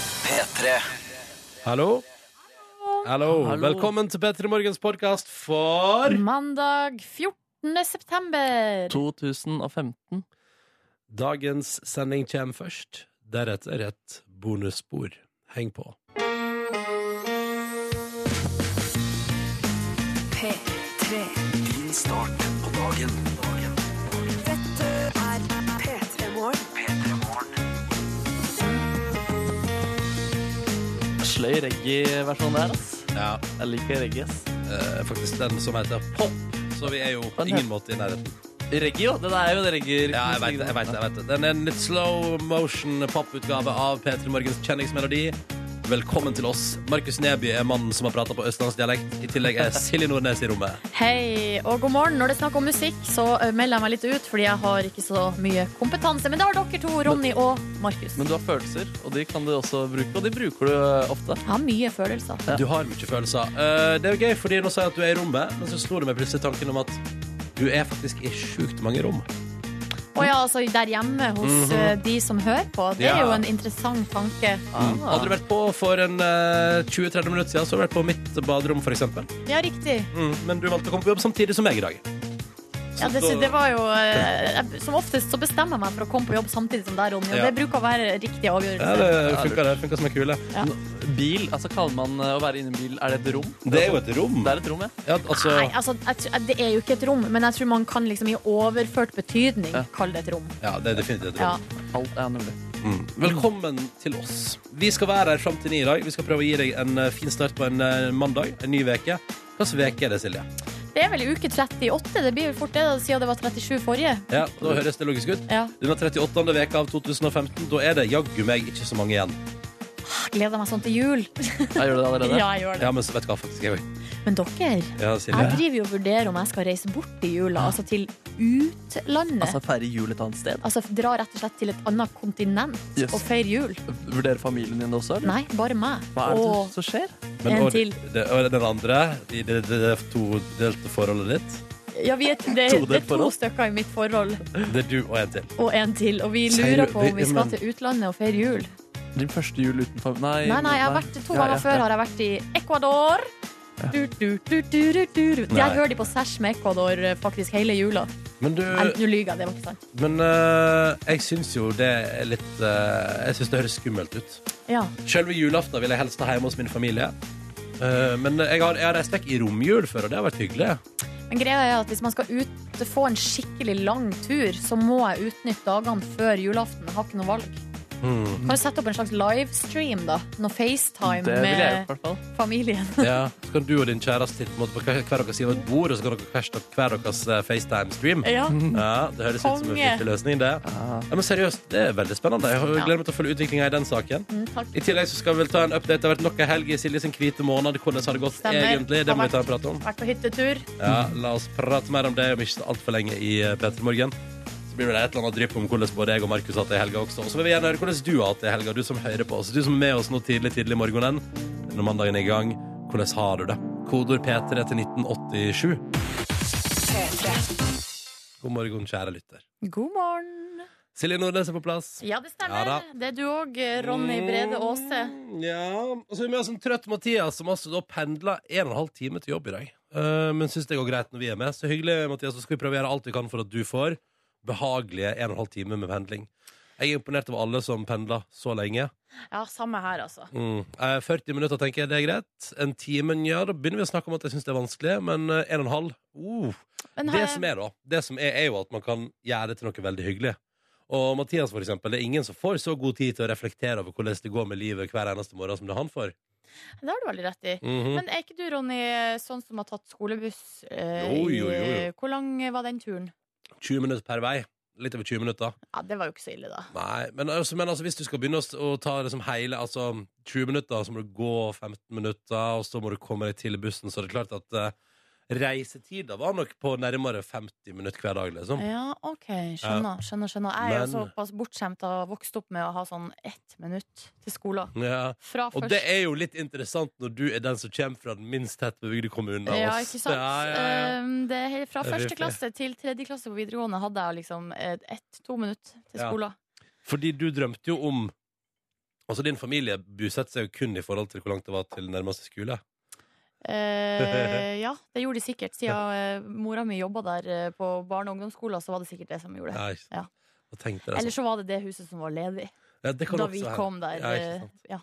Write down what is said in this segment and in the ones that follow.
P3. Hallo? Hallo. Velkommen til Petter i morgens podkast for Mandag 14. september. 2015. Dagens sending kommer først. Deretter et bonusspor. Heng på. Din start på dagen. dagen. P3 Morgen. Sløy reggae-versjonen der, ass. Ja, Jeg liker reggae, ass. eh, faktisk den som heter pop. Så vi er jo på ingen måte i nærheten. Reggae, jo. Det er jo det reggae. Ja, jeg vet det. jeg vet det, jeg vet det Den er en litt slow motion poputgave av P3 Morgens kjenningsmelodi. Velkommen til oss. Markus Neby er mannen som har prata på østlandsdialekt. I tillegg er Silje Nordnes i rommet. Hei og god morgen. Når det er snakk om musikk, så eh, melder jeg meg litt ut, fordi jeg har ikke så mye kompetanse. Men det har dere to, Ronny og Markus. Men du har følelser, og de kan du også bruke, og de bruker du eh, ofte. Jeg har mye følelser. Du har mye følelser. Eh, det er jo gøy, fordi nå sier jeg at du er i rommet, men så slo det meg plutselig tanken om at du er faktisk i sjukt mange rom. Og ja, altså der hjemme hos eh, de som hører på. Det er Mhm. Ja. jo en interessant tanke. Hadde du vært på for en eh, 20-30 minutter siden, så hadde du vært på mitt baderom, f.eks. Ja, riktig. Mm, men du valgte å komme på jobb samtidig som meg i dag. Ja, det, Så da- det var jo eh, jeg- Som oftest så bestemmer jeg meg for å komme på jobb samtidig som deg, Ronny. Og Ja. det bruker å være riktig ja, avgjørelse. det funka, det. Funka som ei kule. Ja. Bil, altså kaller man eh, å være inne i bil, er det et rom? Det er jo et rom. Det er et rom, ja. Ja, altså, Nei, altså, jeg, tror- det er jo ikke et rom, men jeg tror man kan liksom i overført betydning Ja. kalle det et rom. ja, det er definitivt et Ja. rom. Alt er mulig. Mm. Velkommen til oss. Vi skal være her fram til ni i dag. Vi skal prøve å gi deg en eh, fin start på en eh, mandag, en ny uke. Hvilken uke er det, Silje? Det er vel uke 38. Det blir vel fort det, da, siden det var 37 forrige. Ja, Da høres det logisk ut. Ja. Denne 38. veka av 2015, da er det jaggu meg ikke så mange igjen. Jeg gleder meg sånn til jul. Jeg gjør det allerede. Ja, jeg gjør det. Ja, men så vet du hva, faktisk. Jeg, også. Men dere, ja, jeg Silje. driver jo og vurderer om jeg skal reise bort i jula, altså til utlandet. Altså feire jul et annet sted. Altså dra rett og slett til et annet kontinent Yes. og feire jul. Vurdere familien din også, eller? Nei, bare meg. Hva er det som- Og som skjer? Men, en og, til. Det, og den andre, i det, det, det todelte forholdet ditt, ja, vi er, det, Todelt det er to forhold. stykker i mitt forhold, det er du og en til. og en til. Og vi Sier lurer du- på om vi- vi skal men- til utlandet og feire jul. Din første jul uten familie? Nei, Nei, nei, jeg har vært to Ja, ganger ja, før ja. har jeg vært i Ecuador. Du, du, du, du, du, du. du. Nei. Der hører de på Sæsj med Ecuador eh, faktisk hele jula. Men du Nei, nå lyver jeg, det var ikke sant. Men øh, jeg syns jo det er litt øh, Jeg syns det høres skummelt ut. Ja. Selve julaften vil jeg helst ha hjemme hos min familie. Øh, men jeg har, jeg har reist vekk i romjul før, og det har vært hyggelig. Men greia er at hvis man skal ut, få en skikkelig lang tur, så må jeg utnytte dagene før julaften. Jeg har ikke noe valg. Mm. Kan du sette opp en slags livestream, da? Noe FaceTime Det ville jeg gjort, i med hvert fall. familien. Ja. Så kan du og din kjæreste sitte på en måte på hver hver deres side av et bord, og så kan dere hver deres- hver deres øh, FaceTime-stream. Ja. Ja, Det høres ut som en Konge. fiffig løsning, det. Ah. Ja, men seriøst, Det er veldig spennende. Jeg har- Ja. gleder meg til å følge utviklinga i den saken. Mm, takk. I tillegg så skal vi vel ta en update. Det har vært nok ei helg i Silje sin hvite måned. Hvordan har det gått Stemmer. egentlig? Det må vi Har ta en prat om. Vært på hyttetur. Ja, La oss prate mer om det om ikke så altfor lenge i eh, P3 Morgen. Så blir det et eller annet drypp om hvordan både jeg og Markus har hatt det i helga også. Og så vil vi gjerne høre hvordan du har hatt det i helga, du som hører på oss. Du som er med oss nå tidlig tidlig i morgenen når mandagen er i gang. Hvordan har du det? Kodord P3 til 1987. God morgen, kjære lytter. God morgen. Silje Nordnes er på plass. Ja, det Ja stemmer. da. det er du òg, Ronny Brede Aase. Mm, Ja, og så er vi med oss en trøtt Mathias Som altså da pendler en og en halv time til jobb i dag Eh, Men synes det går greit når vi er med Så hyggelig Mathias, så skal vi prøve å gjøre alt vi kan for at du får Behagelige en og en halv time med pendling Jeg er imponert over alle som pendler så lenge Ja, samme her, altså. mm. eh, 40 minutter tenker jeg det er greit En time, ja, da begynner vi å snakke om at jeg synes det er vanskelig Men eh, en og en halv, uh, Men det her- som er da, det som er, er jo at man kan gjøre det til noe veldig hyggelig. Og Mathias, for eksempel, det er ingen som får så god tid til å reflektere over hvordan det går med livet hver eneste morgen som det han får. det har du veldig rett i. Mhm. Men er ikke du, Ronny, sånn som har tatt skolebuss? Eh, Jo, jo, jo, i- jo. Hvor lang var den turen? 20 minutter per vei. Litt over 20 minutter. Ja, Det var jo ikke så ille, da. Nei, men, altså, men altså, hvis du skal begynne å s- å ta det som hele, altså 20 minutter, så må du gå 15 minutter, og så må du komme deg til i bussen, så det er klart at uh, reisetida var nok på nærmere 50 minutter hver dag, liksom. Ja, OK. Skjønner. skjønner, skjønner. Jeg er jo Men- såpass bortskjemt og har vokst opp med å ha sånn ett minutt til skolen. Ja. Fra Og først det er jo litt interessant når du er den som kommer fra den minst tett bebygde kommunen av ja, oss. ikke sant? Ja, ja, ja. Um, Det er, fra Det er første riktig. klasse til tredje klasse på videregående hadde jeg liksom eh, ett-to minutter til Ja. skolen. Fordi du drømte jo om Altså, din familie bosetter seg jo kun i forhold til hvor langt det var til nærmeste skole. Eh, ja, det gjorde de sikkert. Siden eh, mora mi jobba der eh, på barne- og ungdomsskolen, så var det sikkert det som gjorde det. Ja, ikke sant? Ja. Da tenkte jeg sånn. Eller så var det det huset som var ledig Ja, det kan da også vi hende. kom der. Ja, ikke eh, sant. Ja.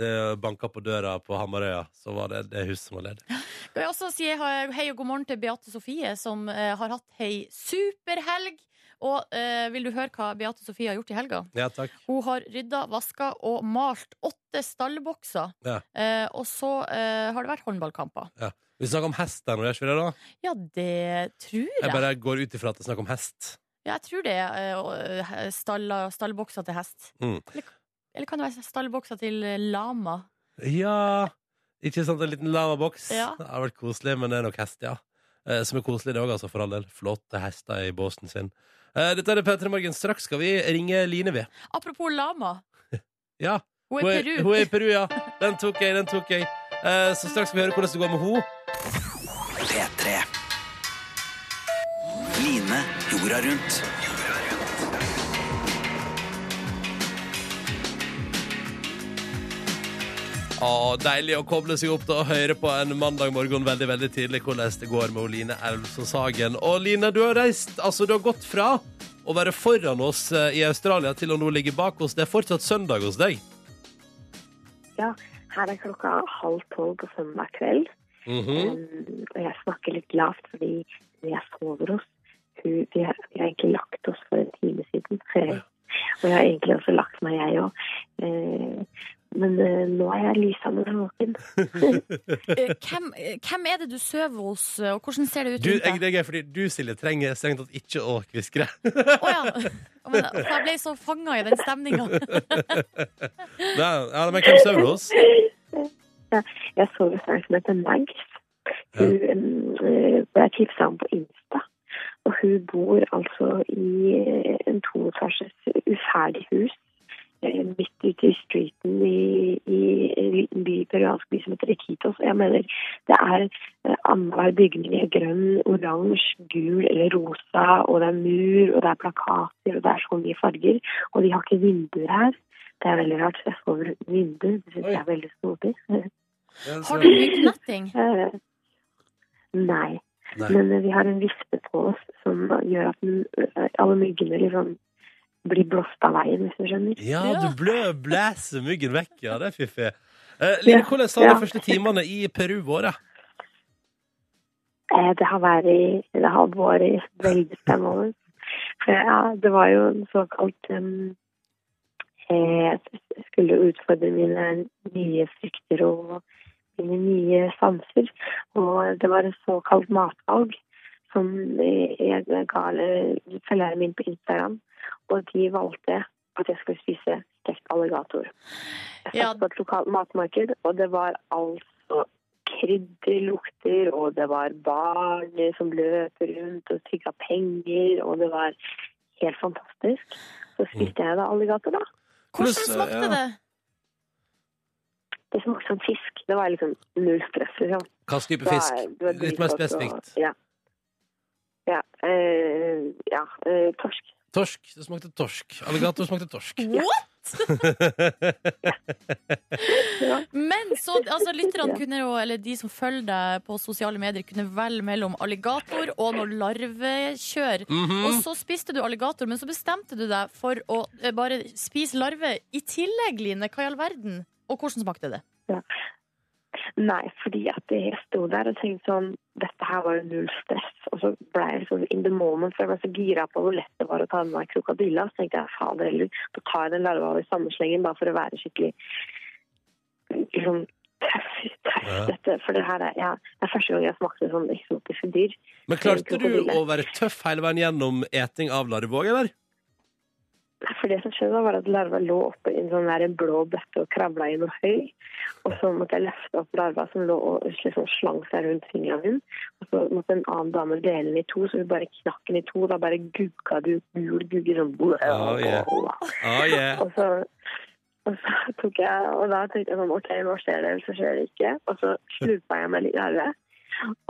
Eh, Banka på døra på Hamarøya, så var det det huset som var ledig. Kan jeg også si he- hei og god morgen til Beate Sofie, som eh, har hatt ei superhelg. Og eh, vil du høre hva Beate Sofie har gjort i helga? Ja, takk. Hun har rydda, vaska og malt åtte stallbokser. Ja. Eh, og så eh, har det vært håndballkamper. Ja. Vi snakker om hest der nå, gjør ikke vi det? da? Ja, det tror jeg. Jeg bare går ut ifra at det er snakk om hest. Ja, jeg tror det er eh, og- stalla- stallbokser til hest. Mm. Eller, eller kan det være stallbokser til eh, lama? Ja Ikke sant, en liten lavaboks Ja. Det har vært koselig, men det er nok hest, ja eh, Som er koselig det også, altså, for all del Flotte hester i båsen sin eh, Dette er Petra Morgen, straks skal vi ringe Line ved Apropos lama. Ja, Hun er i Peru. hun er i Peru, ja Den tok jeg, den tok jeg eh, Så straks skal vi høre hvordan det går med henne P3 Line jorda rundt Å, deilig å koble seg opp da og høre på en mandag morgen veldig veldig tidlig hvordan det går med Line Elvsås Hagen. Og Line, du har reist, altså du har gått fra å være foran oss eh, i Australia til å nå ligge bak oss. Det er fortsatt søndag hos deg. Ja, her er klokka halv tolv på søndag kveld. Mhm. Um, og jeg snakker litt lavt fordi når jeg sover hos hun Vi har, vi har egentlig lagt oss for en time siden. Og jeg har egentlig også lagt meg, jeg òg. men eh, nå er jeg lysende våken. Eh, Hvem, eh, hvem er det du sover hos, eh, og hvordan ser det ut Du, rundt jeg, deg? det er gøy, fordi du, Silje, trenger strengt tatt ikke å kviskre. Å ja. Å, men, for jeg ble så fanga i den stemninga. Nei, ja, men hvem sover du hos? Jeg sover hos en som heter Mags. Hun eh, ble tipsa om på Insta. Og hun bor altså i eh, en toetasjes uferdig hus eh, midt ute i streeten i, i en liten by, peruansk by som heter Iquitos. Og Jeg mener, det er eh, annenhver bygning er grønn, oransje, gul eller rosa, og det er mur, og det er plakater, og det er så mye farger. Og de har ikke vinduer her. Det er veldig rart, så jeg sover uten vinduer. Det syns Oi. jeg er veldig snodig. Har du myggnetting? Eh, Nei. Nei. Men eh, vi har en vifte på oss som gjør at den, eh, alle myggene liksom blir blåst av veien, hvis du skjønner. Ja, Ja. du blø, blæser myggen vekk. Ja, det er fiffig. Eh, Line, Ja, hvordan har ja. de første timene i Peru vært? Eh, Det har vært, i- det har vært veldig spennende. For ja, det var jo en såkalt um, eh, Jeg skulle jo utfordre mine nye frykter og mine nye sanser. Og det var en såkalt matvalg som eh, jeg ga eh, følgerne mine på Instagram. Og de valgte at jeg skulle spise stekt alligator. Jeg satt Ja. på et lokalt matmarked, og det var altså krydderlukter, og det var barn som løp rundt og tygga penger, og det var helt fantastisk. Så spiste jeg da alligator, da. Hvordan Hvordan, smakte ja. det? Det smakte som fisk. Det var liksom null stress. Liksom. Hva type Da er- fisk? det var Litt mer dritgodt, og- spesifikt. Ja. Ja. eh, ja eh, torsk. Torsk. Det smakte torsk. Alligator smakte torsk. What?! Ja. Men så altså, lytterne kunne jo, eller de som følger deg på sosiale medier, kunne velge mellom alligator og noe larvekjør. Mhm. Mm. Og så spiste du alligator, men så bestemte du deg for å eh, bare spise larve i tillegg, Line. Hva i all verden? Og hvordan smakte det? Nei, fordi at jeg sto der og tenkte sånn Dette her var jo null stress. Og så ble jeg sånn in the moment, for jeg ble så gira på hvor lett det var å ta med meg krokodilla. Så tenkte jeg fader heller, da tar jeg den larva i sammenslengen bare for å være skikkelig liksom tøff. tøff Ja. dette. For det her er, ja, det er første gang jeg smakte sånn eksotiske dyr. Men klarte du å være tøff hele veien gjennom eting av larvevåg, eller? Nei, For det som skjedde da var at larva lå oppe i en sånn der blå bøtte og kravla i noe høy. Og så måtte jeg løfte opp larva som lå og liksom slang seg rundt fingeren min. Og så måtte en annen dame dele den i to, så hun bare knakk den i to. Da bare gugga det ut gul gugge sånn. Ja, ja. Ah, yeah. Og så, og så tok jeg, og da tenkte jeg sånn, ok, nå skjer det, eller så skjer det ikke. Og så slurpa jeg meg litt i arvet.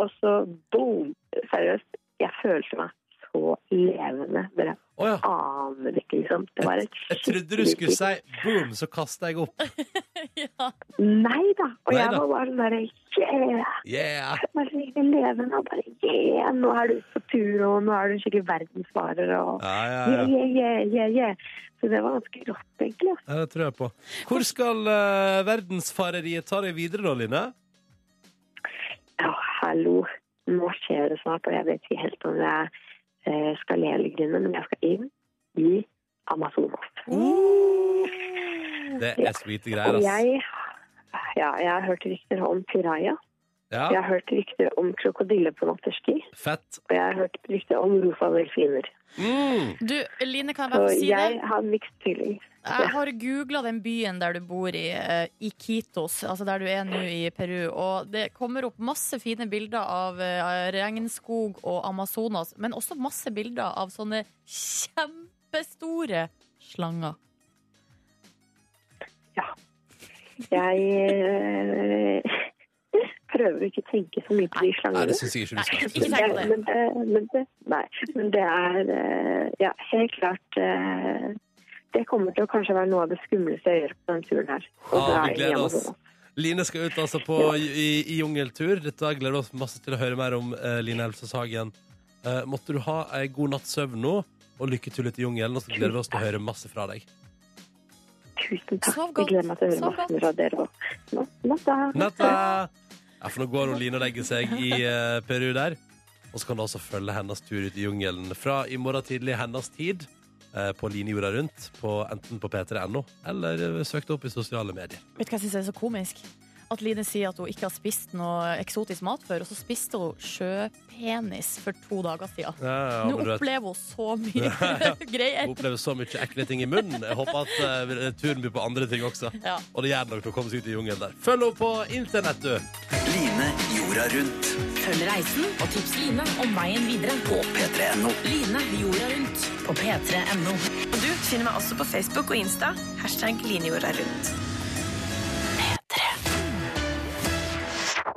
Og så boom! Seriøst, jeg følte meg så levende. Dere Å ja. aner ikke, liksom. Det var et Jeg trodde du skulle si boom, så kasta jeg opp. Ja. Nei da. Og jeg Neida. var bare sånn derre yeah! Yeah! Bare like levende og bare yeah! Nå er du på tur, og nå er du skikkelig verdensfarer og Ja, ja, ja. yeah, yeah, yeah, yeah, yeah. Så det var ganske rått, egentlig. altså. Ja, Det tror jeg på. Hvor skal eh, verdensfareriet ta deg videre, da, Line? Ja, hallo. Nå skjer det snart, og jeg vet ikke helt om jeg eh, skal le eller grine, men jeg skal inn i Amazonas. Oh. Det er sweete greier, Og ass. jeg, ja, jeg har hørt rykter om piraja. Jeg Ja, har hørt rykter om krokodille på natterski. fett. Og jeg har hørt rykter om rosa delfiner. Mm. Du, Line, kan jeg Så bare få si jeg det? har mixed feelings. Jeg har googla den byen der du bor i, eh, Iquitos, altså der du er nå i Peru. Og det kommer opp masse fine bilder av eh, regnskog og Amazonas, men også masse bilder av sånne kjempestore slanger. Jeg eh, prøver ikke å tenke så mye på de Nei, slangene. det syns jeg ikke du Nei, skal. ikke tenk på Men det, det. men det, men det, nei, men det er eh, ja, helt klart eh, Det kommer til å kanskje være noe av det skumleste jeg gjør på denne turen her. Ja, Og det Ah, vi er gleder i oss. Amazonas. Line skal ut altså på i, i jungeltur. Dette gleder vi oss masse til å høre mer om, eh, Line Elfsås Hagen. Eh, måtte du ha ei god natts søvn nå, og lykke til ute i jungelen. Og så gleder vi oss til å høre masse fra deg. Tusen takk. Sov Jeg gleder godt. meg til å Sov høre masse fra dere òg. Natta! Ja, for nå går hun Line og legger seg i eh, Peru der. Og så kan du også følge hennes tur ut i jungelen fra i morgen tidlig hennes tid eh, på Line jorda rundt, på, enten på p3.no eller eh, søk det opp i sosiale medier. Vet du hva jeg syns er så komisk? At Line sier at hun ikke har spist noe eksotisk mat før, og så spiste hun sjøpenis for to dager siden. Ja, ja, Nå men du vet, opplever hun så mye hun greier. opplever så mye ekle ting i munnen. Jeg håper at eh, turen blir på andre ting også. Ja. Og det gjør det nok til å komme seg ut i jungelen der. Følg henne på internett, du! Line jorda rundt. Følg reisen og tips Line om veien videre på P3.no. Line jorda rundt på p3.no. Og du finner meg også på Facebook og Insta. Hashtag linjorda rundt.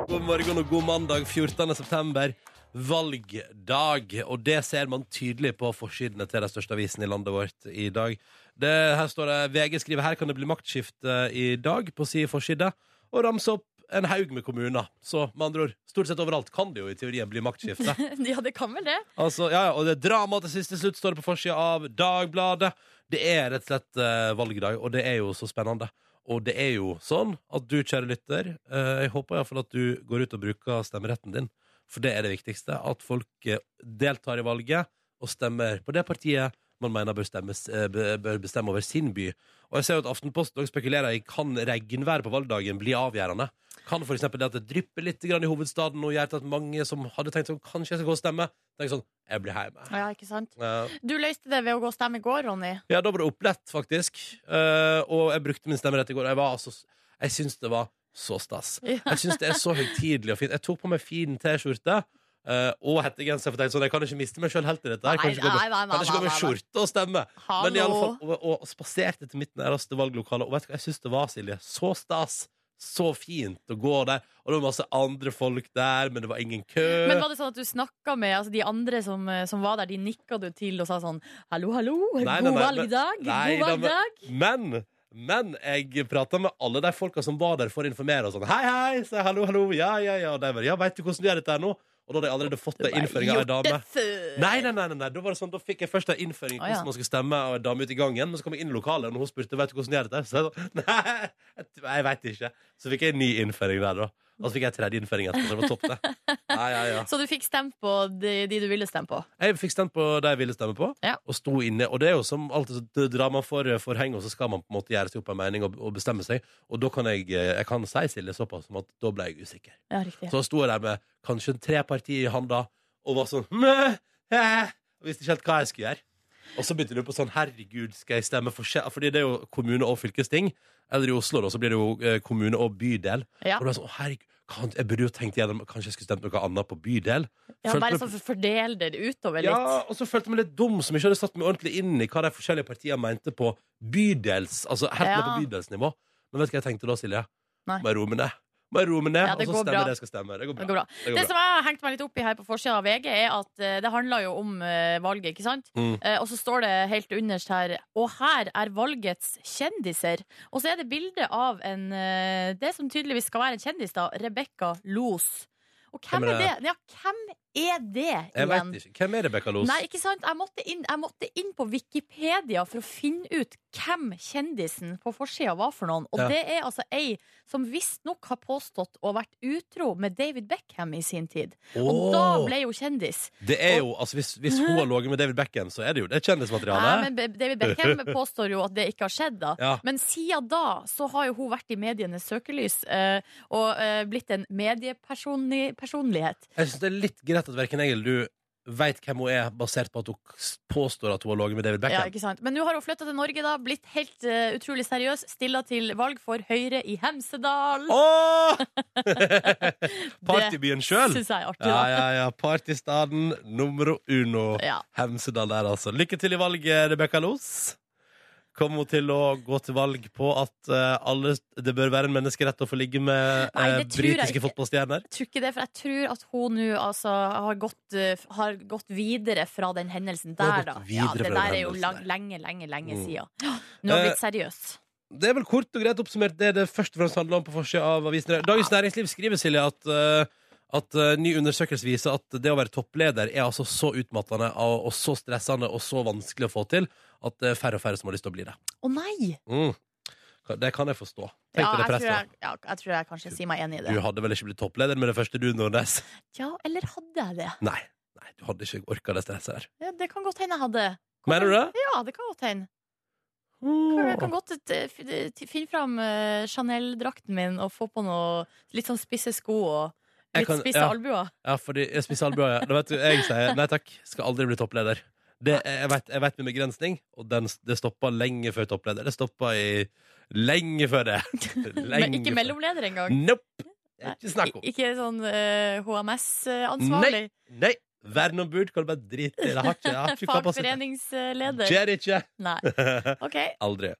God morgen og god mandag 14. september. Valgdag. Og det ser man tydelig på forsidene til de største avisene i landet vårt i dag. Det, her står det VG skriver her kan det bli maktskifte eh, i dag på si forside. Og ramse opp en haug med kommuner. Så med andre ord, stort sett overalt kan det jo i teorien bli maktskifte. Ja, det kan vel det. Altså, ja, ja, og det er drama til siste slutt, står det på forsida av Dagbladet. Det er rett og slett eh, valgdag, og det er jo så spennende. Og det er jo sånn at du, kjære lytter, eh, jeg håper iallfall at du går ut og bruker stemmeretten din. For det er det viktigste. At folk eh, deltar i valget og stemmer på det partiet man mener bør, stemmes, eh, b- bør bestemme over sin by. Og jeg ser jo at Aftenposten også spekulerer i kan regnværet på valgdagen bli avgjørende. Kan f.eks. det at det drypper litt grann i hovedstaden og gjør til at mange som hadde tenkt sånn, kanskje jeg skal gå og stemme, tenker sånn jeg blir hjemme. Ja, ikke sant? Eh, Du løste det ved å gå og stemme i går, Ronny. ja, da var det opplett, faktisk. Eh, og jeg brukte min stemmerett i går. Jeg, var altså, jeg syns det var så stas. Ja. Jeg syns det er så høytidelig og fint. Jeg tok på meg fin T-skjorte. eh, og hettegenser, for jeg tenkte sånn, jeg kan ikke miste meg sjøl helt i dette. her. Jeg kan Nei, ikke gå med, nei, nei, nei, kan ikke gå med nei, nei. skjorte og stemme. Men i alle fall, Hallo. og, og spaserte til mitt nærmeste valglokale. Og vet du hva jeg syns det var, Silje? Så stas. Så fint å gå der. Og det var masse andre folk der, men det var ingen kø. Men var det sånn at du snakka med altså, de andre som, som var der, de nikka du til og sa sånn Hallo, hallo, Nei, nei, nei, god men- valgdag, Nei, god da, men- valgdag. Men, men jeg prata med alle de folka som var der for å informere. Og sånn, hei, hei, si hallo, hallo, ja, ja, ja. Og de bare, ja, veit du hvordan du gjør dette her nå? Og da hadde jeg allerede fått en innføring av ei dame. Nei, nei, nei, nei, nei. Da, var det sånn, da fikk jeg først en innføring i Å, ja. hvordan man skulle stemme, og en dame ut i gangen. Men så kom jeg inn i lokalet, og når hun spurte vet du hvordan du gjør dette, så jeg sånn, nei, jeg, t- jeg veit ikke. Så fikk jeg en ny innføring der, da. Og så fikk jeg en tredje innføring etterpå. så Det var topp, det. Ja, ja, ja. Så du fikk stemt på de, de du ville stemme på? Jeg fikk stemt på det jeg ville stemme på, Ja. og sto inne. Og det er jo som alltid, så drar man for eh, forheng, og så skal man på en måte gjøre seg opp en mening og, og bestemme seg. Og da kan jeg, eh, jeg kan si Silje såpass som at da ble jeg usikker. Ja, riktig. Så sto jeg der med kanskje en treparti i handa og var sånn «Mæ, hæ», og Visste ikke helt hva jeg skulle gjøre. Og så begynte du på sånn Herregud, skal jeg stemme for skje-» Fordi det er jo kommune og fylkesting. Eller i Oslo, da, så blir det jo eh, kommune og bydel. Ja. Og du er sånn, «Å, herregud, kan, jeg burde jo tenkt igjennom Kanskje jeg skulle stemt noe annet på bydel? Ja, Følte bare meg- sånn for- fordel det utover litt. ja, og så følte jeg meg litt dum som ikke hadde satt meg ordentlig inn i hva de forskjellige partiene mente på bydels, altså helt ned på Ja. bydelsnivå. Men vet du hva jeg tenkte da, Silje? Nei. Må jeg roe meg ned? Må jeg roe meg ned, Ja, det og så går stemmer bra. det jeg skal stemme. Det går Det bra. går bra. Det går Det bra. som jeg har hengt meg litt opp i her på forsida av VG, er at eh, det handler jo om eh, valget, ikke sant? Mm. Eh, og så står det helt underst her Og her er valgets kjendiser. Og så er det bilde av en eh, Det som tydeligvis skal være en kjendis, da. Rebekka Los. Og hvem Hvem er er det? Ja, hvem er det Jeg igjen? vet ikke. Hvem er Rebekka Los? Nei, ikke sant? Jeg måtte, inn, jeg måtte inn på Wikipedia for å finne ut hvem kjendisen på forsida var for noen. Og Ja. det er altså ei som visstnok har påstått å ha vært utro med David Beckham i sin tid. Og Åh, da ble hun kjendis. det er jo, altså hvis, hvis hun har ligget med David Beckham, så er det jo det er Nei, kjendismaterialet. Eh, men Be- David Beckham påstår jo at det ikke har skjedd, da. Ja. Men siden da så har jo hun vært i medienes søkelys eh, og eh, blitt en mediepersonlighet. Jeg syns det er litt greit at verken jeg eller du veit hvem hun er, basert på at hun s- påstår at hun har ligget med David Ja, Beckham. ikke sant? Men nå har hun flytta til Norge, da. Blitt helt eh, utrolig seriøs. Stilla til valg for Høyre i Hemsedal. Åh! Partybyen sjøl! Syns jeg er artig, Ja, da. ja, ja. Partystaden numero uno. Ja. Hemsedal der, altså. Lykke til i valget, Rebekka Los. Kommer hun til å gå til valg på at eh, alle, det bør være en menneskerett å få ligge med Nei, eh, det tror jeg britiske ikke. fotballstjerner? Jeg tror ikke det, for jeg tror at hun nå altså, har, gått, eh, har gått videre fra den hendelsen Hun der, har gått da. Ja, videre det fra den der er jo hendelsen lang, der. lenge, lenge, lenge Mm. siden. Nå har hun Eh, blitt seriøs. Det er vel kort og greit oppsummert det det først og fremst handler om på forsida av avisen. Dagens Næringsliv skriver, Silje, at eh, at eh, ny undersøkelse viser at det å være toppleder er altså så utmattende og, og så stressende og så vanskelig å få til at det er færre og færre som har lyst til å bli det. Å nei! Mm. Det kan jeg forstå. Ja, Tenk deg det jeg, tror presset. jeg, ja, jeg tror jeg kanskje sier meg enig i Du det. hadde vel ikke blitt toppleder med det første du, Nordnes? Ja, eller hadde jeg det? Nei, nei du hadde ikke orka det stresset der. Ja, det kan godt hende jeg hadde. Mener du det? Mm. Ja, det kan godt hende. Jeg kan godt eh, f- eh, finne fram eh, Chanel-drakten min og få på noe litt sånn spisse sko og Jeg litt kan- spisse ja. albuer. Ja, fordi jeg spiser albuer. ja. Da vet du, Jeg sier nei takk, skal aldri bli toppleder. Det, jeg vet, jeg vet min begrensning, og den, det stoppa lenge før toppleder. Det stoppa i lenge før det. Men Lenge ikke før. mellomleder engang. Nope! Det er Ikke snakk om. I- Ikke sånn HMS-ansvarlig. Nei! Verneombud kan du bare drite i. Det har ikke, jeg har ikke kapasitet. Fagforeningsleder. Skjer ikke. Nei. OK, Aldri.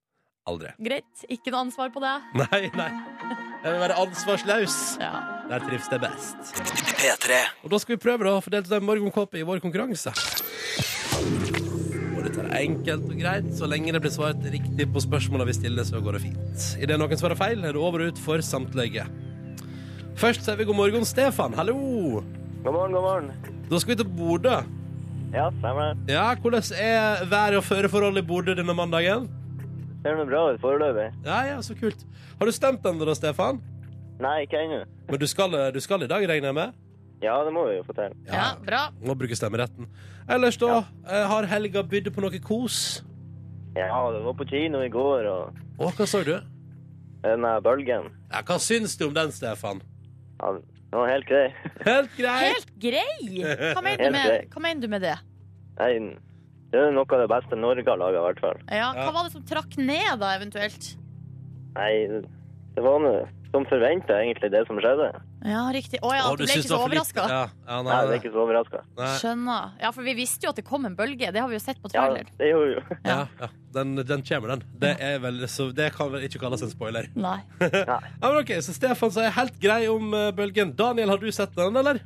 Aldri. greit. Ikke noe ansvar på deg. Nei, nei. Jeg vil være ansvarsløs. Ja. Der trives det best. P3. Og da skal vi prøve da å få delta i morgenkåpe i vår konkurranse. Og dette er enkelt og greit. Så lenge det blir svart riktig på spørsmåla vi stiller, så går det fint. Idet noen svarer feil, er det over og ut for samtlige. Først sier vi god morgen, Stefan. Hallo. God morgen, god morgen. Da skal vi til Bodø. Ja, stemmer det. Ja, hvordan er været og føreforholdet i Bodø denne mandagen? Ser noe bra ut foreløpig? Ja, ja, så kult. Har du stemt ennå, da, Stefan? Nei, ikke ennå. Men du skal, eh, du skal i dag, regner jeg med? Ja, det må vi jo få til. ja, bra. Må bruke stemmeretten. Ellers, da? eh, Har helga bydd på noe kos? Ja, det var på kino i går, og Å, hva sa du? den der bølgen Ja, hva syns du om den, Stefan? ja, Det var helt grei. Helt greit! Helt grei! Hva mener, Helt du med, grei. hva mener du med det? Nei, det er noe av det beste Norge har laga, i hvert fall. Ja, Ja. hva var det som trakk ned, da, eventuelt? Nei, det var nå som forventa, egentlig, det som skjedde. Ja, riktig. Å ja, Å, at du ble syns ikke så var for lite. overraska. Ja, ja, nei, Nei, det er ikke så overraska. nei. Skjønner. Ja, for vi visste jo at det kom en bølge. Det har vi jo sett på Ja, trailer. det gjorde jo Ja, ja. Den, den kommer, den. Det, er vel, så det kan vel ikke kalles en spoiler. Nei. Ja, men ok, Så Stefan sier helt grei om eh, bølgen. Daniel, har du sett den, eller?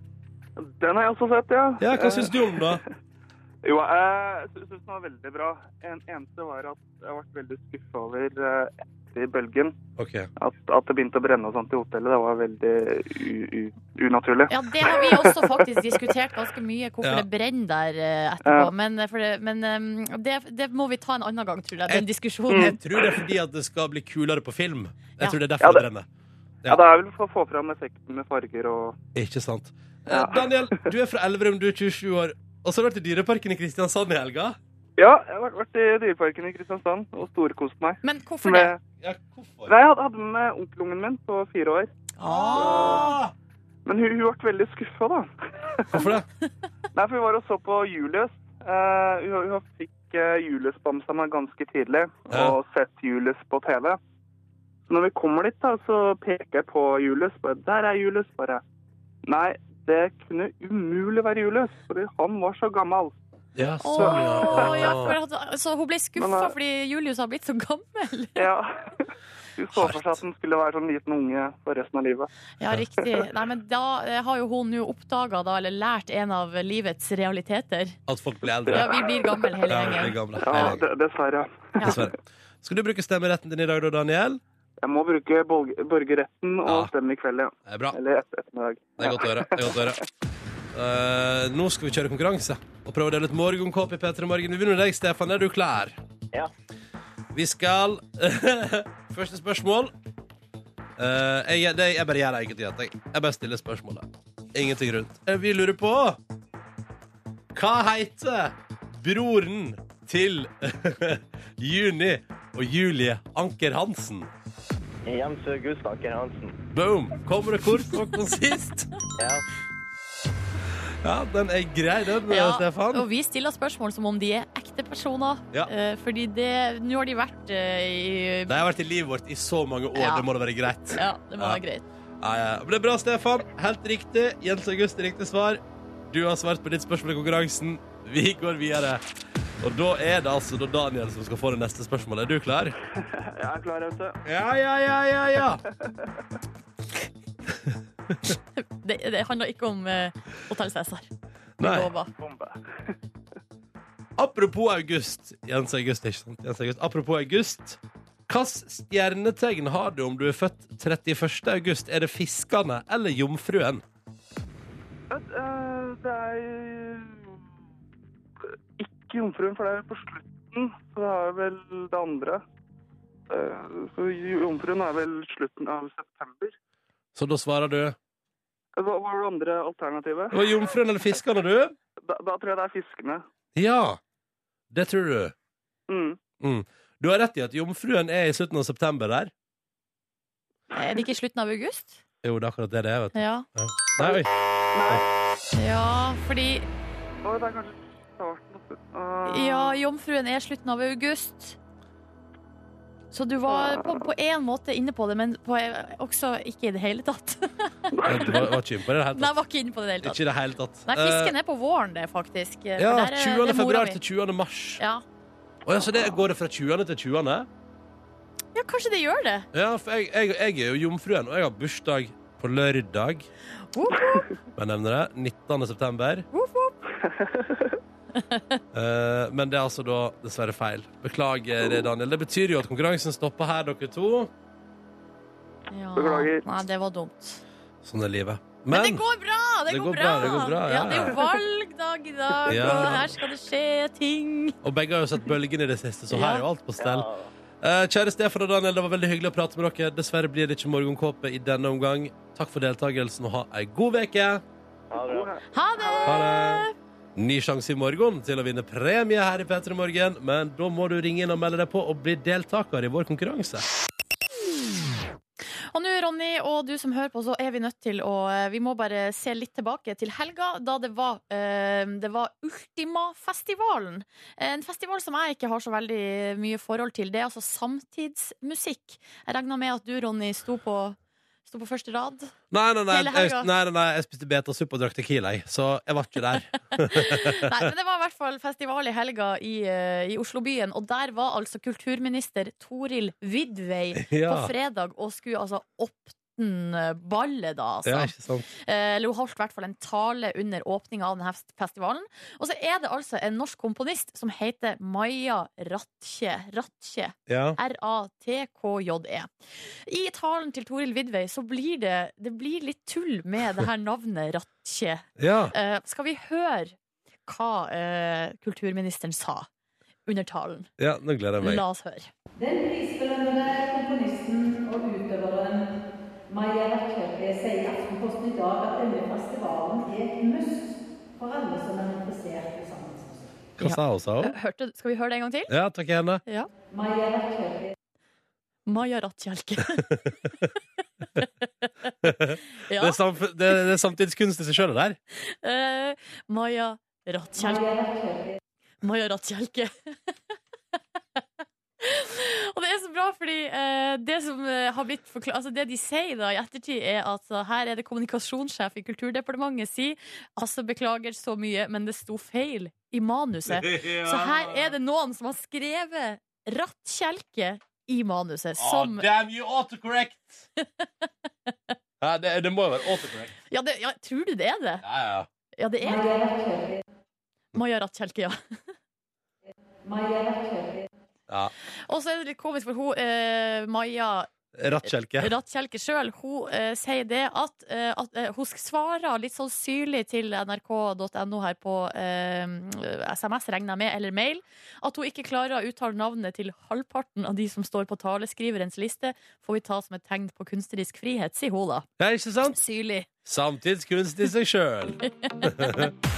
Den har jeg også sett, ja. Ja, Hva syns du om den, da? Eh, jo, jeg syns den var veldig bra. En eneste var at jeg ble veldig skuffa over eh, etter bølgen. Ok, At, at det begynte å brenne og sånt i hotellet. Det var veldig u u unaturlig. Ja, det har vi også faktisk diskutert ganske mye, hvorfor Ja. det brenner der eh, etterpå. Ja. Men, eh, for det, men eh, det, det må vi ta en annen gang, tror jeg, Jeg- den diskusjonen. Jeg tror det er fordi at det skal bli kulere på film. Jeg Ja. tror det er Ja, derfor det det- brenner. Ja, det er vel for å få fram effekten med farger og Ikke sant. Eh, Ja. Daniel, du er fra Elverum, du er 27 år. Og så har du vært i Dyreparken i Kristiansand i helga. Ja, jeg har vært- vært i Dyreparken i Kristiansand og storkost meg. Men hvorfor det? Med, Ja, hvorfor? nei, jeg hadde- hadde med onkelungen min på fire år. Ah, Men hun, hun ble veldig skuffa, da. hvorfor det? Nei, for vi var og så på Julius. Eh, hun, hun fikk uh, Julius-bamsa meg ganske tidlig, Ja. og sett Julius på TV. Så når vi kommer dit, da, så peker jeg på Julius. Bare, Der er Julius, bare. Nei, det kunne umulig være Julius, fordi han var så gammel. Ja, Åh, sånn, ja. ja, for at, så hun ble skuffa Men, eh, fordi Julius har blitt så gammel? Ja. hun ikke så for seg at den skulle være sånn liten unge for resten av livet. Ja, riktig. Nei, men da eh, har jo hun nå oppdaga, da, eller lært, en av livets realiteter. At folk blir eldre. Ja, vi blir gamle hele Ja, vi gjengen. blir gamle. Ja, Hele gjengen. d- Dessverre. Dessverre. Skal du bruke stemmeretten din i dag, da, Daniel? Jeg må bruke borg- borgerretten og Ja. stemme i kveld, ja. Det er bra. Eller et ettermiddag. Det er godt å høre. Det er godt å høre. Eh, nå skal vi kjøre konkurranse og prøve å dele ut morgenkåp i P3 Morgen. Vi begynner med deg, Stefan. Er du klar? Ja. Vi skal Første spørsmål. Eh, jeg, det, jeg bare gjør det egentlig. at Jeg Jeg bare stiller spørsmålet. Ingenting rundt. Eh, Vi lurer på Hva heter broren til Juni og Julie Anker Hansen? Jens August Anker Hansen. Boom! Kommer det kort og konsist? Ja. Ja, den er grei, den, eh, Ja, Stefan. og vi stiller spørsmål som om de er ekte personer. Ja. Eh, Fordi det Nå har de vært eh, i De har vært i livet vårt i så mange år, Ja. det må da være greit. Ja, det må Ja. være greit. Ja, ja. Men det er bra, Stefan. Helt riktig. Jens August, riktig svar. Du har svart på ditt spørsmål i konkurransen. Vi går videre. Og da er det altså da Daniel som skal få det neste spørsmålet. Er du klar? Jeg er klar, vet du. Ja, ja, ja, ja, ja. Det, det handler ikke om eh, Hotell Cæsar. Nei. Lover. Bombe. Apropos august. Jens August, ikke sant? Jens August. Apropos august. Hvilket stjernetegn har du om du er født 31. august? Er det fiskene eller jomfruen? Vet, eh, Det er ikke Jomfruen, for det er på slutten. Så det er vel det andre. Eh, Så Jomfruen er vel slutten av september. Eh, Så da svarer du Hva hva var det andre alternativet? Det var jomfruen eller fiskene, du? Da, da tror jeg det er fiskene. Ja, det tror du. Mm. Du har rett i at jomfruen er i slutten av september der. Er det ikke i slutten av august? Jo, det er akkurat det det er, vet du. Ja. Nei, oi. ja, fordi Å, det er kanskje starten av slutten. Eh, Ja, Jomfruen er slutten av august. Så du var på- på én måte inne på det, men på, også ikke i det hele tatt. Du var, var ikke inne på det i det hele Nei, tatt. jeg var ikke inne på det i det hele tatt. Ikke i det hele tatt. Nei, fisken er på våren, det, faktisk. For Eh, Ja, der er- 20. det er mora februar mi. til 20. mars. ja. Å ja, så det går det fra 20. til 20.? ja, kanskje det gjør det. Ja, for jeg, jeg, jeg er jo jomfruen, og jeg har bursdag på lørdag. Whoop, whoop, Jeg nevner det. 19. september. whoop, whoop. Eh, men det er altså da dessverre feil. Beklager, det, Daniel. Det betyr jo at konkurransen stopper her, dere to. Ja. Beklager. Nei, det var dumt. Sånn er livet. Men det går bra! Det, Det går, går bra. bra, det går bra, ja. ja. det er jo valgdag i dag, Ja. og her skal det skje ting. Og begge har jo sett bølgen i det siste, så Ja. her er jo alt på stell. Ja. Eh, kjære Stefan og Daniel, det var veldig hyggelig å prate med dere. Dessverre blir det ikke morgenkåpe i denne omgang. Takk for deltakelsen, og ha ei god veke Ha det bra. Ha det! Ha det! Ny sjanse i morgen til å vinne premie her i P3 Morgen, men da må du ringe inn og melde deg på og bli deltaker i vår konkurranse. Og nå, Ronny, og du som hører på, så er vi nødt til å eh, Vi må bare se litt tilbake til helga, da det var, eh, det var Ultima-festivalen. En festival som jeg ikke har så veldig mye forhold til. Det er altså samtidsmusikk. Jeg regna med at du, Ronny, sto på, sto på første rad. Nei, nei, nei, Hele jeg, helga. nei, nei, nei jeg spiste betasuppe og drakk tequila, jeg, så jeg var ikke der. Nei, men det var i hvert fall festival i helga i, eh, i Oslobyen, og der var altså kulturminister Toril Vidvei Ja, på fredag og skulle altså åpne ballet, da, altså. ja ikke sant? Eh, Eller hun holdt i hvert fall en tale under åpninga av denne fest- festivalen. Og så er det altså en norsk komponist som heter Maja Rattkje. Rattkje. Ja. R-A-T-K-J-E. E. I talen til Toril Vidvei så blir det, det blir litt tull med det her navnet Rattkje. ja. Eh, skal vi høre hva eh, kulturministeren sa under talen? Ja, nå gleder jeg meg. La oss høre. Den prisbelønnede komponisten og utøveren Maja Kjøpe sier i Aftenposten i dag at denne festivalen er et must for alle som er interessert i samtidsmusikk. Hva sa hun, sa hun? Eh, Hørte, skal vi høre det en gang til? Ja, takk gjerne. Ja. Maja Kjøpe Maja Rattkjelke. ja. Det, er samf- det, det er samtidskunst i seg sjøl, det der. Eh, Maja Rattkjelke. Maja Rattkjelke. Og det er så bra, fordi eh, det som eh, har blitt forklart Altså det de sier da i ettertid, er at altså, her er det kommunikasjonssjef i Kulturdepartementet sier altså beklager så mye, men det sto feil i manuset. Så her er det noen som har skrevet Rattkjelke i manuset. Ah, Som damn you autocorrect! Ja, det, det må jo være autocorrect. ja, det, ja, Tror du det er det? Ja, ja. Ja, det er det. Maja Rattkjelke, ja. ja. Og så er det litt komisk, for hun, eh, Maja Rattkjelke. Rattkjelke sjøl, hun eh, sier det at, eh, at eh, hun svarer litt sånn syrlig til nrk.no her på eh, SMS, regner jeg med, eller mail, at hun ikke klarer å uttale navnet til halvparten av de som står på taleskriverens liste, får vi ta som et tegn på kunstnerisk frihet, sier hun da. Ja, ikke sant? Syrlig. Samtidskunst i seg sjøl.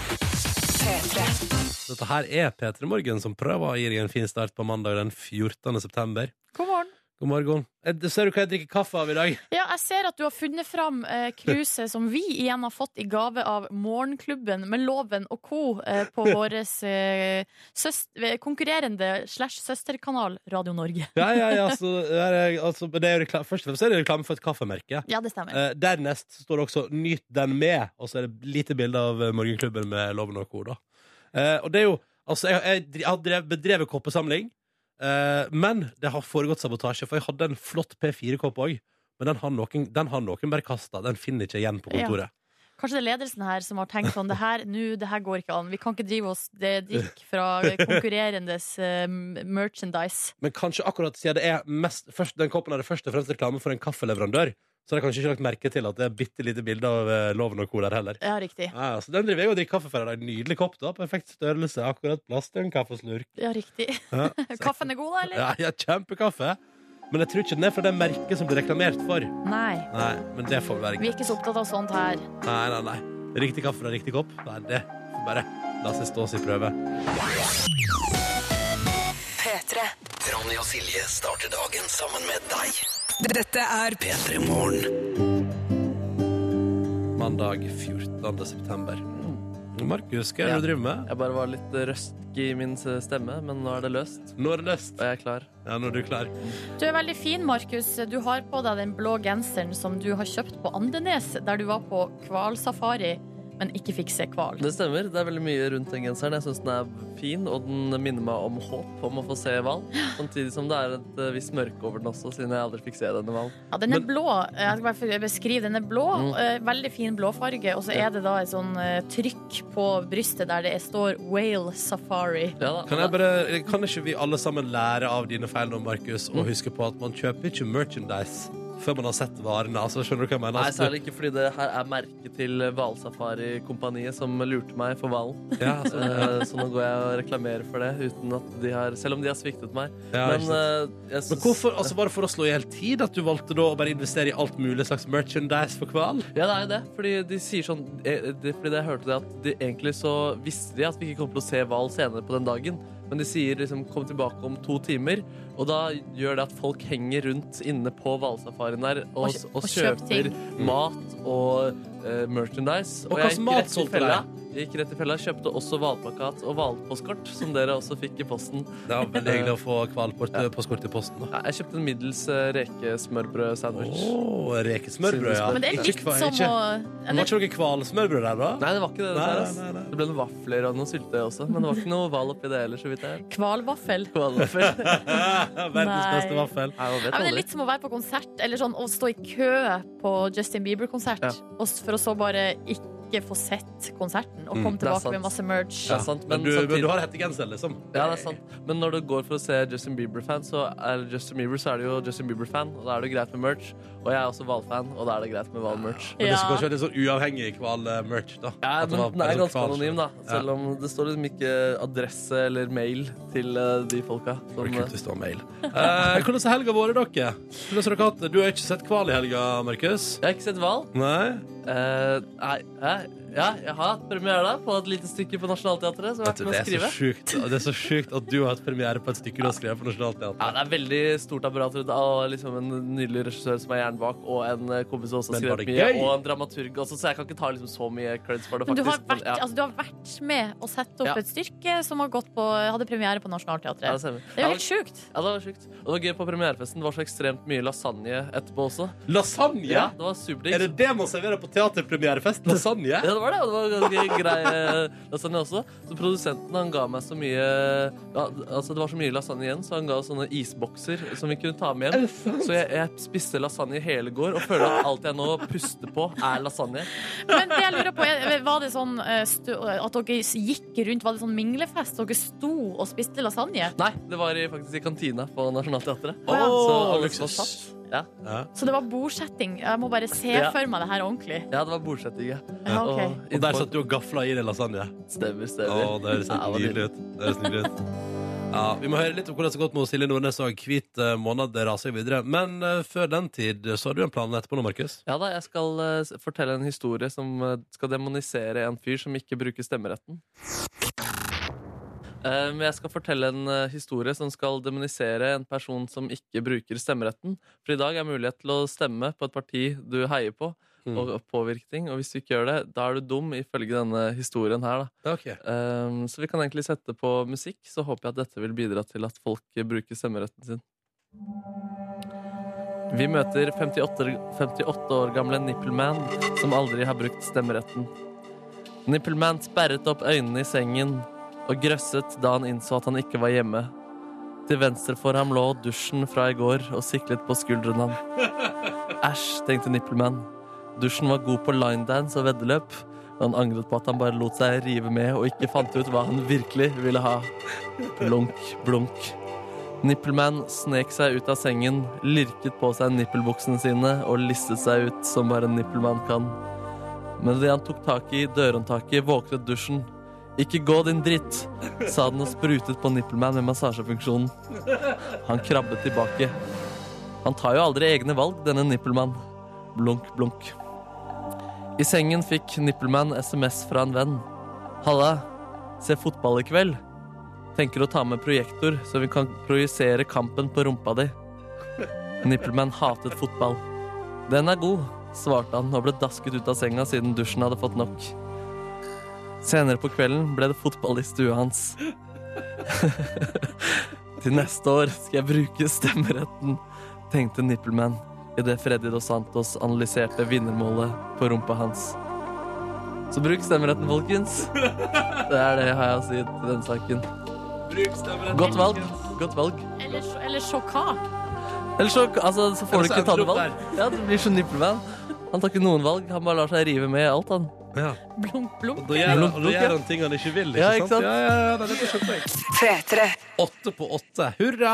Dette her er P3 Morgen som prøver å gi deg en fin start på mandag den 14. september. God morgen. God morgen. Eh, det- Ser du hva jeg drikker kaffe av i dag? Ja, jeg ser at du har funnet fram eh, kruset som vi igjen har fått i gave av Morgenklubben med Loven og co. Eh, på vår eh, søs- eh, konkurrerende slash søsterkanal Radio Norge. Ja, ja, ja. Så her er, altså, det er jo rekla- Først og fremst er det reklame for et kaffemerke. Ja, det stemmer. Eh, dernest står det også 'Nyt den med', og så er det lite bilde av eh, Morgenklubben med Loven og Co. da. Eh, og det er jo Altså, jeg, jeg, dri- jeg har drev- bedrevet koppesamling, eh, men det har foregått sabotasje, for jeg hadde en flott P4-kopp òg, men den har noen, den har noen bare kasta. Den finner ikke igjen på kontoret. Kanskje det er ledelsen her som har tenkt sånn Det her, nå, det her går ikke an. Vi kan ikke drive oss det drikke fra konkurrerendes eh, merchandise. Men kanskje akkurat siden det er mest, først, den koppen er det først og fremst reklame for en kaffeleverandør, så har jeg kanskje ikke lagt merke til at det er bitte lite bilde av eh, Loven og Co. der heller. Ja, riktig. Ja, ja, så den driver jeg og drikker kaffe for i dag. Nydelig kopp, da. Perfekt størrelse. Akkurat plass til en kaffeslurk. Ja, riktig. Ja. Kaffen er god, da, eller? Ja, ja, kjempekaffe. Men jeg tror ikke den er fra det merket som blir reklamert for. Nei. Nei, men det får vi være Vi er ikke så opptatt av sånt her. Nei, nei, nei. Riktig kaffe fra riktig kopp. Nei, det får bare la seg stå sin prøve. P3. Ronny og Silje starter dagen sammen med deg. Dette er P3 Morgen. Mandag 14. september. Markus, hva er det du driver med? Jeg bare var litt røsk i min stemme, men nå er det løst. Nå er det løst. Og jeg er klar. Ja, nå er du klar. Du er veldig fin, Markus. Du har på deg den blå genseren som du har kjøpt på Andenes, der du var på hvalsafari, men ikke fikk se hval. Det stemmer. Det er veldig mye rundt den genseren. Jeg syns den er fin, og den minner meg om håp om å få se hval. Samtidig som det er et eh, visst mørke over den også, siden jeg aldri fikk se denne hvalen. Ja, den er blå. Jeg skal bare få beskrive. Den er blå. Mm. eh, Veldig fin blåfarge. Og så er det da et sånn eh, trykk på brystet der det står Whale Safari. Kan, jeg bare, kan ikke vi alle sammen lære av dine feil nå, Markus, Mm. og huske på at man kjøper ikke merchandise før man har sett varene? Altså, skjønner du hva jeg mener? Nei, Altså, du- særlig ikke fordi det her er merket til Hvalsafari-kompaniet som lurte meg for hvalen. Ja, sånn, ja. Eh, så nå går jeg og reklamerer for det, uten at de har, selv om de har sviktet meg. Ja, ikke Men sant. eh, jeg Men hvorfor, altså Var det for å slå i hjel tid at du valgte da å bare investere i alt mulig slags merchandise for hval? Ja, det er jo det. Fordi de sier sånn eh, det, Fordi jeg hørte det at de, egentlig så visste de at vi ikke kom til å se hval senere på den dagen. Men de sier liksom 'kom tilbake om to timer', og da gjør det at folk henger rundt inne på hvalsafarien der Og og, og, kjø- og kjøper kjøper Mm. ting. mat og eh, merchandise. Og hva jeg slags gikk mat rett i solgte fella. dere? Jeg gikk rett i fella, kjøpte også hvalplakat og hvalpostkort, som dere også fikk i posten. Det var veldig hyggelig å få hvalpostkort i posten. da. Ja, Jeg kjøpte en middels eh, rekesmørbrød-sandwich. Oh, rekesmørbrød, ja. Men det er litt Ikke hva- som ikke- å- Det var ikke noe hvalsmørbrød der, da? Nei, det var ikke det. Nei, der, nei, ass. Det ble noen vafler og noe syltetøy også, men det var ikke noe hval oppi det heller. så vidt jeg Hvalvaffel. Hvalvaffel. Verdens Nei. beste vaffel. Nei, man Ja, men vet det er aldri. litt som å være på konsert, eller sånn å stå i kø på Justin Bieber-konsert, og s- for å så bare ikke få sett konserten, og Mm. komme Det er tilbake sant. med masse merch. Det er sant, men Men du, men samtidig- du har hettegenser, liksom? Ja, det er sant. Men når du går for å se Justin Bieber-fan, så er Justin Bieber, så er det jo Justin Bieber-fan, og da er det greit med merch. Og jeg er også hvalfan, og da er det greit med hvalmerch. Men det skal kanskje være litt sånn uavhengig hval-merch, da. Ja, At det men var den bare er sånn ganske hval- anonym, da. Ja. Selv om det står liksom ikke adresse eller mail til eh, de folka. Som, Det var kult hvis det var mail. Eh, hvordan har helga vært, dere? Hvordan har dere hatt det? Du har ikke sett hval i helga, Markus? Jeg har ikke sett hval. Nei? nei, hæ? ja, jeg har hatt premiere da, på et lite stykke på Nationaltheatret. Som jeg har vært Det med å er, så skrive. sjukt, det er så sjukt at du har hatt premiere på et stykke du har skrevet for Nationaltheatret. Ja, det er veldig stort apparat rundt av liksom en nydelig regissør som er hjernen bak, og en eh, kompis som også Men har var skrevet det mye, gøy? og en dramaturg også, så jeg kan ikke ta liksom så mye creds for det, Men du har, faktisk. vært, ja. altså, du har vært med å sette opp Ja. et styrke som har gått på, hadde premiere på Ja, Nationaltheatret. det stemmer. det er jo helt sjukt. Ja, det var sjukt. Og det var gøy på premierefesten. Det var så ekstremt mye lasagne etterpå også. Lasagne? Ja, det var superdigg. Er det det man serverer på teaterpremierefest? Lasagne? Ja, det det var det. Og det var ganske grei eh, lasagne også. Så produsenten han ga meg så mye ja, Altså Det var så mye lasagne igjen, så han ga oss sånne isbokser som vi kunne ta med Er hjem. det sant? Så jeg, jeg spiste lasagne i hele går og føler at alt jeg nå puster på, er lasagne. Men det jeg lurer på, er, var det sånn eh, stu, at dere gikk rundt, var det sånn minglefest? Dere sto og spiste lasagne? Nei, det var i, faktisk i kantina på Nationaltheatret. Å, ja. Så alle som var luksus. satt- Ja. Så det var bordsetting. Jeg må bare se Ja. for meg det her ordentlig. ja, det var bordsetting, ja. Ja, ok. Og der satt du og gafla i deg lasagne. Stemmer, stemmer. Å, det høres helt nydelig ut. Det høres nydelig ut. Ja, vi må høre litt om hvordan det har gått med Silje Nordnes og Hvit eh, måned. Det raser jo videre. Men eh, før den tid så har du en plan etterpå nå, Markus. Ja da, jeg skal eh, s- fortelle en historie som eh, skal demonisere en fyr som ikke bruker stemmeretten. Eh, Men jeg skal fortelle en eh, historie som skal demonisere en person som ikke bruker stemmeretten. For i dag er mulighet til å stemme på et parti du heier på, Mm. og påvirke ting. Og hvis du ikke gjør det, da er du dum, ifølge denne historien her, da. Eh, Så vi kan egentlig sette på musikk, så håper jeg at dette vil bidra til at folk eh, bruker stemmeretten sin. Vi møter 58, 58 år gamle Nippelman som aldri har brukt stemmeretten. Nippelman sperret opp øynene i sengen og grøsset da han innså at han ikke var hjemme. Til venstre for ham lå dusjen fra i går og siklet på skulderen ham. Æsj, tenkte Nippelman. Dusjen var god på linedance og veddeløp, men han angret på at han bare lot seg rive med og ikke fant ut hva han virkelig ville ha. Blunk, blunk. Nippelman snek seg ut av sengen, lirket på seg nippelbuksene sine og listet seg ut som bare en nippelmann kan. Men det han tok tak i dørhåndtaket, våknet dusjen. Ikke gå, din dritt, sa den og sprutet på Nippelman med massasjefunksjonen. Han krabbet tilbake. Han tar jo aldri egne valg, denne Nippelmann. Blunk, blunk. I sengen fikk Nippelman SMS fra en venn. Halla, se fotball i kveld. Tenker å ta med projektor, så vi kan projisere kampen på rumpa di. Nippelman hatet fotball. Den er god, svarte han og ble dasket ut av senga siden dusjen hadde fått nok. Senere på kvelden ble det fotball i stua hans. Til neste år skal jeg bruke stemmeretten, tenkte Nippelman idet Freddy Dos Santos analyserte vinnermålet på rumpa hans. Så bruk stemmeretten, folkens. Det er det jeg har å si til den saken. Godt valg. Godt valg. Eller, sj- eller sjokka. Ellers så, altså, så Ellers får du er ikke det ta dropp noe valg. Ja, det blir så nippelmann. Han tar ikke noen valg. Han bare lar seg rive med i alt, han. Blunk, blunk. Da gjør, Blunk, og da blunk, gjør ja. han ting han ikke vil. Ikke Ja, ikke sant? Ja, ja, ja, det er det jeg skjønte. Åtte på åtte. Hurra!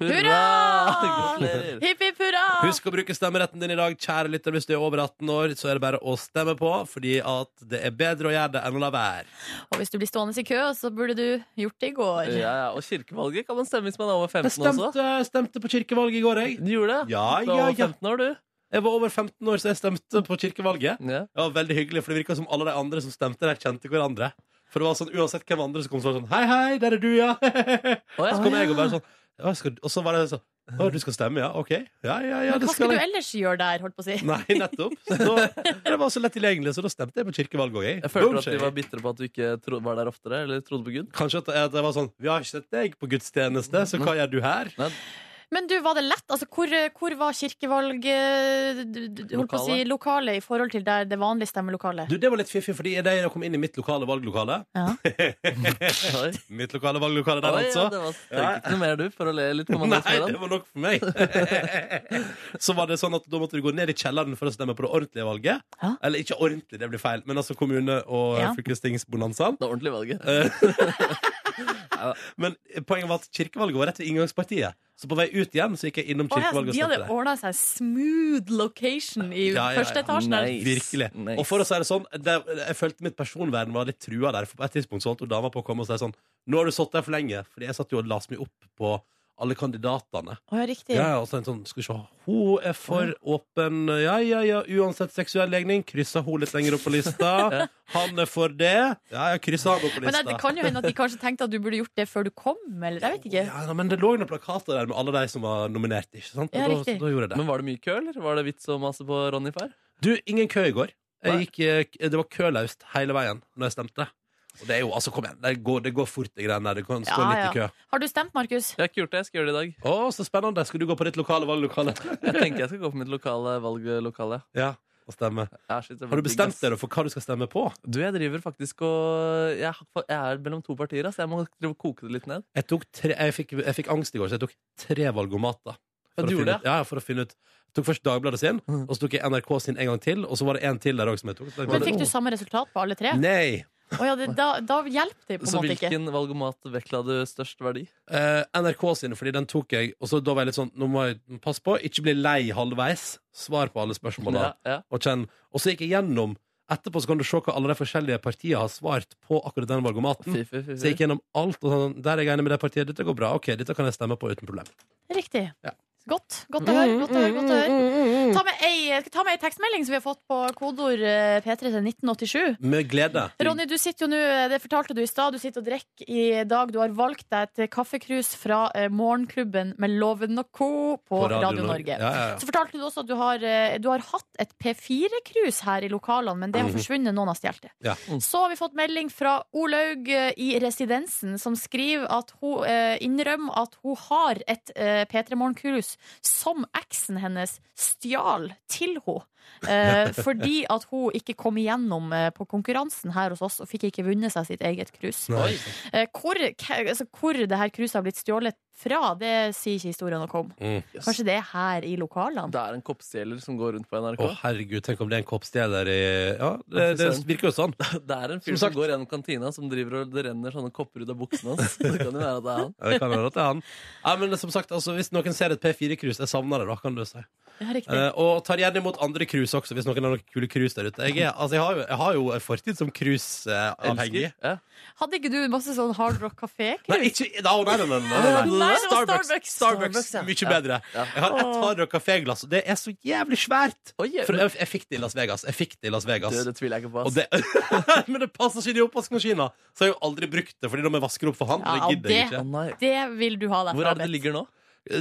Gratulerer. Hipp hipp hurra! Husk å bruke stemmeretten din i dag, kjære lytter. Hvis du er over 18 år, så er det bare å stemme på, fordi at det er bedre å gjøre det enn å la være. Og hvis du blir stående i kø, så burde du gjort det i går. Ja, ja. Og kirkevalget kan man stemme hvis man er over 15 Jeg stemte, også. stemte på kirkevalget i går, jeg. Du gjorde det? Ja, Du var ja, over ja. 15 år, du. Jeg var over 15 år, så jeg stemte på kirkevalget. Det var veldig hyggelig, for det virka som alle de andre som stemte der, kjente hverandre. For det var sånn, Uansett hvem andre som kom, så var det sånn Hei, hei, der er du, ja. ja. Så kom jeg og bare sånn «Ja, skal, Og så var det sånn Å, du skal stemme, ja? OK. Ja, ja, ja. Men det hva skal skulle du jeg. ellers gjøre der, holdt på å si? Nei, nettopp. Så da, det var så lett tilgjengelig, så da stemte jeg på kirkevalget òg, jeg. Jeg følte at Bullshit. de var bitre på at du ikke tro- var der oftere, eller trodde på Gud. Kanskje at at det var sånn Vi har ikke sett deg på gudstjeneste, så Mhm. hva gjør du her? Men du, var det lett? Altså, hvor, hvor var kirkevalg eh, d- d- holdt på å si, Lokale. lokale i forhold til der det vanlige stemmelokalet? Du, Det var litt fiffig, fordi da jeg kom inn i mitt lokale valglokale Mitt lokale valglokale der, Oi, altså. ja, det var trengte ikke noe mer, du, for å le litt på Nei, mandagsmiddagen. det var nok for meg. så var det sånn at da måtte du gå ned i kjelleren for å stemme på det ordentlige valget. Eller ikke ordentlig, det blir feil, men altså kommune- og Ja. ja. fylkestingsbonanzaen. Det ordentlige valget. Eh, men poenget var at kirkevalget var rett ved inngangspartiet. Så på vei ut igjen så gikk jeg innom Å, ja, kirkevalget og de hadde stemte der. ordna seg smooth location i første etasjen. der. Virkelig. Og for å si det sånn, det, jeg følte mitt personvern var litt trua der. For på et tidspunkt så holdt jo dama på å komme og si sånn Nå har du sittet der for lenge. Fordi jeg satt jo og las meg opp på alle kandidatene. Å, ja, riktig. Ja, ja, og så en sånn, skal vi se Hun er for åpen Ja, ja, ja, uansett seksuell legning Krysser hun litt lenger opp på lista Han er for det Ja, ja, krysser han opp på Men lista det, det kan jo hende at de kanskje tenkte at du burde gjort det før du kom, eller jeg vet ikke. ja, nei, men det lå jo noen plakater der med alle de som var nominert, ikke sant? Og Ja, da, riktig. så da gjorde jeg det. Men var det mye kø, eller? Var det vits og masse på Ronny Far? Du, ingen kø i går. Jeg gikk, eh, det var kølaust hele veien når jeg stemte. Og det er jo, altså, kom igjen, det går, det går fort, de greiene der. Det kan stå litt i kø. Har du stemt, Markus? Jeg har ikke gjort det. Jeg skal gjøre det i dag. Å, så spennende. Skal du gå på ditt lokale valglokale? Jeg tenker jeg skal gå på mitt lokale valglokale. Ja. å stemme. Jeg synes det var Har du digg, bestemt ass. deg da for hva du skal stemme på? Du, jeg driver faktisk og Jeg, har- jeg er mellom to partier, ass. Jeg må drive og koke det litt ned. Jeg, tok tre, jeg, fikk, jeg fikk angst i går, så jeg tok tre valgomater. For, Ja, du å finne gjorde Mm. ut, ja, for å finne ut Jeg tok først Dagbladet sin, og så tok jeg NRK sin en gang til, og så var det en til der òg som jeg tok. Så tenkte Men jeg, fikk du «Åh, samme resultat på alle tre? Nei. Å ja, det, da, da hjelper det på en Så måte ikke. hvilken valgomat vektla du størst verdi? Eh, NRK sine, fordi den tok jeg, og så da var jeg litt sånn Nå må jeg passe på, ikke bli lei halvveis. Svar på alle spørsmålene. Ja, ja. Og, kjenn. og så gikk jeg gjennom Etterpå så kan du se hva alle de forskjellige partiene har svart på akkurat den valgomaten. Fy, fy, fy, fy. Så jeg gikk gjennom alt, og sånn, der er jeg enig med det partiet. Dette går bra. Ok, dette kan jeg stemme på uten problem. Riktig. Godt. Godt å høre. godt å høre, godt å høre. Ta med ei, skal jeg ta med ei tekstmelding som vi har fått på kodeord eh, P3 til 1987. Med glede. Ronny, du sitter jo nå, eh, det fortalte du i stad, du sitter og drikker i dag. Du har valgt deg et kaffekrus fra eh, morgenklubben med Loven og Co. på, På Radio Radio, Norge. Norge. Ja, ja, ja. Så fortalte du også at du har, eh, du har hatt et P4-krus her i lokalene, men det har Mhm. forsvunnet. Noen har stjålet det. Ja. Så har vi fått melding fra Olaug eh, i Residensen, som skriver at hun eh, innrømmer at hun har et eh, P3 Morgenkrus som eksen hennes stjal til henne. Eh, fordi at hun ikke kom igjennom eh, på konkurransen her hos oss og fikk ikke vunnet seg sitt eget krus. Nei. Eh, hvor, k- altså, hvor det her kruset har blitt stjålet fra, det sier ikke historien noe om. Mm. Kanskje det er her i lokalene? Det er en koppstjeler som går rundt på NRK. Å, herregud, tenk om det er en koppstjeler i Ja, det, det virker jo sånn. Det er en fyr Som som, sagt. går gjennom kantina som driver og det renner sånne kopper ut av buksene hans. Det kan jo være at det er han. Ja, det kan være at det er han. Ja, men som sagt, altså, hvis noen ser et P4-krus, jeg savner det, da kan du si. Ja, riktig. Eh, og tar gjerne imot andre krus også, hvis noen har noen kule krus der ute. Jeg, er, altså, jeg, har, jo, jeg har jo en fortid som eh, krusavhengig. Elsker. Ja. Hadde ikke du masse sånn Hard Rock Nei, Kafé-krus? ikke da, nei, nei, nei, nei, nei, Nei, det var Starbucks. Starbucks. Starbucks, Starbucks, ja. Mye Ja. bedre. Ja. Jeg har et Hard Rock Café-glass, og det er så jævlig svært! Oi, For jeg, jeg fikk det i Las Vegas. Jeg fikk det i Las Vegas. det, det tviler jeg ikke på. Og Ass. det, men det passer ikke inn i oppvaskmaskina! Så jeg har jo aldri brukt det, Fordi når jeg vasker opp for hånd. Ja, det gidder jeg Å ikke. nei. Det vil du ha deg Hvor fra, er det det ligger nå?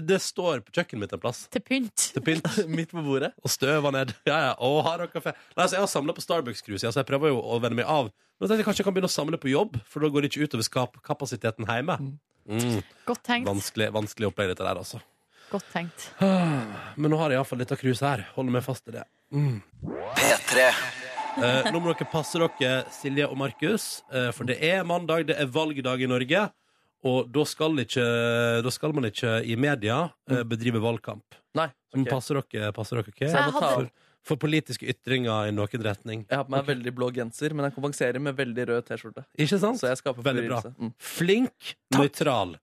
Det står på kjøkkenet mitt en plass. Til pynt. Til pynt. Midt på bordet. Og støva ned. Ja, ja. Og har og kaffe. Nei, så jeg har samla på Starbucks-krus, ja, så jeg prøver jo å venne meg av. Men jeg tenkte jeg kanskje jeg kan begynne å samle på jobb, for da går det ikke utover skapkapasiteten hjemme. Mm. Godt tenkt. Vanskelig, vanskelig opplegg, dette der, altså. Godt tenkt. Men nå har jeg iallfall litt av krus her. Holder meg fast i det. P3. Eh, nå må dere passe dere, Silje og Markus, eh, for det er mandag, det er valgdag i Norge. Og da skal, ikke, da skal man ikke i media eh, bedrive valgkamp. Nei. Så ok. passer dere, passer dere ok? Mm. Så jeg må ta hadde, over. For politiske ytringer i noen retning. Jeg har på meg veldig blå genser, men jeg kompenserer med veldig rød T-skjorte. Ikke sant? Så jeg skaper Veldig bra. forvirrelse. Mm. Flink, nøytral.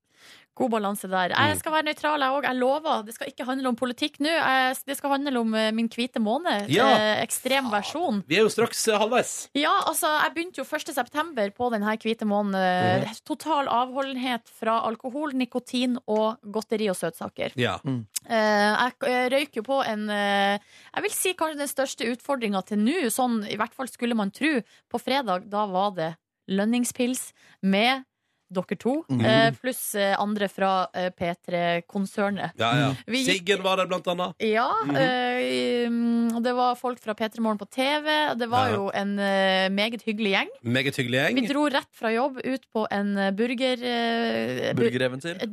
God balanse der. Jeg skal være nøytral, jeg òg. Jeg lover. Det skal ikke handle om politikk nå. Jeg- Det skal handle om eh, min hvite måned. Ja. eh, Ekstrem versjon. Vi er jo straks eh, halvveis. Ja, altså, jeg begynte jo 1. september på denne hvite måneden. eh, Mhm. Total avholdenhet fra alkohol, nikotin og godteri og søtsaker. Ja. Eh, Jeg eh, røyk jo på en eh, Jeg vil si kanskje den største utfordringa til nå, sånn i hvert fall skulle man tro. På fredag, da var det lønningspils med dere to, Mhm. eh, pluss eh, andre fra eh, P3-konsernet. ja, ja. Mm. Vi gikk- Siggen var der, blant annet. Ja, eh, mm, og det var folk fra P3 Morgen på TV. og Det var Ja. jo en eh, meget hyggelig gjeng. Meget hyggelig gjeng. Vi dro rett fra jobb ut på en eh, burger... eh, bu- Burgereventyr. et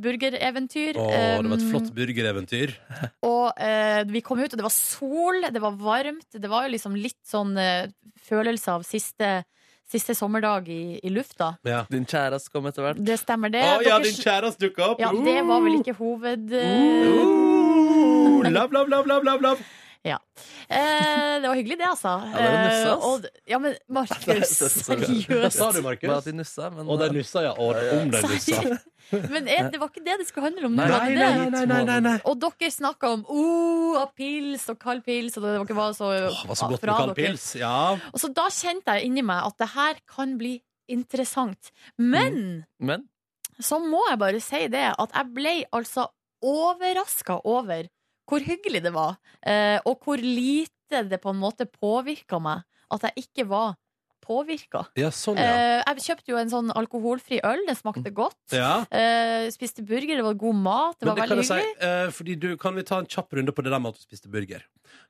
Å, burgereventyr. det var et Um, flott burgereventyr. Og eh, vi kom ut, og det var sol, det var varmt. Det var jo liksom litt sånn eh, følelse av siste, siste sommerdag i, i lufta. Ja. Din kjæreste kom etter hvert. Det stemmer, det. Å ja, Eh, Dere- din kjæreste dukka opp! ja, det var vel ikke hoved... eh, Uh, lav, lav, lav, lav, lav, lav. eh, det var hyggelig, det, altså. Ja, det var nussa, Eh, ass. og, ja, men Markus, Hva seriøst. sa du, Bare at Markus? de nussa, men eh, Og den nussa, ja. Og om den nussa. Men eh, det var ikke det det skulle handle om. nå, Nei, var det det? nei, nei, nei, nei, nei. Og dere snakka om oh, pils og kald pils, og det var ikke bare så, Åh, var så godt fra med kald dere. pils. Ja. Og så da kjente jeg inni meg at det her kan bli interessant. Men Men så må jeg bare si det at jeg ble altså overraska over hvor hyggelig det var, eh, og hvor lite det på en måte påvirka meg at jeg ikke var påvirka. ja, sånn, ja. Eh, jeg kjøpte jo en sånn alkoholfri øl, det smakte godt. ja. Eh, spiste burger, det var god mat, det Men var det kan jeg veldig si, hyggelig. eh, fordi du, kan vi ta en kjapp runde på det der med at du spiste burger?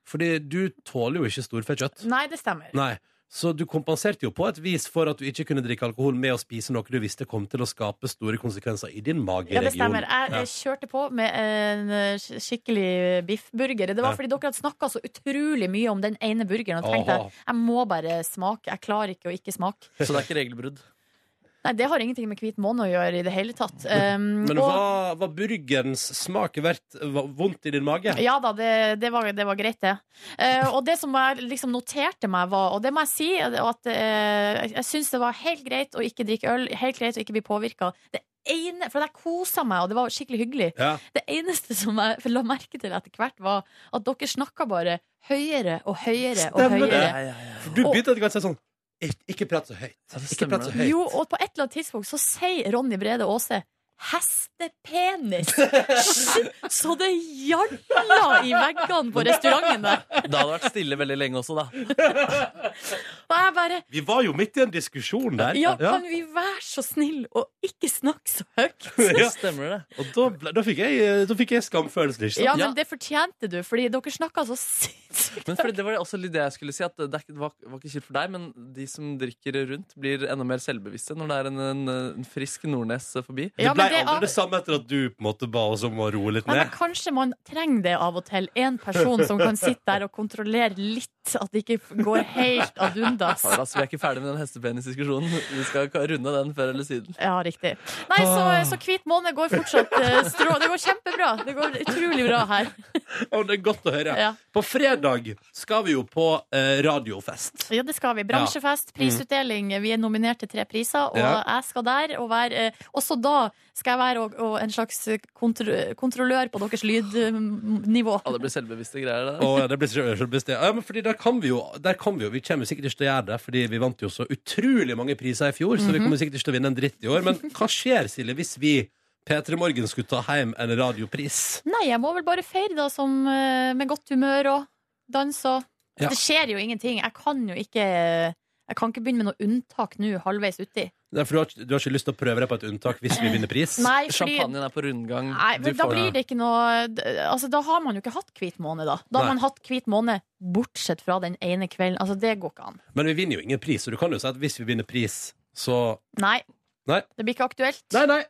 Fordi du tåler jo ikke storfekjøtt. Nei, det stemmer. Nei. Så du kompenserte jo på et vis for at du ikke kunne drikke alkohol med å spise noe du visste kom til å skape store konsekvenser i din mageregion. Ja, det stemmer. Jeg Ja. eh, kjørte på med en eh, sk- skikkelig biffburger. Det var Ja. fordi dere hadde snakka så utrolig mye om den ene burgeren. Og tenkte Aha. jeg, jeg må bare smake. Jeg klarer ikke å ikke smake. Så det er ikke regelbrudd. Nei, det har ingenting med hvit måne å gjøre i det hele tatt. Um, Men og- var, var burgerens smak verdt var vondt i din mage? Ja da, det, det, var, det var greit, det. Eh, og det som jeg liksom noterte meg, var Og det må jeg si, at eh, jeg syns det var helt greit å ikke drikke øl, helt greit å ikke bli påvirka. For jeg kosa meg, og det var skikkelig hyggelig. Ja. Det eneste som jeg la merke til etter hvert, var at dere snakka bare høyere og høyere og Stemmer det. høyere. Ja, ja, For du begynte etter hvert å si sånn "Ik- Ikke prat så høyt. Ikke prat så høyt. Jo, og på et eller annet tidspunkt så sier Ronny Brede Aase Hestepenis! Så det gjalla i veggene på restauranten der. Det hadde vært stille veldig lenge også, da. Og jeg bare Vi var jo midt i en diskusjon der. Ja, kan vi være så snill og ikke snakke så høyt? Ja. Og da, ble, da, fikk jeg, eh, da fikk jeg skamfølelsen, ikke sant? Ja, men det fortjente du, fordi dere snakka så sinnssykt. Men fordi det var også litt det jeg skulle si, at det er ikke- det var, var ikke kjipt for deg, men de som drikker rundt, blir enda mer selvbevisste når det er en, en, en frisk Nordnes forbi. Ja, ble men det er- aldri det samme etter at du på en måte ba oss om å roe litt Nei, men ned. kanskje man trenger det av og til. En person som kan sitte der og kontrollere litt at det ikke går helt ad undas. Ja, altså, vi er ikke ferdig med den hestepenisdiskusjonen. Vi skal ka- runde den før eller siden. Ja, riktig. Nei, så, så hvit måne går fortsatt eh, strå. Det går kjempebra. Det går utrolig bra her. Å, det er godt å høre. Ja. På fredag skal vi jo på eh, radiofest. Ja, det skal vi. Ja. Bransjefest, Mm. prisutdeling. Vi er nominert til tre priser, og Ja. jeg skal der og være eh, Også da skal jeg være og, og en slags kontro, kontrollør på deres lydnivå. Alle blir selvbevisste greier. Det. Å, ja, det blir selv- selvbevisst, det. Ja, men fordi der kan vi jo, der kan vi jo Vi kommer sikkert ikke til å gjøre det, Fordi vi vant jo så utrolig mange priser i fjor, så vi Mhm. kommer sikkert ikke til å vinne en dritt i år. Men hva skjer, Silje, hvis vi P3 Morgen skulle ta hjem en radiopris? Nei, jeg må vel bare feire da som, eh, med godt humør og dans og Ja. Det skjer jo ingenting. Jeg kan jo ikke eh, Jeg kan ikke begynne med noe unntak nå, halvveis uti. Nei, for du har, ikke- du har ikke lyst til å prøve deg på et unntak hvis vi vinner pris? Nei, fordi- Champagnen er på rundgang. Nei, men da blir det ikke noe d- Altså, da har man jo ikke hatt hvit måned, da. Da har Nei. man hatt hvit måned bortsett fra den ene kvelden. Altså, det går ikke an. Men vi vinner jo ingen pris, så du kan jo si at hvis vi vinner pris, så Nei. Nei. Det blir ikke aktuelt. Nei, nei.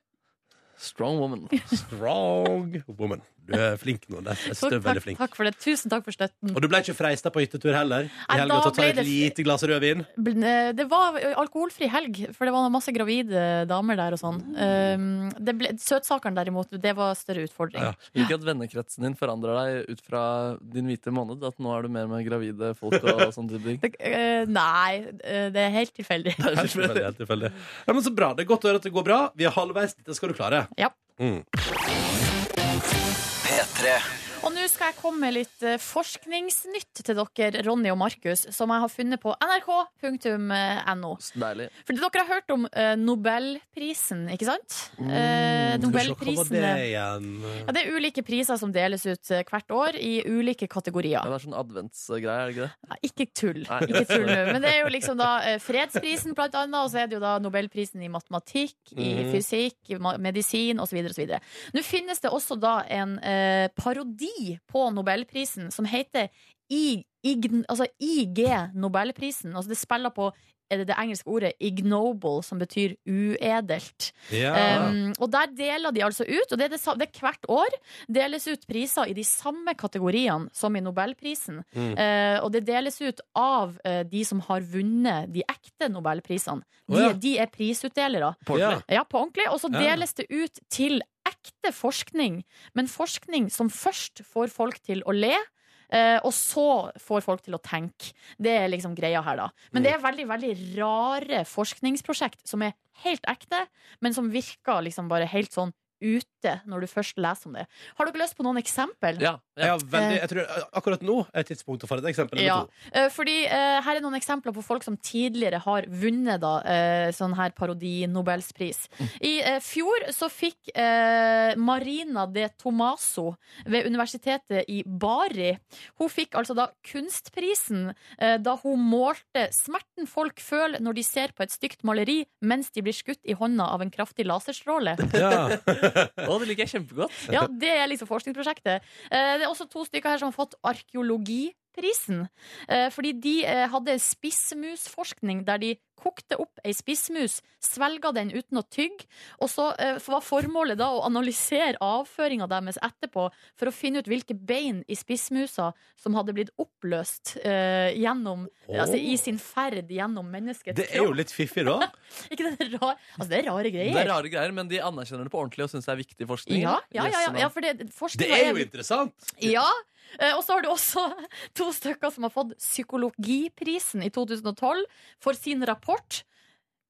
Strong woman. Strong woman. Du er flink nå. Der. Jeg Takk, støv veldig takk, flink. takk for det. Tusen takk for støtten. Og du ble ikke freista på hyttetur heller? I Nei, helga da til å ta ble et det- lite glass rødvin? Bl- eh, Det var alkoholfri helg, for det var masse gravide damer der og sånn. Mm. Um, det ble- Søtsakene derimot, det var større utfordring. Ja. Vil ikke at vennekretsen din forandrer deg ut fra din hvite måned? At nå er du mer med gravide folk og sånn type ting? Eh, nei, eh, det er helt tilfeldig. Helt tilfeldig. Helt tilfeldig. Ja, men så bra. Det er godt å høre at det går bra. Vi er halvveis. Dette skal du klare. Ja. Mm. P3. Og nå skal jeg komme med litt eh, forskningsnytt til dere, Ronny og Markus, som jeg har funnet på nrk.no. Deilig. Fordi dere har hørt om eh, Nobelprisen, ikke sant? Eh, Mm, Skal vi se, hva var Nobelprisen det ja, igjen? Det er ulike priser som deles ut eh, hvert år i ulike kategorier. Det er sånn adventsgreie, er det ikke det? Nei, ikke tull. Ikke tull nå. Men det er jo liksom da eh, fredsprisen, blant annet, og så er det jo da nobelprisen i matematikk, i Mhm. fysikk, i ma- medisin osv. osv. Nå finnes det også da en eh, parodi på nobelprisen som heter I, ign, altså IG Nobelprisen. Altså det spiller på eh, det engelske ordet 'ignoble', som betyr uedelt. Ja. Um, og der deler de altså ut, og det er, det, sa- det er hvert år, deles ut priser i de samme kategoriene som i Nobelprisen. Mm. Eh, og det deles ut av eh, de som har vunnet de ekte Nobelprisene. De, Å, ja. de er prisutdelere. På ordentlig? Ja, på ordentlig. Og så Ja. deles det ut til ekte forskning, men forskning som først får folk til å le. eh, og så får folk til å tenke. Det er liksom greia her, da. Men det er veldig veldig rare forskningsprosjekt som er helt ekte, men som virker liksom bare helt sånn ute når du først leser om det. Har dere lyst på noen eksempel? Ja. Jeg har veldig, Eh. jeg tror, akkurat nå er tidspunktet for et eksempel. Ja, eller to. eh, fordi eh, Her er noen eksempler på folk som tidligere har vunnet da, eh, sånn her parodi-nobelspris. I eh, fjor så fikk eh, Marina de Tomaso ved universitetet i Bari Hun fikk altså da kunstprisen eh, da hun målte smerten folk føler når de ser på et stygt maleri mens de blir skutt i hånda av en kraftig laserstråle. Å, det liker jeg kjempegodt. Ja, det er liksom forskningsprosjektet. Eh, Det er også to stykker her som har fått arkeologiprisen Prisen. Eh, Fordi de eh, hadde spissmusforskning der de kokte opp ei spissmus, svelga den uten å tygge, og så eh, var formålet da å analysere avføringa deres etterpå for å finne ut hvilke bein i spissmusa som hadde blitt oppløst eh, gjennom, Åh. altså, i sin ferd gjennom menneskets Det er jo litt fiffig, da. Ikke det er rar, altså, det er rare greier. Det er rare greier, men de anerkjenner det på ordentlig og syns det er viktig forskning. Ja, ja, ja, ja, ja for det, Det forskninga er jo interessant! ja. Eh, Og så har du også to stykker som har fått Psykologiprisen i 2012 for sin rapport.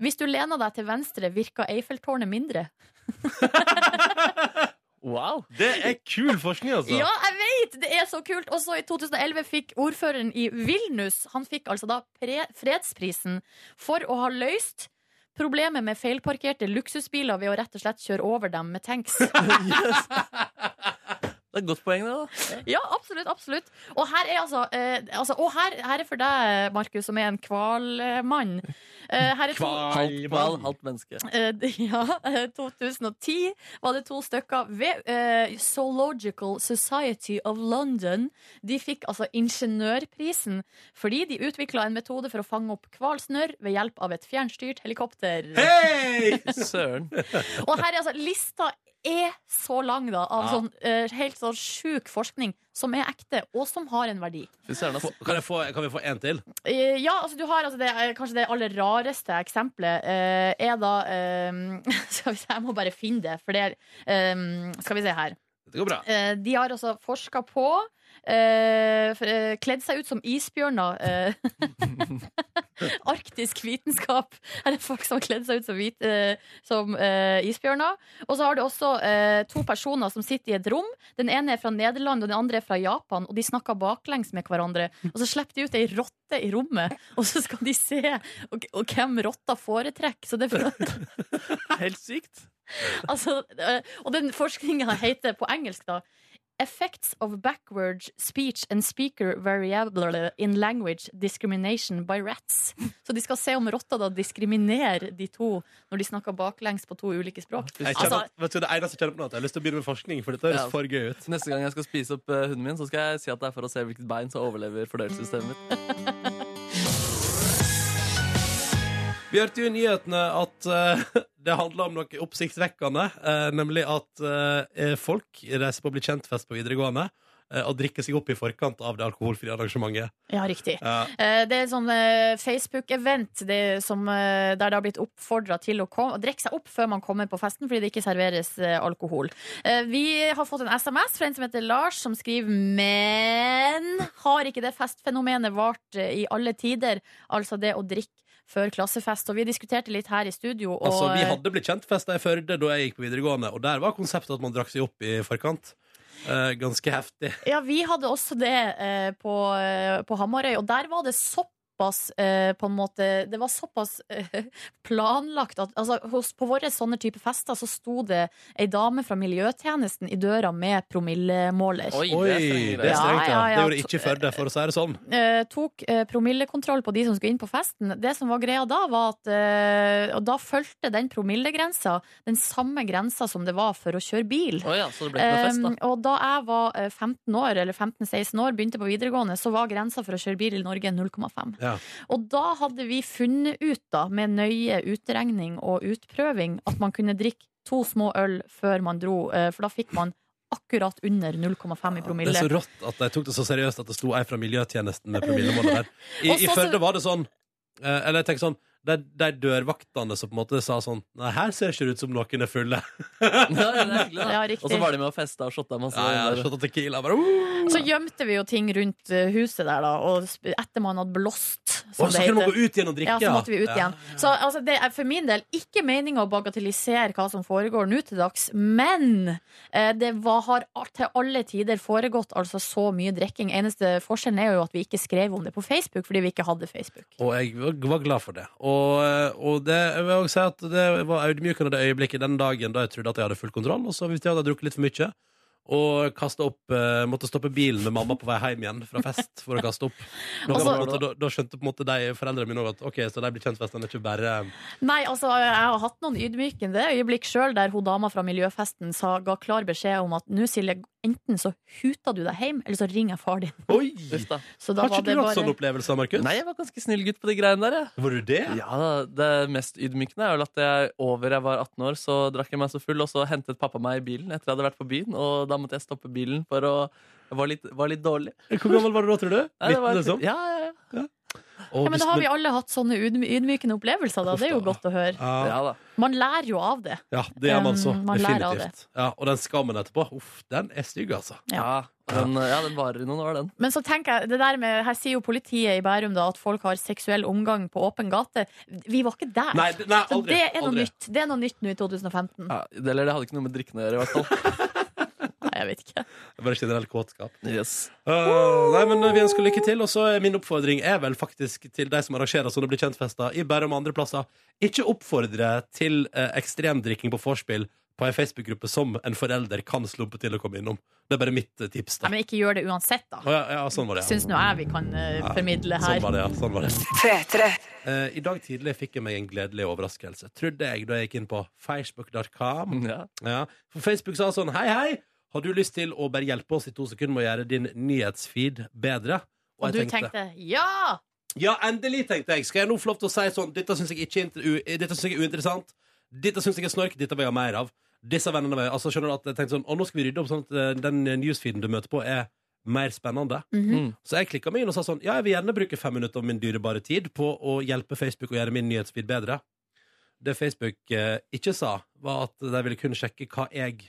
Hvis du lener deg til venstre, virker Eiffeltårnet mindre. Wow. Det er kul forskning, altså. Ja, jeg vet! Det er så kult. Og så i 2011 fikk ordføreren i Vilnius Han fikk altså da pre fredsprisen for å ha løst problemet med feilparkerte luksusbiler ved å rett og slett kjøre over dem med tanks. Det er et godt poeng, det. da Ja, absolutt. absolutt Og her er altså, eh, altså Og her, her er for deg, Markus, som er en hvalmann. Eh, her er to- Halvt hval, halvt menneske. Eh, det- Ja, eh, 2010 var det to stykker ved eh, Zoological Society of London. De fikk altså ingeniørprisen fordi de utvikla en metode for å fange opp hvalsnørr ved hjelp av et fjernstyrt helikopter. Hei! Søren. Og her er altså lista er så lang, da, av Ja. sånn eh, helt sånn sjuk forskning som er ekte, og som har en verdi. Fy søren, ass. Få- Kan, jeg få, kan vi få en til? Eh, Ja, altså du har altså det, eh, Kanskje det aller rareste eksempelet eh, Er da eh, Skal vi se, jeg må bare finne det For det er, eh, skal vi se her Det går bra. Eh, De har altså forsket på eh, for, eh, Kledd seg ut som isbjørner eh, Arktisk vitenskap Her er folk som har kledd seg ut som, hvit, eh, som eh, isbjørner Og så har du også eh, to personer som sitter i et rom Den ene er fra Nederland og den andre er fra Japan Og de snakker baklengs med hverandre Og så slipper de ut ei rotte i rommet Og så skal de se og, og hvem rotta foretrekker Så det er for, Helt sykt. Altså, eh, og den forskninga heter på engelsk, da Effects of backward speech and speaker variable in language discrimination by rats. Så de skal se om rotta da diskriminerer de to når de snakker baklengs på to ulike språk. Jeg kjenner, Altså, at- vet du, det eneste jeg kjenner på nå, er at jeg har lyst til å begynne med forskning, for dette høres Ja. for gøy ut. Så Neste gang jeg skal spise opp eh, hunden min, Så skal jeg si at det er for å se hvilket bein som overlever fordøyelsessystemet mitt. Vi hørte jo i nyhetene at eh, det handla om noe oppsiktsvekkende. eh, nemlig at eh, folk reiser på å bli kjentfest på videregående eh, og drikker seg opp i forkant av det alkoholfrie arrangementet. ja, riktig. Eh, Eh, Det er en sånn eh, Facebook-event det som, eh, der det har blitt oppfordra til å kom- å drikke seg opp før man kommer på festen, fordi det ikke serveres eh, alkohol. Eh, Vi har fått en SMS fra en som heter Lars, som skriver Men har ikke det festfenomenet vart eh, i alle tider? Altså det å drikke før klassefest. Og vi diskuterte litt her i studio. Og, eh, altså, Vi hadde blitt kjentfesta i Førde da jeg gikk på videregående, og der var konseptet at man drakk seg opp i forkant. Eh, ganske heftig. Ja, vi hadde også det eh, på, eh, på Hamarøy, og der var det såpass eh, på en måte, Det var såpass eh, planlagt at altså, hos, på våre sånne type fester så sto det ei dame fra miljøtjenesten i døra med promillemåler. Oi, Oi, det er strenge det er greier. strengt, ja. Ja, ja, Det ja. gjorde ikke Førde, for å si det sånn. eh, tok eh, promillekontroll på de som skulle inn på festen. Det som var greia da, var at eh, og da fulgte den promillegrensa den samme grensa som det var for å kjøre bil. Oi, ja, så det ble ikke noe fest, da. Um, og da jeg var eh, 15 år, eller 15-16 år, begynte på videregående, så var grensa for å kjøre bil i Norge 0,5. Ja. Og da hadde vi funnet ut, da, med nøye utregning og utprøving, at man kunne drikke to små øl før man dro, eh, for da fikk man akkurat under 0,5 i Det er promille. så rått at de tok det så seriøst at det sto ei fra miljøtjenesten med promillemålet der. I, Og så- I Førde var det sånn eh, Eller jeg tenker sånn de, de dørvaktene som på en måte sa sånn Nei, her ser ikke det ut som noen er fulle. Ja, det er hyggelig, da. Ehm, Ja, riktig. og så var de med og festa og shotta masse. Ja, ja, der. shot og tequila, bare, uh. Så gjemte vi jo ting rundt eh, huset der, da, og sp- etter man hadde blåst, Og så som det kunne man heter. gå ut igjen og drikke. Ja, så måtte vi ut Ja. igjen. Så altså, det er for min del ikke meninga å bagatellisere hva som foregår nå til dags, men eh, det var, har al- til alle tider foregått altså så mye drikking. Eneste forskjellen er jo at vi ikke skrev om det på Facebook fordi vi ikke hadde Facebook. Og jeg var- var glad for det. Og, eh, og det, jeg vil også si at det var audmykende det øyeblikket den dagen da jeg trodde at jeg hadde full kontroll, og så visste jeg at jeg hadde drukket litt for mye. Og kastet opp, eh, måtte stoppe bilen med mamma på vei hjem igjen fra fest for å kaste opp. Nå, Og så- på en måte, da, da skjønte på en måte de foreldrene mine òg at ok, så de blir kjentfestene ikke bare Nei, altså, jeg har hatt noen ydmykende øyeblikk sjøl der hun dama fra miljøfesten sa, ga klar beskjed om at nå, Silje, enten så huta du deg hjem, eller så ringer jeg far din. Oi! Så da Har ikke var du det hatt bare- sånn opplevelse, Markus? Nei, jeg var ganske snill gutt på de greiene der. Jeg. Var du det? Ja, da, Det mest ydmykende er vel at jeg over jeg var 18 år, så drakk jeg meg så full, og så hentet pappa meg i bilen etter jeg hadde vært på byen, og da måtte jeg stoppe bilen for å jeg var litt, var litt dårlig. Hvor gammel var du da, tror du? Nei, det var, Liten, liksom? Ja, ja, ja. Ja, men da har vi alle hatt sånne ydmy- ydmykende opplevelser, da. Det er jo godt å høre. Ja. Ja, da. Man lærer jo av det. Ja, det gjør man så. Um, man lærer av Definitivt. Ja, og den skammen etterpå, uff, den er stygg, altså. Ja. Den, ja, den varer i noen år, den. Men så tenker jeg, det der med, her sier jo politiet i Bærum da at folk har seksuell omgang på åpen gate. Vi var ikke der. Nei, det- nei, så aldri, det er noe aldri. nytt Det er noe nytt nå i 2015. Ja, det- eller det hadde ikke noe med drikken å gjøre, i hvert fall. Nei, jeg vet ikke. Bare generell kåtskap. Yes. Uh, nei, men Vi ønsker lykke til. Og så er min oppfordring er vel faktisk til de som arrangerer sånne blir kjent-fester i Bærum og andre plasser, ikke oppfordre til eh, ekstremdrikking på vorspiel på ei Facebook-gruppe som en forelder kan slumpe til å komme innom. Det er bare mitt eh, tips. da Nei, men ikke gjør det uansett, da. Å, ja, ja, sånn var det, ja. Syns nå jeg vi kan eh, Ja, formidle her. Sånn var det, ja. Sånn var det. P3. Eh, I dag tidlig fikk jeg meg en gledelig overraskelse, trodde jeg da jeg gikk inn på facebook.com. Mm, Ja. For Facebook sa sånn Hei, hei! Har du lyst til å bare hjelpe oss i to sekunder med å gjøre din nyhetsfeed bedre? Og du jeg tenkte ja! Ja, endelig, tenkte jeg. Skal jeg nå få lov til å si sånn Dette syns jeg, ikke er inter- u- dette synes jeg er uinteressant. Dette syns jeg er snork. Dette vil jeg ha mer av. Disse vennene vil jeg Altså, skjønner du at jeg tenkte sånn Og nå skal vi rydde opp sånn at eh, den newsfeeden du møter på, er mer spennende. Mhm. Så jeg klikka meg inn og sa sånn Ja, jeg vil gjerne bruke fem minutter av min dyrebare tid på å hjelpe Facebook å gjøre min nyhetsfeed bedre. Det Facebook eh, ikke sa, var at de ville kun sjekke hva jeg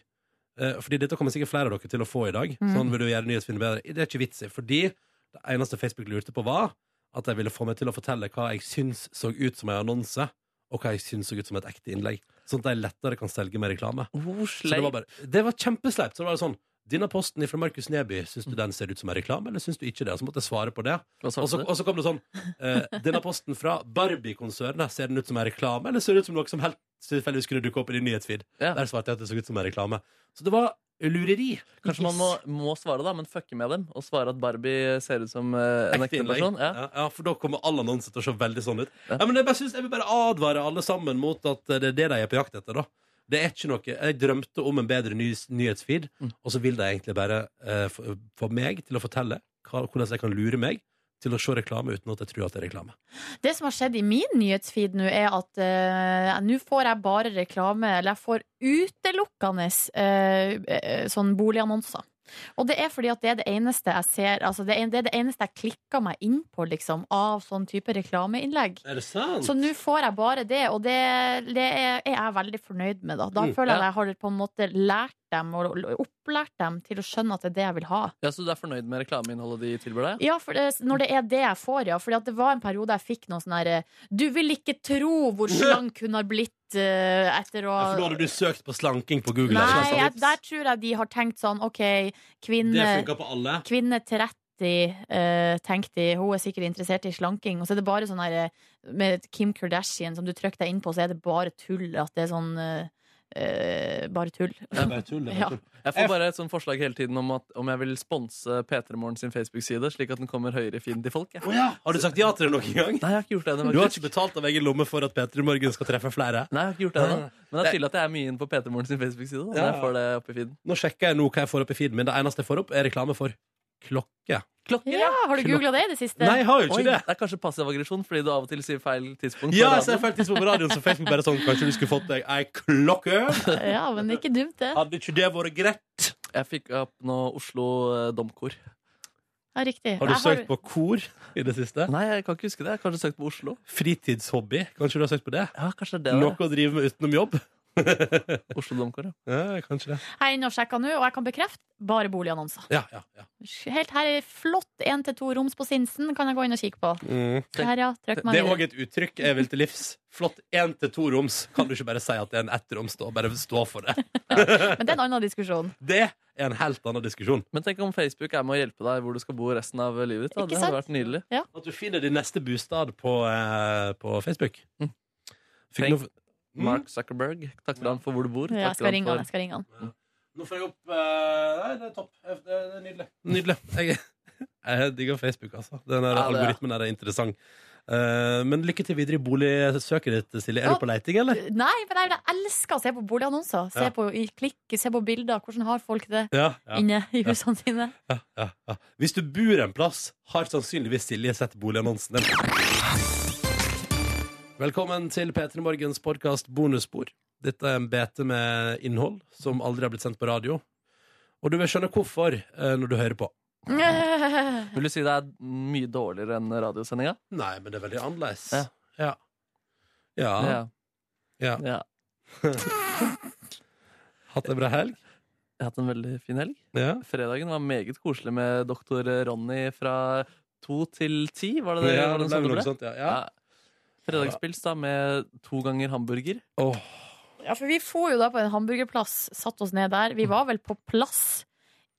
eh, Fordi dette kommer sikkert flere av dere til å få i dag. Mm. Sånn vil du gjøre nyhetsfeeden bedre. Det er ikke vits i. Fordi det eneste Facebook lurte på, var at de ville få meg til å fortelle hva jeg syns så ut som en annonse, og hva jeg syns så ut som et ekte innlegg. Sånn at de lettere kan selge med reklame. Så det var, bare, det var kjempesleipt. Så det var sånn Denne posten fra Markus Neby, syns Mm. du den ser ut som en reklame, eller syns du ikke det? Og så måtte jeg svare på det. Og svarte så, du? og så kom det sånn eh, Denne posten fra Barbie-konsernet, ser den ut som en reklame, eller ser det ut som noe som helt tilfeldigvis kunne dukke opp i din nyhetsfeed? Der svarte jeg at det så ut som en reklame. Så det var lureri. Kanskje man må, må svare, da, men fucke med dem. Og svare at Barbie ser ut som eh, en ekte innlegg. person. Ja. Ja, ja, for da kommer alle annonser til å se veldig sånn ut. Ja. men jeg, bare synes, jeg vil bare advare alle sammen mot at eh, det er det de er på jakt etter. da det er ikke noe, Jeg drømte om en bedre nyhets- nyhetsfeed, og så vil de egentlig bare eh, få- få meg til å fortelle hva, hvordan jeg kan lure meg til å se reklame uten at jeg tror at det er reklame. Det som har skjedd i min nyhetsfeed nå, er at eh, nå får jeg bare reklame, eller jeg får utelukkende eh, eh, sånn boligannonser. Og det er fordi at det er det eneste jeg ser altså det, er, det er det eneste jeg klikker meg inn på, liksom, av sånn type reklameinnlegg. Er det sant? Så nå får jeg bare det, og det, det er, er jeg veldig fornøyd med. Da, da Mm, føler jeg ja. at jeg har på en måte lært dem, og opplært dem, til å skjønne at det er det jeg vil ha. Ja, Så du er fornøyd med reklameinnholdet de tilbyr deg? Ja, for det, når det er det jeg får, ja. For det var en periode jeg fikk noe sånn herre Du vil ikke tro hvor slank hun har blitt eh, etter å Ja, for da hadde du søkt på slanking på Google. Nei, eller? jeg, der tror jeg de har tenkt sånn OK, kvinne, Det funka på alle. kvinne 30 eh, tenkte de, hun er sikkert interessert i slanking. Og så er det bare sånn her eh, med Kim Kardashian som du trykker deg inn på, så er det bare tull. At det er sånn eh, eh, Bare tull. Ja. Jeg får bare et sånt forslag hele tiden om, at, om jeg vil sponse P3 Morgen sin Facebook-side, slik at den kommer høyere i feeden til folk. jeg. Har du sagt ja til det noen gang? Nei, jeg har ikke gjort det ennå, Du har faktisk. ikke betalt av egen lomme for at Peter i morgen skal treffe flere? Nei, jeg har ikke gjort det ennå. Men det er tydelig at jeg er mye inn på P3 Morgen sin Facebook-side. da, når Ja. jeg får det opp i feeden. Nå sjekker jeg nå hva jeg får opp i feeden min. Det eneste jeg får opp, er reklame for klokke. Ja, har du googla det i det siste? Nei, jeg har jo ikke Oi, det. Det er kanskje passiv aggresjon, fordi du av og til sier feil tidspunkt. på Ja, altså- radioen. så jeg faktisk på radioen, så Facebook bare sånn Kanskje du skulle fått deg ei klokke? Ja, men ikke dumt, det. Hadde ikke det vært greit? Jeg fikk opp noe Oslo eh, domkor. Ja, riktig. Har du Jeg søkt på kor i det siste? Nei, jeg kan ikke huske det. Jeg har kanskje søkt på Oslo. Fritidshobby? Kanskje du har søkt på det? Ja, kanskje det er det. Noe å drive med utenom jobb? Oslo domkor, ja. Kanskje det. Jeg er inne og sjekker nå, og jeg kan bekrefte bare boligannonser. Ja, ja, ja. Helt her er flott én til to roms på Sinsen. Kan jeg gå inn og kikke på? Mm. Se her, ja. Trykk meg Det er videre. òg et uttrykk jeg vil til livs. Flott én til to roms. Kan du ikke bare si at det er en ettroms, da? Bare stå for det. Men det er en annen diskusjon. Det er en helt annen diskusjon. Men tenk om Facebook er med å hjelpe deg hvor du skal bo resten av livet ditt. Da. Ikke Det hadde sant? vært nydelig. At du finner din neste bostad på, eh, på Facebook. Fikk Tenk, noe- Mark Zuckerberg, takk til han for hvor du bor. Ja, Takk jeg til skal han ringe for- han. Jeg skal ringe han. Nå får jeg opp eh, Nei, det er topp. Det er nydelig. Nydelig. Jeg, jeg digger Facebook, altså. Den der Ja, det er. algoritmen der er interessant. Eh, men lykke til videre i boligsøket ditt, Silje. Er du på leiting, eller? Nei, men jeg, jeg elsker å se på boligannonser. Se Ja. på i klikk, se på bilder. Hvordan har folk det Ja, ja. inne i Ja. husene sine? Ja, ja, ja. Hvis du bor en plass, har sannsynligvis Silje sett boligannonsen din. Velkommen til P3 Morgens podkast Bonusspor. Dette er en bete med innhold som aldri har blitt sendt på radio. Og du vil skjønne hvorfor eh, når du hører på. Vil du si det er mye dårligere enn radiosendinga? Nei, men det er veldig annerledes. Ja. Ja. Ja. Ja. Ja. Hatt en bra helg? Jeg har hatt en veldig fin helg. Ja. Fredagen var meget koselig med doktor Ronny fra to til ti, var det det? Ja, var det en ble sånn vel noe ble? sånt, ja, ja. Fredagspils da, med to ganger hamburger. Åh, Ja, for vi for jo da på en hamburgerplass, satt oss ned der. Vi var vel på plass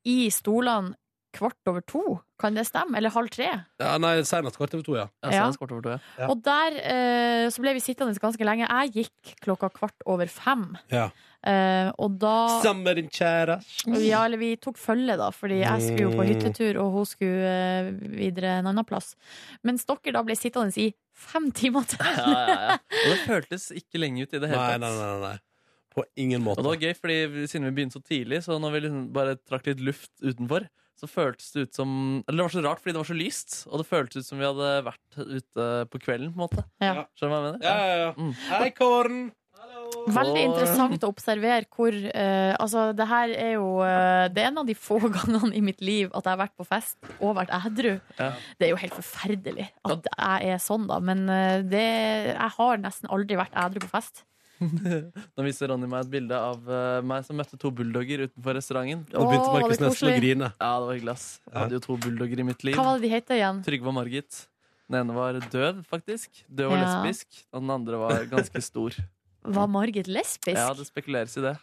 i stolene kvart over to, kan det stemme? Eller halv tre? ja, nei, senest kvart over to, ja. Ja, senest Ja. kvart over to, ja. Og der eh, så ble vi sittende ganske lenge. Jeg gikk klokka kvart over fem. ja. Eh, og da Sammen med din kjære. Ja, eller vi tok følge, da, fordi jeg skulle jo på Mm. hyttetur, og hun skulle eh, videre en annen plass. Mens dere da ble sittende i fem timer til. Ja, ja, ja. Og det føltes ikke lenge ut i det hele Nei, tatt. nei, nei, nei. På ingen måte. Og det var gøy, fordi vi- siden vi begynte så tidlig, så når vi liksom bare trakk litt luft utenfor, så føltes det ut som Eller det var så rart, fordi det var så lyst, og det føltes ut som vi hadde vært ute på kvelden, på en måte. Ja. Skjønner du hva jeg mener? Ja, ja, ja. Mm. Hei, Kåren! Veldig interessant å observere hvor eh, Altså, det her er jo eh, Det er en av de få gangene i mitt liv at jeg har vært på fest og vært edru. Ja. Det er jo helt forferdelig at jeg er sånn, da. Men eh, det, jeg har nesten aldri vært edru på fest. Nå viser Ronny meg et bilde av eh, meg som møtte to bulldogger utenfor restauranten. Og da begynte Åh, var Markus det Nesen å koselig. grine. Ja, det var hyggelig, ass. Jeg hadde jo to bulldogger i mitt liv. Hva var det de het igjen? Trygve og Margit. Den ene var døv, faktisk. Døv og Ja. lesbisk. Og den andre var ganske stor. Var Margit lesbisk? Ja, det spekuleres i det.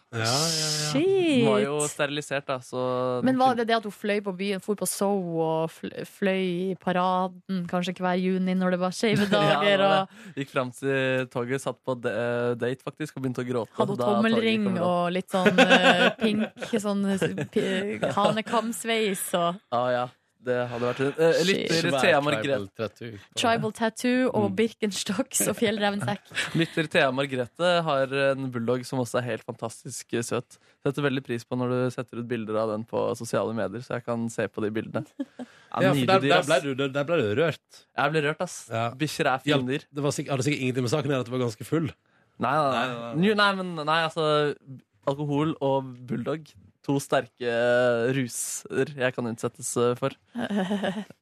Shit. Den var jo sterilisert, da, så Men var det det at hun fløy på byen, for på show og fl- fløy i paraden kanskje hver juni når det var skeive Ja, det dager? var og det. Gikk fram til toget, satt på de- eh, date, faktisk, og begynte å gråte. Hadde hun da toget tommelring kom opp. og litt sånn eh, pink sånn p- hanekamsveis og Ja, ja. Det hadde vært en eh, Lytter Svær Thea tribal Margrethe tattoo. tribal tattoo Mm. og Birkenstocks og fjellrevensekk. Lytter Thea Margrethe har en bulldog som også er helt fantastisk eh, søt. Setter veldig pris på når du setter ut bilder av den på sosiale medier, så jeg kan se på de bildene. Ja, for der, der, ble du, der, der ble du rørt. Jeg ble rørt, ass. Bikkjer er Ja, fine dyr. Det var sikkert, hadde sikkert ingenting med saken å gjøre at du var ganske full. Nei, nei, nei. Nei, nei, men, nei, altså Alkohol og bulldog. To sterke eh, ruser jeg kan utsettes eh, for.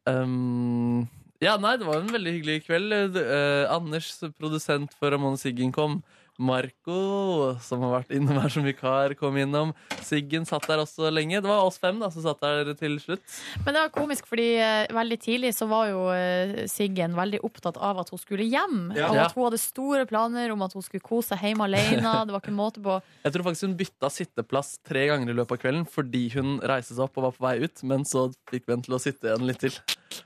Um, ja, nei, det var en veldig hyggelig kveld. Eh, Anders, produsent for Ramone Siggen, kom. Marco, som har vært innom her som vikar, kom innom. Siggen satt der også lenge. Det var oss fem da, som satt der til slutt. Men det var komisk, fordi eh, veldig tidlig så var jo eh, Siggen veldig opptatt av at hun skulle hjem. Ja. Og Ja. at hun hadde store planer om at hun skulle kose seg hjemme alene. Det var ikke måte på. Jeg tror faktisk hun bytta sitteplass tre ganger i løpet av kvelden fordi hun reiste seg opp og var på vei ut, men så fikk vi henne til å sitte igjen litt til.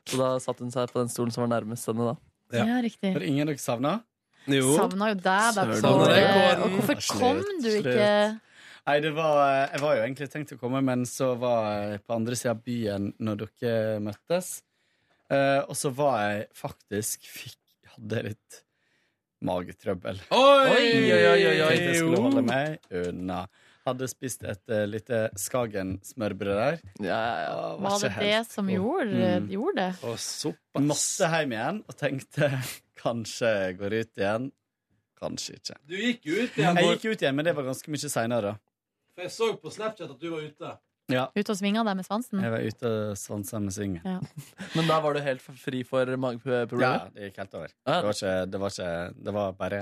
Så da satt hun seg på den stolen som var nærmest henne, da. Ja, riktig. Er det ingen dere savner? Savna jo deg, da, Søren, Kåre. Kåre. Og hvorfor Slutt, kom du slutt. ikke? Nei, det var, eh, jeg var jo egentlig tenkt å komme, men så var jeg på andre siden av byen når dere møttes. Eh, og så var jeg faktisk fikk, Hadde litt magetrøbbel. Oi! Tenkte Jeg skulle holde meg unna. Hadde spist et eh, lite Skagen-smørbrød der. Og Var det ikke det helt som god. gjorde, Mm. gjorde det? Og Masse hjem igjen, og tenkte kanskje jeg går ut igjen. Kanskje ikke. Du gikk jo ut igjen. Jeg gikk ut igjen, men det var ganske mye seinere. For jeg så på Snapchat at du var ute. Ja. Ute og svinga deg med svansen? Jeg var ute og svansa med svingen. Ja. Men da var du helt fri for Ja, mageproblemer? det gikk helt over. Det var ikke Det var, ikke, det var bare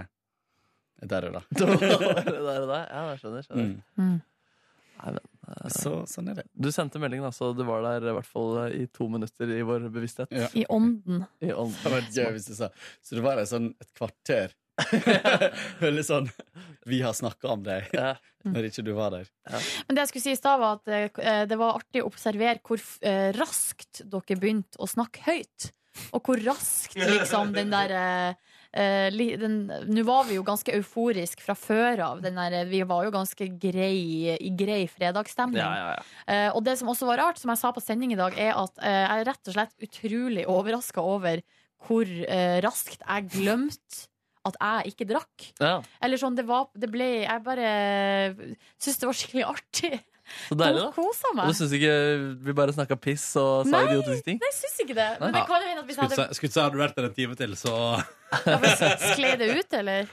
der og da. Det var det der og da? Ja, jeg skjønner. skjønner. Mm. Nei, men, eh, Så- sånn er det. Du sendte melding, da, så du var der i hvert fall eh, i to minutter i vår bevissthet. I ånden. I ånden. Det var gøy hvis du sa Så det var der sånn et kvarter. Veldig sånn Vi har snakka om deg når ikke du var der. Men det jeg skulle si i stad, var at eh, det var artig å observere hvor eh, raskt dere begynte å snakke høyt. Og hvor raskt liksom den der eh, eh, li- den- Nå var vi jo ganske euforisk fra før av. Den der, eh, vi var jo ganske grei, i grei fredagsstemning. Ja, ja, ja. Eh, og det som også var rart, som jeg sa på sending i dag, er at eh, jeg er rett og slett utrolig overraska over hvor eh, raskt jeg glemte at jeg ikke drakk. Ja. Eller sånn, det var Det ble Jeg bare syntes det var skikkelig artig. Så deilig, da. Og kosa meg. Og du syns ikke vi bare snakka piss og sa Nei, idiotiske ting? Nei, jeg syns ikke det. Men Nei. det kan jo hende at hvis jeg hadde Skulle ikke si hadde du vært der en time til, så skled det ut, eller?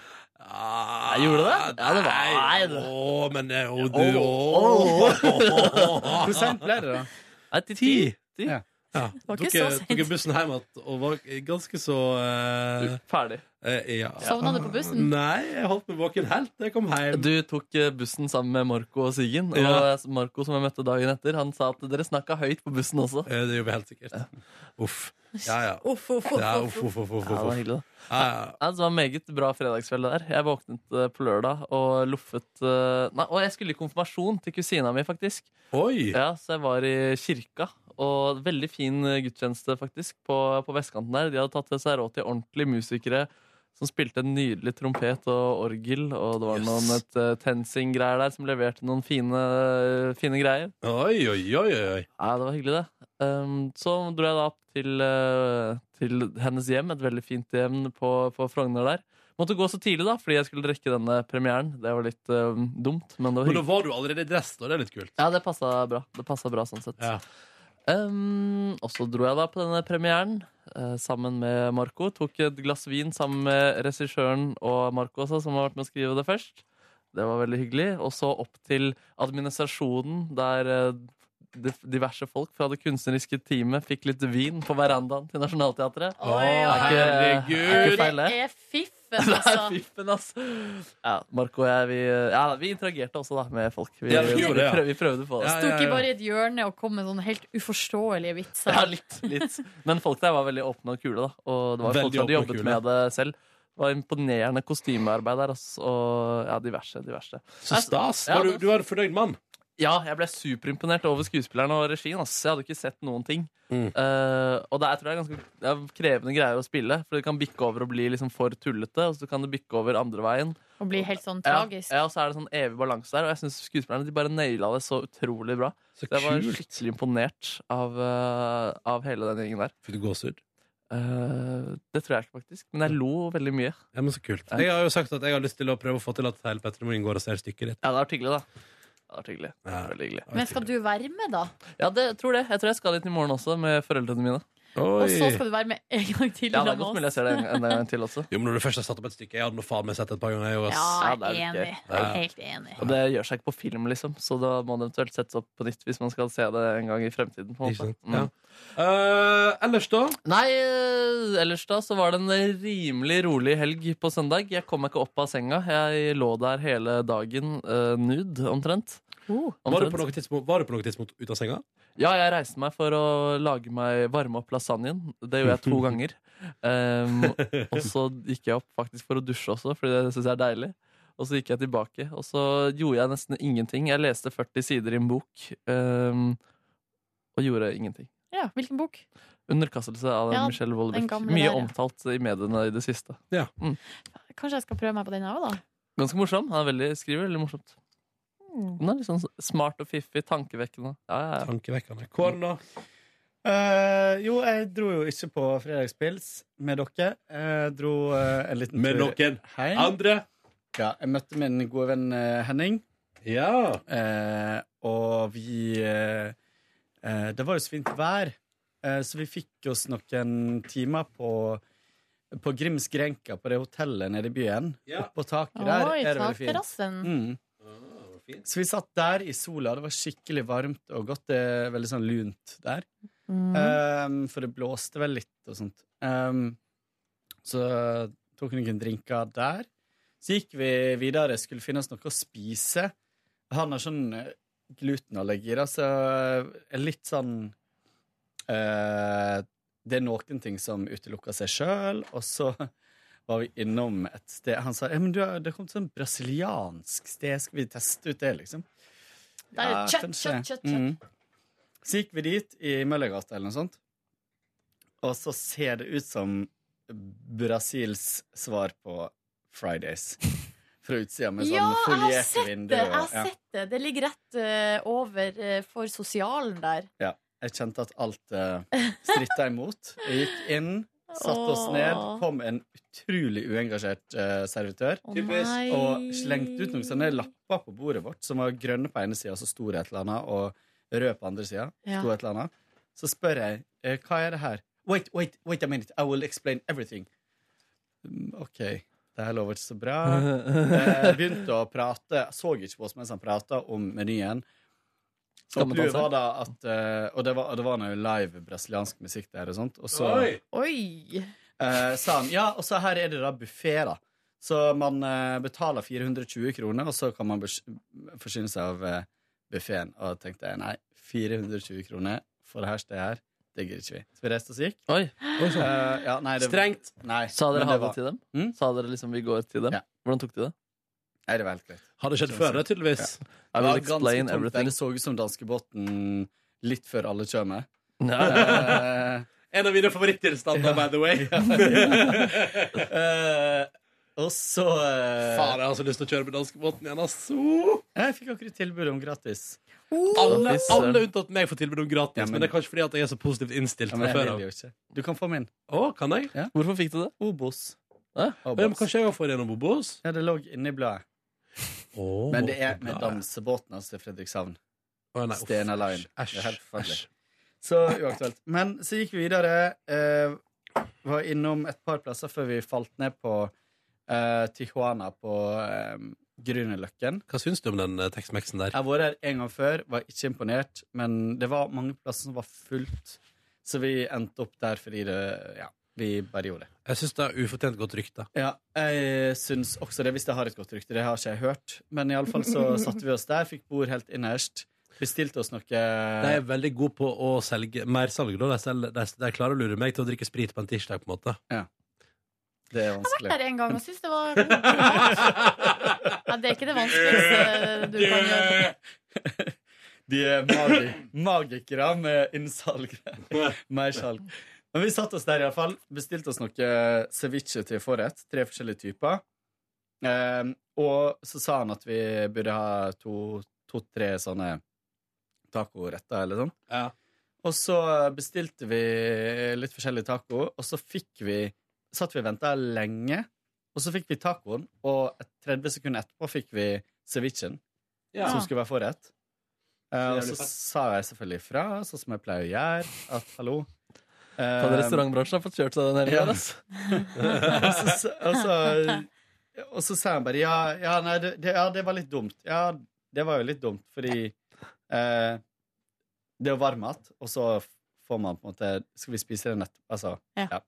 Jeg gjorde det? Ja, det var Nei, å, men det er jo du Hvor sent ble det, da? Nei, til ti. Ti. Ja. var Tok, ikke så sent. tok jeg bussen hjem igjen og var ganske så eh, Ferdig. eh, ja. Sovna du på bussen? Nei, jeg holdt meg våken helt til jeg kom hjem. Du tok eh, bussen sammen med Marco og Siggen. Og eh, Ja. Marco, som jeg møtte dagen etter, han sa at dere snakka høyt på bussen også. Eh, Det gjorde vi helt sikkert. Uff. Ja, ja. Uff, uff, uff, Ja, uff, uff, uff, uff, uff, Ja, det var uff. hyggelig, da. Ja, ja. Nei, det var en meget bra fredagskveld der. Jeg våknet eh, på lørdag og loffet eh, Nei, og jeg skulle i konfirmasjon til kusina mi, faktisk. Oi! Ja, Så jeg var i kirka. Og veldig fin eh, gudstjeneste, faktisk, på, på vestkanten der. De hadde tatt seg råd til ordentlige musikere som spilte en nydelig trompet og orgel. Og det var Yes. noen et, eh, TenSing-greier der som leverte noen fine, fine greier. Oi, oi, oi, oi, oi. Ja, det var hyggelig, det. Ehm, så dro jeg da opp til, eh, til hennes hjem, et veldig fint hjem på, på Frogner der. Måtte gå så tidlig, da, fordi jeg skulle rekke denne premieren. Det var litt eh, dumt, men det var Men da hyggelig. var du allerede i dress, da. Det er litt kult. Ja, det passa bra. Det passet bra sånn sett. Ja. Ehm, og så dro jeg da på denne premieren eh, sammen med Marco. Tok et glass vin sammen med regissøren og Marco også, som har vært med å skrive det først. Det var veldig hyggelig. Og så opp til administrasjonen, der eh, de- diverse folk fra det kunstneriske teamet fikk litt vin på verandaen til Nationaltheatret. Oi, oi, Er ikke- er ikke herregud. feil, det. Det er fiffen, Det er altså. fiffen, ass. Ja, Marco og jeg, vi, ja, vi interagerte også da med folk. Vi, Ja, vi gjorde det, ja. prøv- vi prøvde på det. Ja, Sto ikke bare i et hjørne og kom med sånne helt uforståelige vitser. Ja, litt, litt. Men folk der var veldig åpne og kule, da. Og det var Veldig folk som åpne hadde og jobbet kule. med det selv. Det var imponerende kostymearbeid der, ass. Og ja, diverse, diverse. Så stas. Ja, Var du, det- du var en fornøyd mann. Ja, jeg ble superimponert over skuespilleren og regien, ass. Jeg hadde ikke sett noen ting. Mm. Eh, og det er, tror jeg, ganske det er krevende greier å spille, for det kan bikke over og bli liksom for tullete, og så kan det bikke over andre veien. Og blir helt sånn Ja, tragisk. ja, og så er det sånn evig balanse der, og jeg syns skuespillerne de bare naila det så utrolig bra. Så Så jeg var kult. skikkelig imponert av, eh, av hele den gjengen der. Fikk du gåsehud? Eh, det tror jeg ikke, faktisk. Men jeg lo veldig mye. Ja, men så kult. Ja. Jeg har jo sagt at jeg har lyst til å prøve å få til at hele Petter Morin går og ser stykket ditt. Ja, det har vært hyggelig, da. Det har vært hyggelig. Det Ja. har vært veldig hyggelig. Men skal du være med, da? Ja, det, jeg tror det. Jeg tror jeg skal dit i morgen også, med foreldrene mine. Og så Oi. skal du være med en gang til? Ja, sammen det er godt med mulig jeg oss. ser det en, en gang til også. Jo, men når du først har satt opp et stykke Jeg hadde noe faen meg sett et par ganger. Jeg, også. Ja, Ja, det er litt enig. Ja. Helt enig. Og det gjør seg ikke på film, liksom, så da må det eventuelt settes opp på nytt hvis man skal se det en gang i fremtiden. På en Ikke måte. sant? Ja. Mm. Eh, ellers, da? Nei, eh, ellers da så var det en rimelig rolig helg på søndag. Jeg kom meg ikke opp av senga. Jeg lå der hele dagen eh, nude, omtrent. Oh. Var du, Omtrent. på noe tidspunkt, var du på noe tidspunkt ut av senga? Ja, jeg reiste meg for å lage meg varme opp lasagnen. Det gjorde jeg to ganger. Ehm, og så gikk jeg opp faktisk for å dusje også, fordi det syns jeg er deilig. Og så gikk jeg tilbake, og så gjorde jeg nesten ingenting. Jeg leste 40 sider i en bok ehm, og gjorde ingenting. Ja, hvilken bok? Underkastelse av Ja, Michelle den Wollebeck. gamle Mye der, ja. omtalt i mediene i det siste. Kanskje jeg skal prøve meg på den òg, da? Ganske morsom. Han er veldig, skriver veldig morsomt. Mm. Han er litt sånn smart og fiffig, tankevekkende. Ja, ja, ja. Tankevekkende. Kåren, da? Eh, jo, jeg dro jo ikke på fredagspils med dere. Jeg dro eh, en liten Med tur noen hjem. andre? Ja, jeg møtte min gode venn eh, Henning, Ja. eh, og vi eh, eh, Det var jo så fint vær, eh, så vi fikk oss noen timer på på Grims Grenka, på det hotellet nede i byen. Ja. Oppå taket der Oi, er det veldig fint. takterrassen. Mm. fint. Så vi satt der i sola. Det var skikkelig varmt og godt. Det er veldig sånn lunt der. Mm. Um, for det blåste vel litt og sånt. Um, så tok vi noen drinker der. Så gikk vi videre, skulle finne oss noe å spise. Han har sånn eh, glutenallergi, da, så altså, er litt sånn eh, Det er noen ting som utelukker seg sjøl, og så var vi innom et sted. Han sa ja, men du, har- det kom til sånn brasiliansk sted, skal vi teste ut det, liksom? Der er det kjøtt, kanskje. kjøtt, kjøtt, Mhm. Så gikk vi dit i Møllergata eller noe sånt, og så ser det ut som Brasils svar på Fridays. Fra utsida med Ja, jeg sånn har folierte sett det! vinduer. Jeg har og- ja. sett det. det ligger rett eh, over eh, for sosialen der. eh, Jeg kjente at alt uh, stritta imot. Jeg gikk inn, Satt oss ned, Åh. kom en utrolig uengasjert eh, servitør nei. og slengte ut noen sånne lapper på bordet vårt som var grønne på ene sida, og så sto det et eller annet, og rød på andre sida. Ja. sto et eller annet. Så spør jeg eh, hva er det her. Wait, wait, wait a minute, I will explain everything. Mm, OK, det her lover ikke så bra. Eh, begynte å prate, så ikke på oss mens han prata om menyen. Og, Skammedanser. clouet var da at, eh, og det var, og det var noe live brasiliansk musikk der og sånt. Og så Oi. Oi. eh, sa han ja, og så her er det da buffé, da. Så man eh, betaler 420 kroner, og så kan man bes- forsyne seg av uh, buffeen. Og da tenkte jeg nei, 420 kroner for det her stedet her, det gidder ikke vi. Så vi reiste oss og gikk. Oi. Eh, ja, nei, det- Strengt. Nei, Sa dere men ha det det var- til dem? Sa dere liksom vi går til dem? Hvordan tok de det? Nei, det var helt greit. Har det skjedd før, det, tydeligvis? Ja. I Det will var ganske explain tomt. everything. Det så ut som danskebåten litt før alle kommer. Nei. En av mine favorittilstander, by the way. Eh, og så eh, Faen, jeg har så lyst til å kjøre med danskebåten igjen, ass. Oh. Jeg fikk akkurat tilbud om gratis. Alle, Fy søren. alle unntatt meg får tilbud om gratis, Ja, men- men, det er kanskje fordi at jeg er så positivt innstilt Ja, men fra jeg før vil av. jo ikke. Du kan få min. Å, kan jeg? Hvorfor fikk du det? Obos. Ja, men kanskje jeg også får gjennom Obos? Ja, det lå inni bladet. Å, Men det er med bladet. dansebåten hans til Fredrikshavn. Å, nei, uff, Stena Line. æsj, Det er helt æsj. forferdelig. Så uaktuelt. Men så gikk vi videre. eh, var innom et par plasser før vi falt ned på eh, Tijuana på eh, Grünerløkken. Hva syns du om den eh, Tex-Mexen der? Jeg har vært her en gang før, var ikke imponert, men det var mange plasser som var fullt. Så vi endte opp der fordi det Ja, vi bare gjorde det. Jeg syns det er ufortjent godt rykte. Ja, jeg syns også det, hvis det har et godt rykte. Det har ikke jeg hørt. Men iallfall så satte vi oss der, fikk bord helt innerst. Bestilte oss noe De er veldig gode på å selge mersalg. da. De, selger- de, de klarer å lure meg til å drikke sprit på en tirsdag, på en måte. Det er Jeg har vært der en gang og syns det var god mat. ja, Det er ikke det vanskeligste du kan gjøre. De er magi magikere med innsalg. Mersalg. Men vi satte oss der, iallfall. Bestilte oss noe eh, ceviche til forrett. Tre forskjellige typer. Eh, og så sa han at vi burde ha to-tre sånne tacoretter eller sånn. Og så bestilte vi litt forskjellig taco, og så fikk vi Satt vi og venta lenge, og så fikk vi tacoen, og et 30 sekunder etterpå fikk vi cevichen, Ja. som skulle være forrett. Eh, og jævlig så fett. sa jeg selvfølgelig fra, sånn som jeg pleier å gjøre, at hallo Faen, eh, Restaurantbransjen har fått kjørt seg den hele Ja. tiden, ass. Eh, og, så, sa- og, så, og så sa han bare ja, ja, nei, det, det, ja, det var litt dumt. Ja, det var jo litt dumt, fordi eh, det er jo varm mat, og så får man på en måte Skal vi spise det nett? Altså, ja.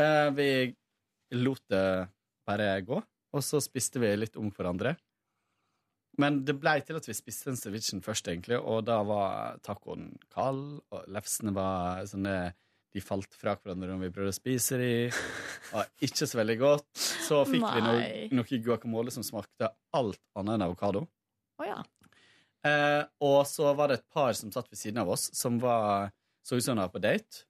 Eh, vi lot det bare gå, og så spiste vi litt om hverandre. Men det blei til at vi spiste den cevichen først, egentlig, og da var tacoen kald, og lefsene var sånne De falt fra hverandre når vi prøvde å spise de. Og ikke så veldig godt. Så fikk vi noe, Nei. noe guacamole som smakte alt annet enn avokado. Å ja. Eh, og så var det et par som satt ved siden av oss, som var, så ut som de var på date.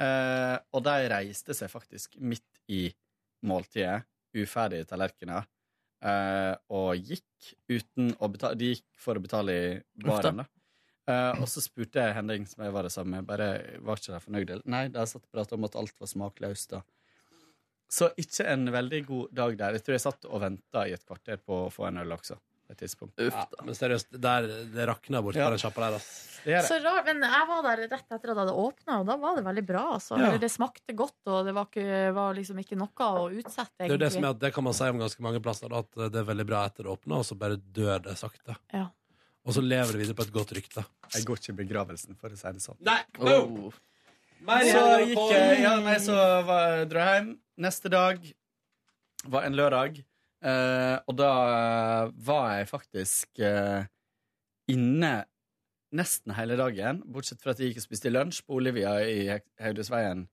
Eh, og de reiste seg faktisk midt i måltidet, uferdige tallerkener, eh, og gikk uten å betale De gikk for å betale i baren, da. Eh, og så spurte jeg Henning, som jeg var det samme, bare var ikke de fornøyd. eller? Nei, de satt og pratet om at alt var smakløst. da. Så ikke en veldig god dag der. Jeg tror jeg satt og venta i et kvarter på å få en øl også. på et tidspunkt. Ja, men seriøst, der, det rakna bort på den sjappa der, ass. Det er det. Så rart, men jeg var der rett etter at det hadde åpna, og da var det veldig bra. Altså. Ja. Eller Det smakte godt, og det var, ikke, var liksom ikke noe å utsette, Det er jo det som egentlig. er at det kan man si om ganske mange plasser, da, at eh, det er veldig bra etter det åpner, og så bare dør det sakte. Ja. Og så lever det videre på et godt rykte. Jeg går ikke i begravelsen, for å si det sånn. Nei, boom! Så gikk jeg Ja, nei, så var, dro jeg hjem. Neste dag var en lørdag, eh, og da eh, var jeg faktisk eh, inne nesten hele dagen, bortsett fra at jeg gikk og spiste lunsj på Olivia i Haug- Haugdalsveien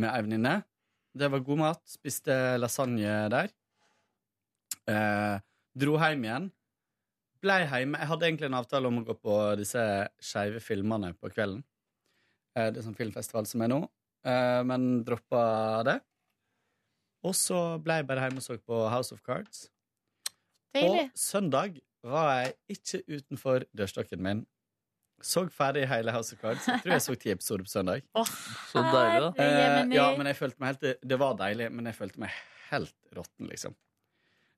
med ei venninne. Det var god mat. Spiste lasagne der. Eh, dro hjem igjen. Blei hjemme. Jeg hadde egentlig en avtale om å gå på disse skeive filmene på kvelden. Eh, det er sånn filmfestival som er nå. Eh, men droppa det. Og så blei jeg bare hjemme og så på House of Cards. Deilig. Og søndag var jeg ikke utenfor dørstokken min Så ferdig hele House of Cards. Jeg tror jeg så ti episoder på søndag. Så deilig, da. Eh, ja, men jeg følte meg helt, det var deilig, men jeg følte meg helt råtten, liksom.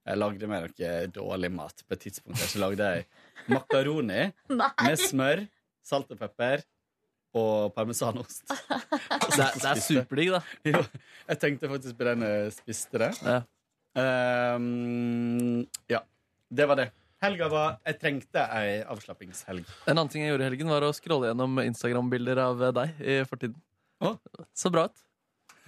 Jeg lagde meg noe dårlig mat på et tidspunkt. her, Så lagde jeg makaroni Nei. med smør, salt og pepper og parmesanost. Det er- det er superdigg, da. Jo, jeg tenkte faktisk på den da jeg spiste det. Ja. Ehm, ja. Det var det. Helga var Jeg trengte ei avslappingshelg. En annen ting jeg gjorde i helgen, var å scrolle gjennom Instagram-bilder av deg i fortiden. Så bra ut.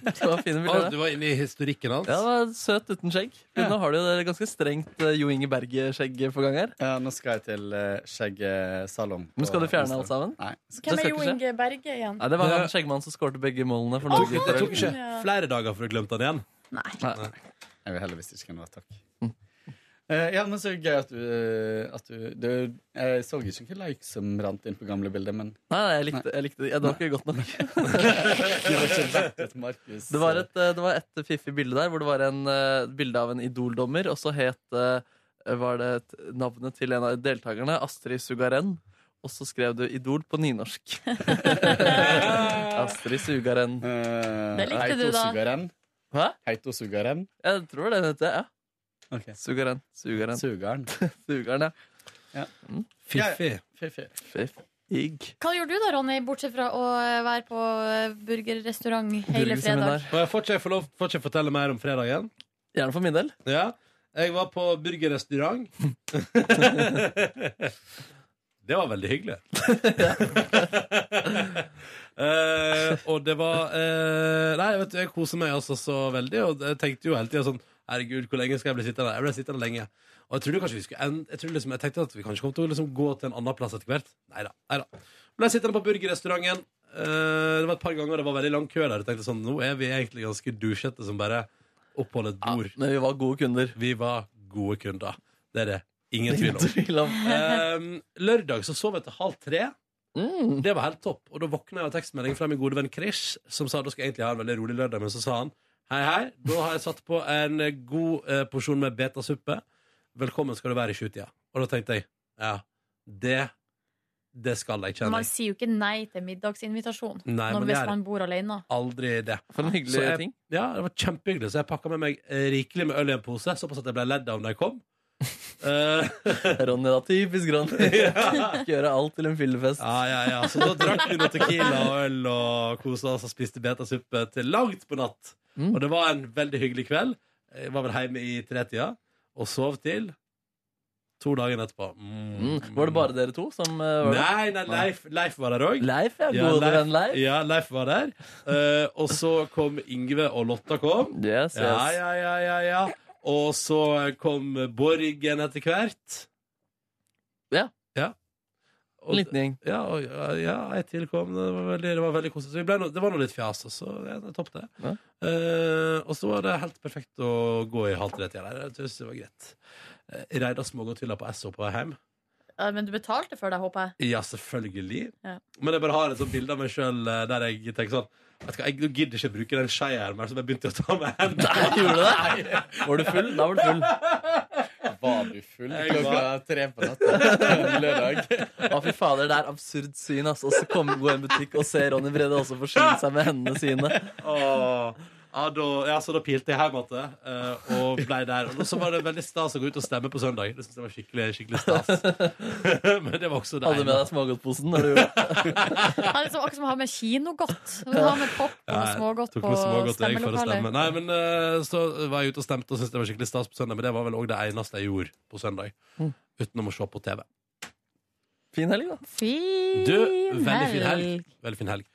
Det var fine bilder. Å, du var inne i historikken hans? Ja, det var søt uten skjegg. Men Nå har du jo det ganske strengt eh, Jo Inge Berge-skjegg for gang her. Ja, nå skal jeg til uh, skjeggsalong. Men skal du på fjerne onsdag. alt sammen? Nei. Hvem er Jo Inge Berge igjen? Nei, det var han skjeggmannen som skårte begge målene for Norge. Det tok ikke Ja. flere dager før du glemte han igjen? Nei. Jeg vil heldigvis ikke noe takk. Eh, ja, men så gøy at du, eh, at du, du Jeg så ikke hvilken like som rant inn på gamle bilder, men Nei, nei, jeg likte, jeg likte det. Jeg, det var ikke godt nok. det var ikke verdt et Markus. Det var et, eh, det var et fiffig bilde der, hvor det var en eh, bilde av en idoldommer, og så het eh, var det et, navnet til en av deltakerne, Astrid Sugaren. Og så skrev du 'Idol' på nynorsk. Eh, Astrid Sugaren. Det Det likte du, da. Hæ? Heito Sugaren. Jeg tror det heter det, ja. Ok. Sugaren. Sugaren. Sugaren. Sugaren, ja. Fiffig. Fiffig. Fiffig. Hva gjorde du da, Ronny, bortsett fra å eh, være på eh, burgerrestaurant hele fredag? Burgerseminar. Og jeg får ikke, jeg får lov, får ikke fortelle mer om fredagen. Gjerne for min del. Ja. Jeg var på burgerrestaurant. det var veldig hyggelig. Eh, og det var eh, Nei, vet du, jeg koser meg altså så veldig. Og jeg tenkte jo hele tida sånn Herregud, hvor lenge skal jeg bli sittende? Jeg ble sittende lenge. Og jeg trodde kanskje vi skulle end- jeg, trodde liksom, jeg tenkte at vi kanskje kom til å liksom gå til en annen plass etter hvert. Nei da. Ble sittende på burgerrestauranten. Eh, det var et par ganger det var veldig lang kø der. Jeg tenkte sånn, Nå er vi egentlig ganske dusjete som bare oppholder et bord. Men vi var gode kunder. Vi var gode kunder. Det er det ingen tvil om. Tvil om. Ehm, lørdag så sov jeg til halv tre. Mm, Det var helt topp. Og da våkna jeg av tekstmelding fra min gode venn Krish, som sa da skal jeg egentlig ha en veldig rolig lørdag, men så sa han hei, hei, da har jeg satt på en god eh, porsjon med betasuppe. Velkommen skal du være i sjutida. Og da tenkte jeg ja, det, det skal jeg kjenne. Man sier jo ikke nei til middagsinvitasjon Nei, men når, det hvis er- man bor alene. Aldri det. For en hyggelig Så jeg- ting. Ja, det var kjempehyggelig, så jeg pakka med meg eh, rikelig med øl i en pose, såpass at jeg ble ledd av da jeg kom. Eh, Ronny, da. Typisk Ronny. Ikke gjøre alt til en fyllefest. Ja, ja, ja. Så da drakk vi noe tequila og øl og kosa oss og spiste betasuppe til langt på natt. Mm. Og det var en veldig hyggelig kveld. Jeg var vel hjemme i tretida og sov til to dager etterpå. Mm. Mm. Var det bare dere to som eh, var der? Nei, nei, Leif, Leif var der òg. Leif, ja. Ja, Gode Leif- venn Leif. Ja, Leif var der. Eh, og så kom Ingve og Lotta kom. Yes, yes. Ja, ja, ja, ja, ja. Og så kom Borgen etter hvert. Ja. ja. En Og- liten gjeng. ja, og, ja, ja, jeg tilkom. Det var veldig, det var veldig koselig. Så vi ble no, det var noe litt fjas, og så ja, det topp det. Ja. Eh, og så var det helt perfekt å gå i halv tre-tida der. Jeg synes det var greit. Uh, Reidar Smågodthylla på SO på vei hjem. Ja, Men du betalte for det, håper jeg. Ja, selvfølgelig. Ja. Men jeg bare har et sånt bilde av meg sjøl der jeg tenker sånn Vet du hva, jeg nå gidder ikke bruke den skeia her mer, som jeg begynte å ta med hendene. Gjorde du det? Var du full? Da var du full. Var du full Jeg klokka var- tre på natta lørdag? Å, fy fader, det er absurd syn, altså. Og så kommer gå i en butikk og se Ronny Brede også forsyne seg med hendene sine. Åh. Ja, da, ja, så da pilte jeg hjem igjen eh, og ble der. Og så var det veldig stas å gå ut og stemme på søndag. Det synes jeg var skikkelig, skikkelig stas. Men det var også det Hadde med deg smågodtposen. når du gjorde det. Det er liksom akkurat som å ha med kinogodt. Å Ha med popkorn og Nei, smågodt tok på med smågodt, jeg, for å stemmelokalet. stemme. Nei, men eh, så var jeg ute og stemte og syntes det var skikkelig stas på søndag. Men det var vel òg det eneste jeg gjorde på søndag. Mm. Utenom å se på TV. Fin helg, da. Fin Du, veldig fin helg. helg. Veldig fin helg.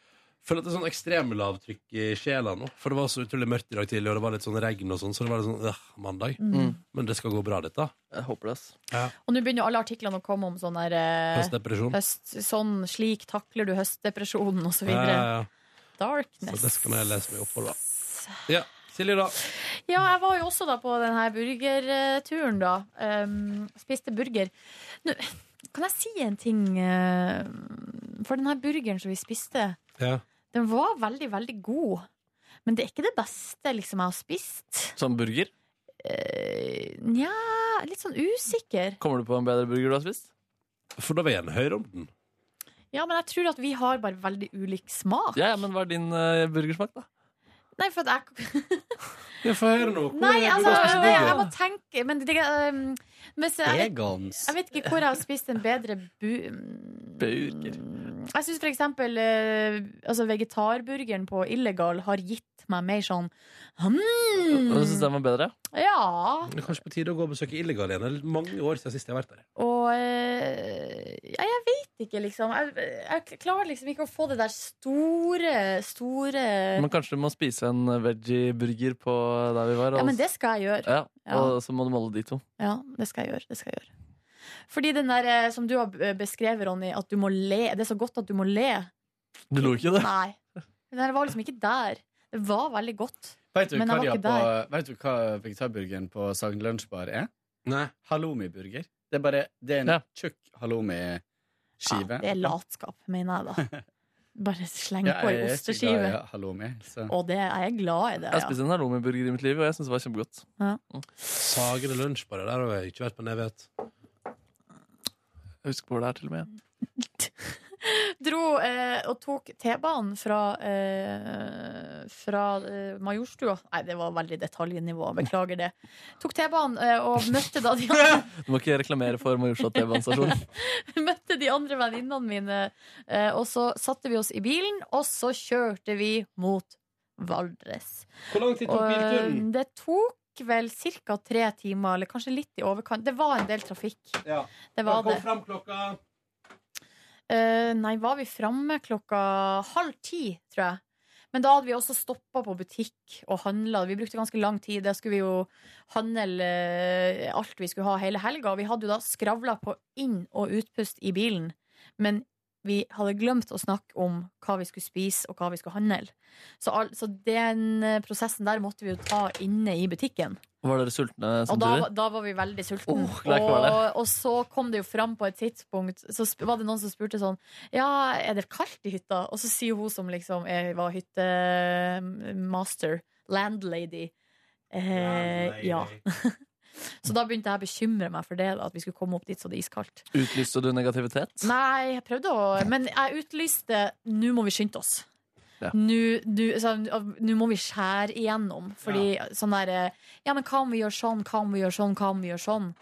Føler at det er sånn ekstremlavtrykk i sjela nå. For det var så utrolig mørkt i dag tidlig, og det var litt sånn regn og sånn, så det var litt sånn øh, mandag. Mm. Men det skal gå bra, dette. Jeg håper det. ass. Og nå begynner jo alle artiklene å komme om sånn der eh, Høstdepresjon. høst, Sånn slik takler du høstdepresjonen, og så Ja, videre. ja, ja. Darkness. Så det skal jeg lese meg opp på, da. Ja, Silje, da. Ja, jeg var jo også da på denne burgerturen, da. Um, spiste burger. Nå, kan jeg si en ting? eh, For denne burgeren som vi spiste, den var veldig, veldig god. Men det er ikke det beste liksom, jeg har spist. Som burger. Eh, Nja, litt sånn usikker. Kommer du på en bedre burger du har spist? For da vil jeg gjerne høre om den. Ja, men jeg tror at vi har bare veldig ulik smak. Ja, ja, men hva er din eh, burgersmak, da? Nei, for at jeg Få høre nå. Nei, altså, jeg, jeg må tenke Men det, um, hvis jeg, jeg, vet, Vegans. jeg vet ikke hvor jeg har spist en bedre bu... mm, Burger. Jeg syns for eksempel eh, altså vegetarburgeren på Illegal har gitt meg mer sånn Og du hmm, synes den var bedre? Ja. Det er kanskje på tide å gå og besøke Illegal igjen. Det er mange år siden sist jeg har vært der. Og eh, ja, jeg vet ikke, liksom. Jeg, jeg klarer liksom ikke å få det der store, store Men kanskje du må spise en eh, veggie-burger på der vi var? Ja, og- men det skal jeg gjøre. Ja, Ja. og så må du måle de to. Ja, det skal jeg gjøre. Det skal jeg gjøre. Fordi den der eh, som du har eh, beskrevet, Ronny, at du må le. Det er så godt at du må le. Du lo ikke, det? Nei. Den der var liksom ikke der. Det var veldig godt. Vet du, men hva jeg de var ikke har på, der. vet du hva vegetarburgeren på Sagen Lunsjbar er? Nei. Halloumi-burger. Det er bare det er en tjukk halloumi-skive. Det er latskap, mener jeg da. Bare sleng Ja, på ei jeg er så glad osteskive. i halloumi. Så. Og det jeg er glad i det, Jeg ja. spiste en halloumiburger i mitt liv, og jeg syntes det var kjempegodt. Ja. Sagene lunsj bare der har jeg ikke vært på nevet. Jeg husker hvor det er, til og med. Dro eh, og tok T-banen fra, eh, fra eh, Majorstua. Nei, det var veldig detaljnivå. Beklager det. Tok T-banen eh, og møtte da de andre Du må ikke reklamere for Majorstua T-banestasjon. møtte de andre venninnene mine, eh, og så satte vi oss i bilen, og så kjørte vi mot Valdres. Hvor lang tid tok Og, bilturen? eh, Det tok vel ca. tre timer, eller kanskje litt i overkant. Det var en del trafikk. Det var Kom det. fram klokka Eh, nei, var vi framme klokka halv ti, tror jeg. Men da hadde vi også stoppa på butikk og handla. Vi brukte ganske lang tid. Da skulle vi jo handle eh, alt vi skulle ha hele helga. Og vi hadde jo da skravla på inn- og utpust i bilen. Men vi hadde glemt å snakke om hva vi skulle spise og hva vi skulle handle. Så, al så den eh, prosessen der måtte vi jo ta inne i butikken. Var dere sultne Og da, samtidig? var- da var vi veldig sultne. det er ikke bare det. og, og så kom det jo fram på et tidspunkt Så sp- var det noen som spurte sånn Ja, er det kaldt i hytta? Og så sier hun som liksom er, var hyttemaster, landlady eh, Ja. så da begynte jeg å bekymre meg for det, da, at vi skulle komme opp dit så det er iskaldt. Utlyste du negativitet? Nei, jeg prøvde å Men jeg utlyste 'nå må vi skynde oss'. Ja. Nå nå- sånn, av- nå må vi skjære igjennom. Fordi sånn derre Ja, men hva om vi gjør sånn, hva om vi gjør sånn, hva om vi gjør sånn?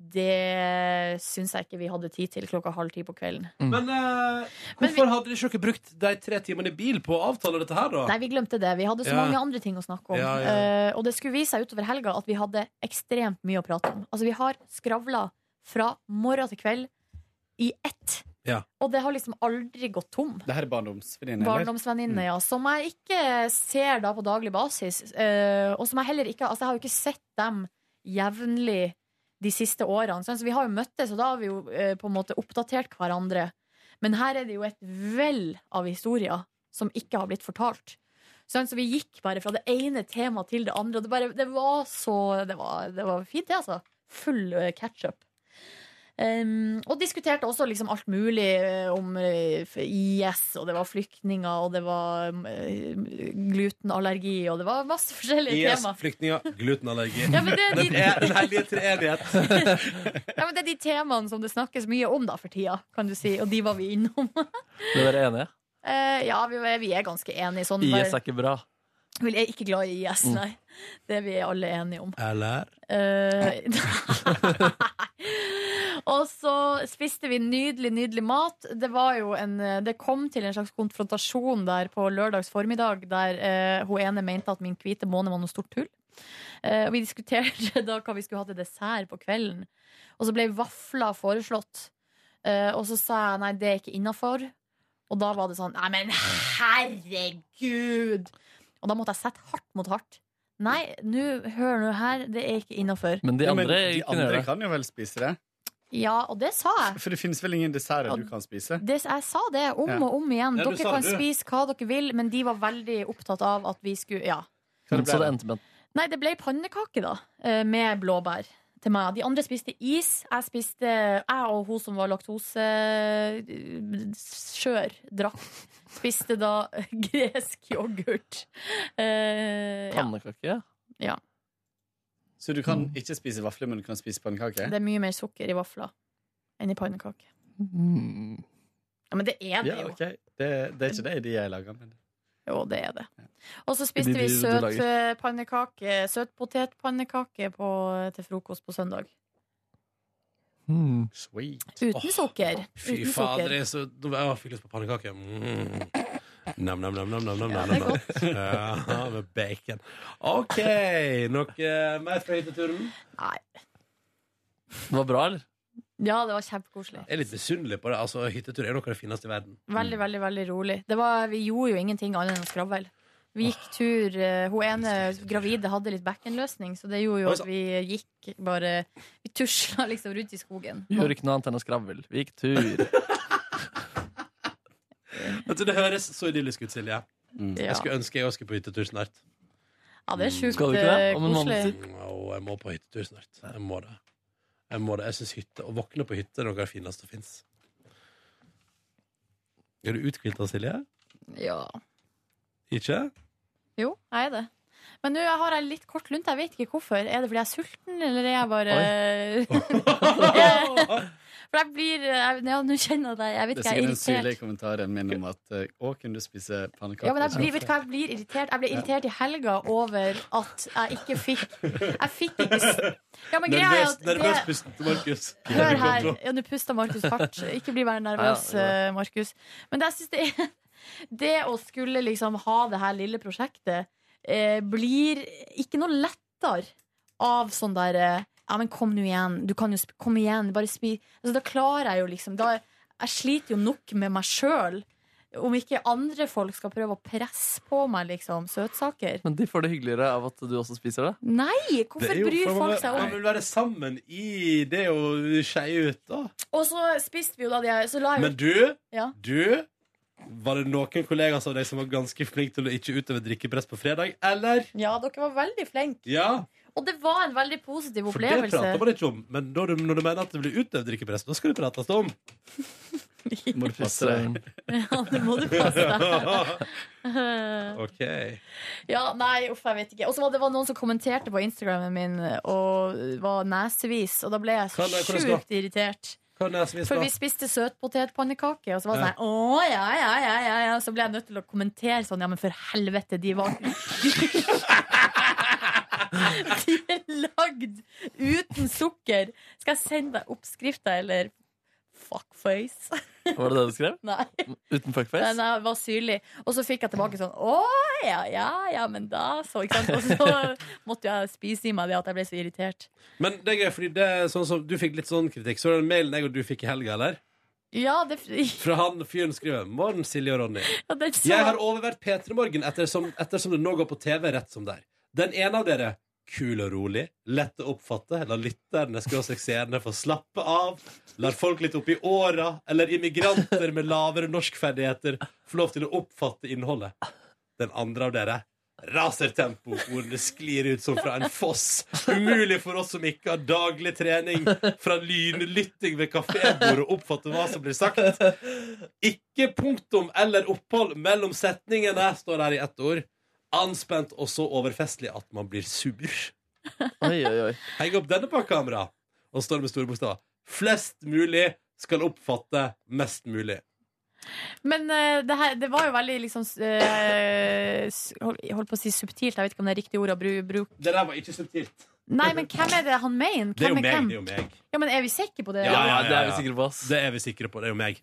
Det syns jeg ikke vi hadde tid til klokka halv ti på kvelden. Men eh, hvorfor hadde dere ikke brukt de tre timene i bil på å avtale dette her, da? Nei, vi glemte det. Vi hadde så Ja. mange andre ting å snakke om. Ja, ja. Eh, og det skulle vise seg utover helga at vi hadde ekstremt mye å prate om. Altså, vi har skravla fra morgen til kveld i ett. Ja. Og det har liksom aldri gått tom. Det her er barndomsvenninne, Barndomsvenninne, ja. Som jeg ikke ser da på daglig basis. eh, og som jeg heller ikke Altså, jeg har jo ikke sett dem jevnlig de siste årene. sant? Så vi har jo møttes, og da har vi jo eh, på en måte oppdatert hverandre. Men her er det jo et vell av historier som ikke har blitt fortalt. Sant? Så vi gikk bare fra det ene temaet til det andre, og det, bare, det var så Det var, det var fint, det, altså. Full ketsjup. Um, og diskuterte også liksom alt mulig eh, om eh, f- IS, og det var flyktninger, og det var eh, glutenallergi, og det var masse forskjellige IS, temaer. flyktninger, glutenallergi. Ja, men det er de- Den er den hellige treenighet. Ja, men det er de temaene som det snakkes mye om da for tida, kan du si, og de var vi innom. Ble dere enige? Eh, ja, vi, vi er ganske enige sånn. IS er bare- ikke bra. Vi er ikke glad i IS, Mm. nei. Det er vi alle enige om. Eller? Eh, og så spiste vi nydelig, nydelig mat. Det var jo en eh, Det kom til en slags konfrontasjon der på lørdags formiddag, der eh, hun ene mente at min hvite måne var noe stort tull. Eh, og vi diskuterte da hva vi skulle ha til dessert på kvelden. Og så ble vafler foreslått. Eh, og så sa jeg nei, det er ikke innafor. Og da var det sånn Nei, men herregud! Og da måtte jeg sette hardt mot hardt. Nei, nå hør nå her, det er ikke innafor. Men de Ja, men andre de kunne andre gjøre det. kan jo vel spise det? Ja, og det sa jeg. For det finnes vel ingen desserter Ja, du kan spise? Det, jeg sa det om Ja. og om igjen. Ja, du dere sa kan det. spise hva dere vil, men de var veldig opptatt av at vi skulle Ja. Men Så det endte med Nei, det ble pannekake, da, eh, med blåbær til meg. De andre spiste is. Jeg spiste Jeg og hun som var laktoseskjør, drakk. Spiste da gresk yoghurt. Eh, ja. pannekake. Ja. Så du kan ikke spise vafler, men du kan spise pannekaker? Det er mye mer sukker i vafler enn i pannekaker. Ja, men det er det Ja, jo. ok. Det, det er ikke det de jeg lager. Men... Jo, det er det. Og så spiste De- de- vi du søt lager. eh, pannekake, søt potetpannekake på, til frokost på søndag. Sweet. Uten sukker. Fy Uten fader, sukker. jeg er så Nå var jeg fikk lyst på pannekake. Mm. Nam, nam, nam, nam, nam, nam, Ja, nam, det er nam. Ja, med bacon. OK, noe eh, mer fra hytteturen? Nei. Det var bra, eller? Ja, det var kjempekoselig. Jeg er litt misunnelig på det. Altså, Hyttetur er noe av det fineste i verden. Veldig, veldig veldig rolig. Det var, vi gjorde jo ingenting annet enn å skravle. Vi gikk tur eh, Hun ene gravide hadde litt bekkenløsning, så det gjorde jo Oi, at vi gikk bare Vi tusla liksom rundt i skogen. Vi gjorde ikke noe annet enn å skravle. Vi gikk tur. Vet du, Altså, Det høres så idyllisk ut, Silje. Ja. Mm. Jeg skulle ønske jeg også skulle på hyttetur snart. Ja, det er sjukt Skal du ikke det? eh, Om en måned koselig. siden? Å, jeg må på hyttetur snart. Jeg må det. Jeg må det. Jeg synes hytte, Å våkne på hytte er noe av det fineste som fins. Er du uthvilt da, Silje? Ja. Ikke? Jo, jeg er det. Men nå har jeg litt kort lunt. Jeg vet ikke hvorfor. Er det fordi jeg er sulten, eller er jeg bare For jeg blir jeg- Ja, nå kjenner jeg det. Jeg vet Det er ikke, jeg er sikkert den irritert. syrlige kommentaren min om at eh, Å, kunne du spise pannekaker? Ja, men jeg blir, vet du hva, jeg blir irritert Jeg ble irritert i helga over at jeg ikke fikk Jeg fikk ikke s- ja, men greia er Nervøs, at nervøs det, pusten til Markus. Hør her, ja, nå puster Markus hardt Ikke bli mer nervøs, Ja, ja. eh, Markus Men det jeg synes det er Det å skulle liksom ha det her lille prosjektet eh, Blir ikke noe lettere Av sånn der eh, Ja, men kom nå igjen, du kan jo sp- Kom igjen, bare spi altså, Da klarer jeg jo liksom da, Jeg sliter jo nok med meg selv om ikke andre folk skal prøve å presse på meg liksom, søtsaker. Men de får det hyggeligere av at du også spiser det. Nei! Hvorfor bryr folk seg Man om vil være sammen i det å skeie ut, da. Og så spiste vi jo da de her så la jeg jo- Men du, ja. du Var det noen kollegaer av deg som var ganske flink til å ikke utøve drikkepress på fredag, eller? ja, dere var veldig flinke. Ja, Og det var en veldig positiv for det prater man opplevelse. ikke om. Men når du, når du mener at det blir utøvd drikkepress, da skal sånn. det prates om. Må du passe deg. Ja, det må du passe deg. OK. Ja, nei, uff, jeg vet ikke. Og så var det var noen som kommenterte på Instagramen min og var nesevis, og da ble jeg Hva- hva det skal? sjukt irritert. Hva er det som er For vi smart? spiste søtpotetpannekake, og så var det Ja. sånn Å, ja, ja, ja, ja, ja. Så ble jeg nødt til å kommentere sånn, ja, men for helvete, de var De er lagd uten sukker. Skal jeg sende deg oppskrifta, eller fuckface? Var det det du skrev? Nei. Uten fuckface? Nei, nei, det var syrlig. Og så fikk jeg tilbake sånn Å ja, ja, ja, men da så, ikke sant. Og så måtte jeg spise i meg det at jeg ble så irritert. Men det er gøy, fordi det er sånn som du fikk litt sånn kritikk. Så var det mailen jeg og du fikk i helga, eller? Ja, det Fra han fyren skriver Morgen, Silje og Ronny. Ja, den så- Jeg har overvært P3 Morgen ettersom, ettersom det nå går på TV rett som det er. Den ene av dere kul og rolig, lett å oppfatte, lar lytterne skråstrek seerne få slappe av, lar folk litt oppi åra, eller immigranter med lavere norskferdigheter få lov til å oppfatte innholdet. Den andre av dere rasertempo, ordene sklir ut som fra en foss. Umulig for oss som ikke har daglig trening fra lynlytting ved kafébordet å oppfatte hva som blir sagt. Ikke punktum eller opphold mellom setningene, står her i ett ord. Anspent og så overfestlig at man blir sur. Heng opp denne på kamera, og står det med store bokstaver. Flest mulig skal oppfatte mest mulig. Men eh, det, her, det var jo veldig liksom eh, s- hold, jeg holdt på å si subtilt, jeg vet ikke om det er riktig ord å bru- bruke. Det der var ikke subtilt. Nei, men hvem er det han mener? Det er jo Hvem meg. hvem? Det er jo meg. Ja, men er vi sikre på det? det er vi sikre på. Ass. Det er vi sikre på. Det er jo meg.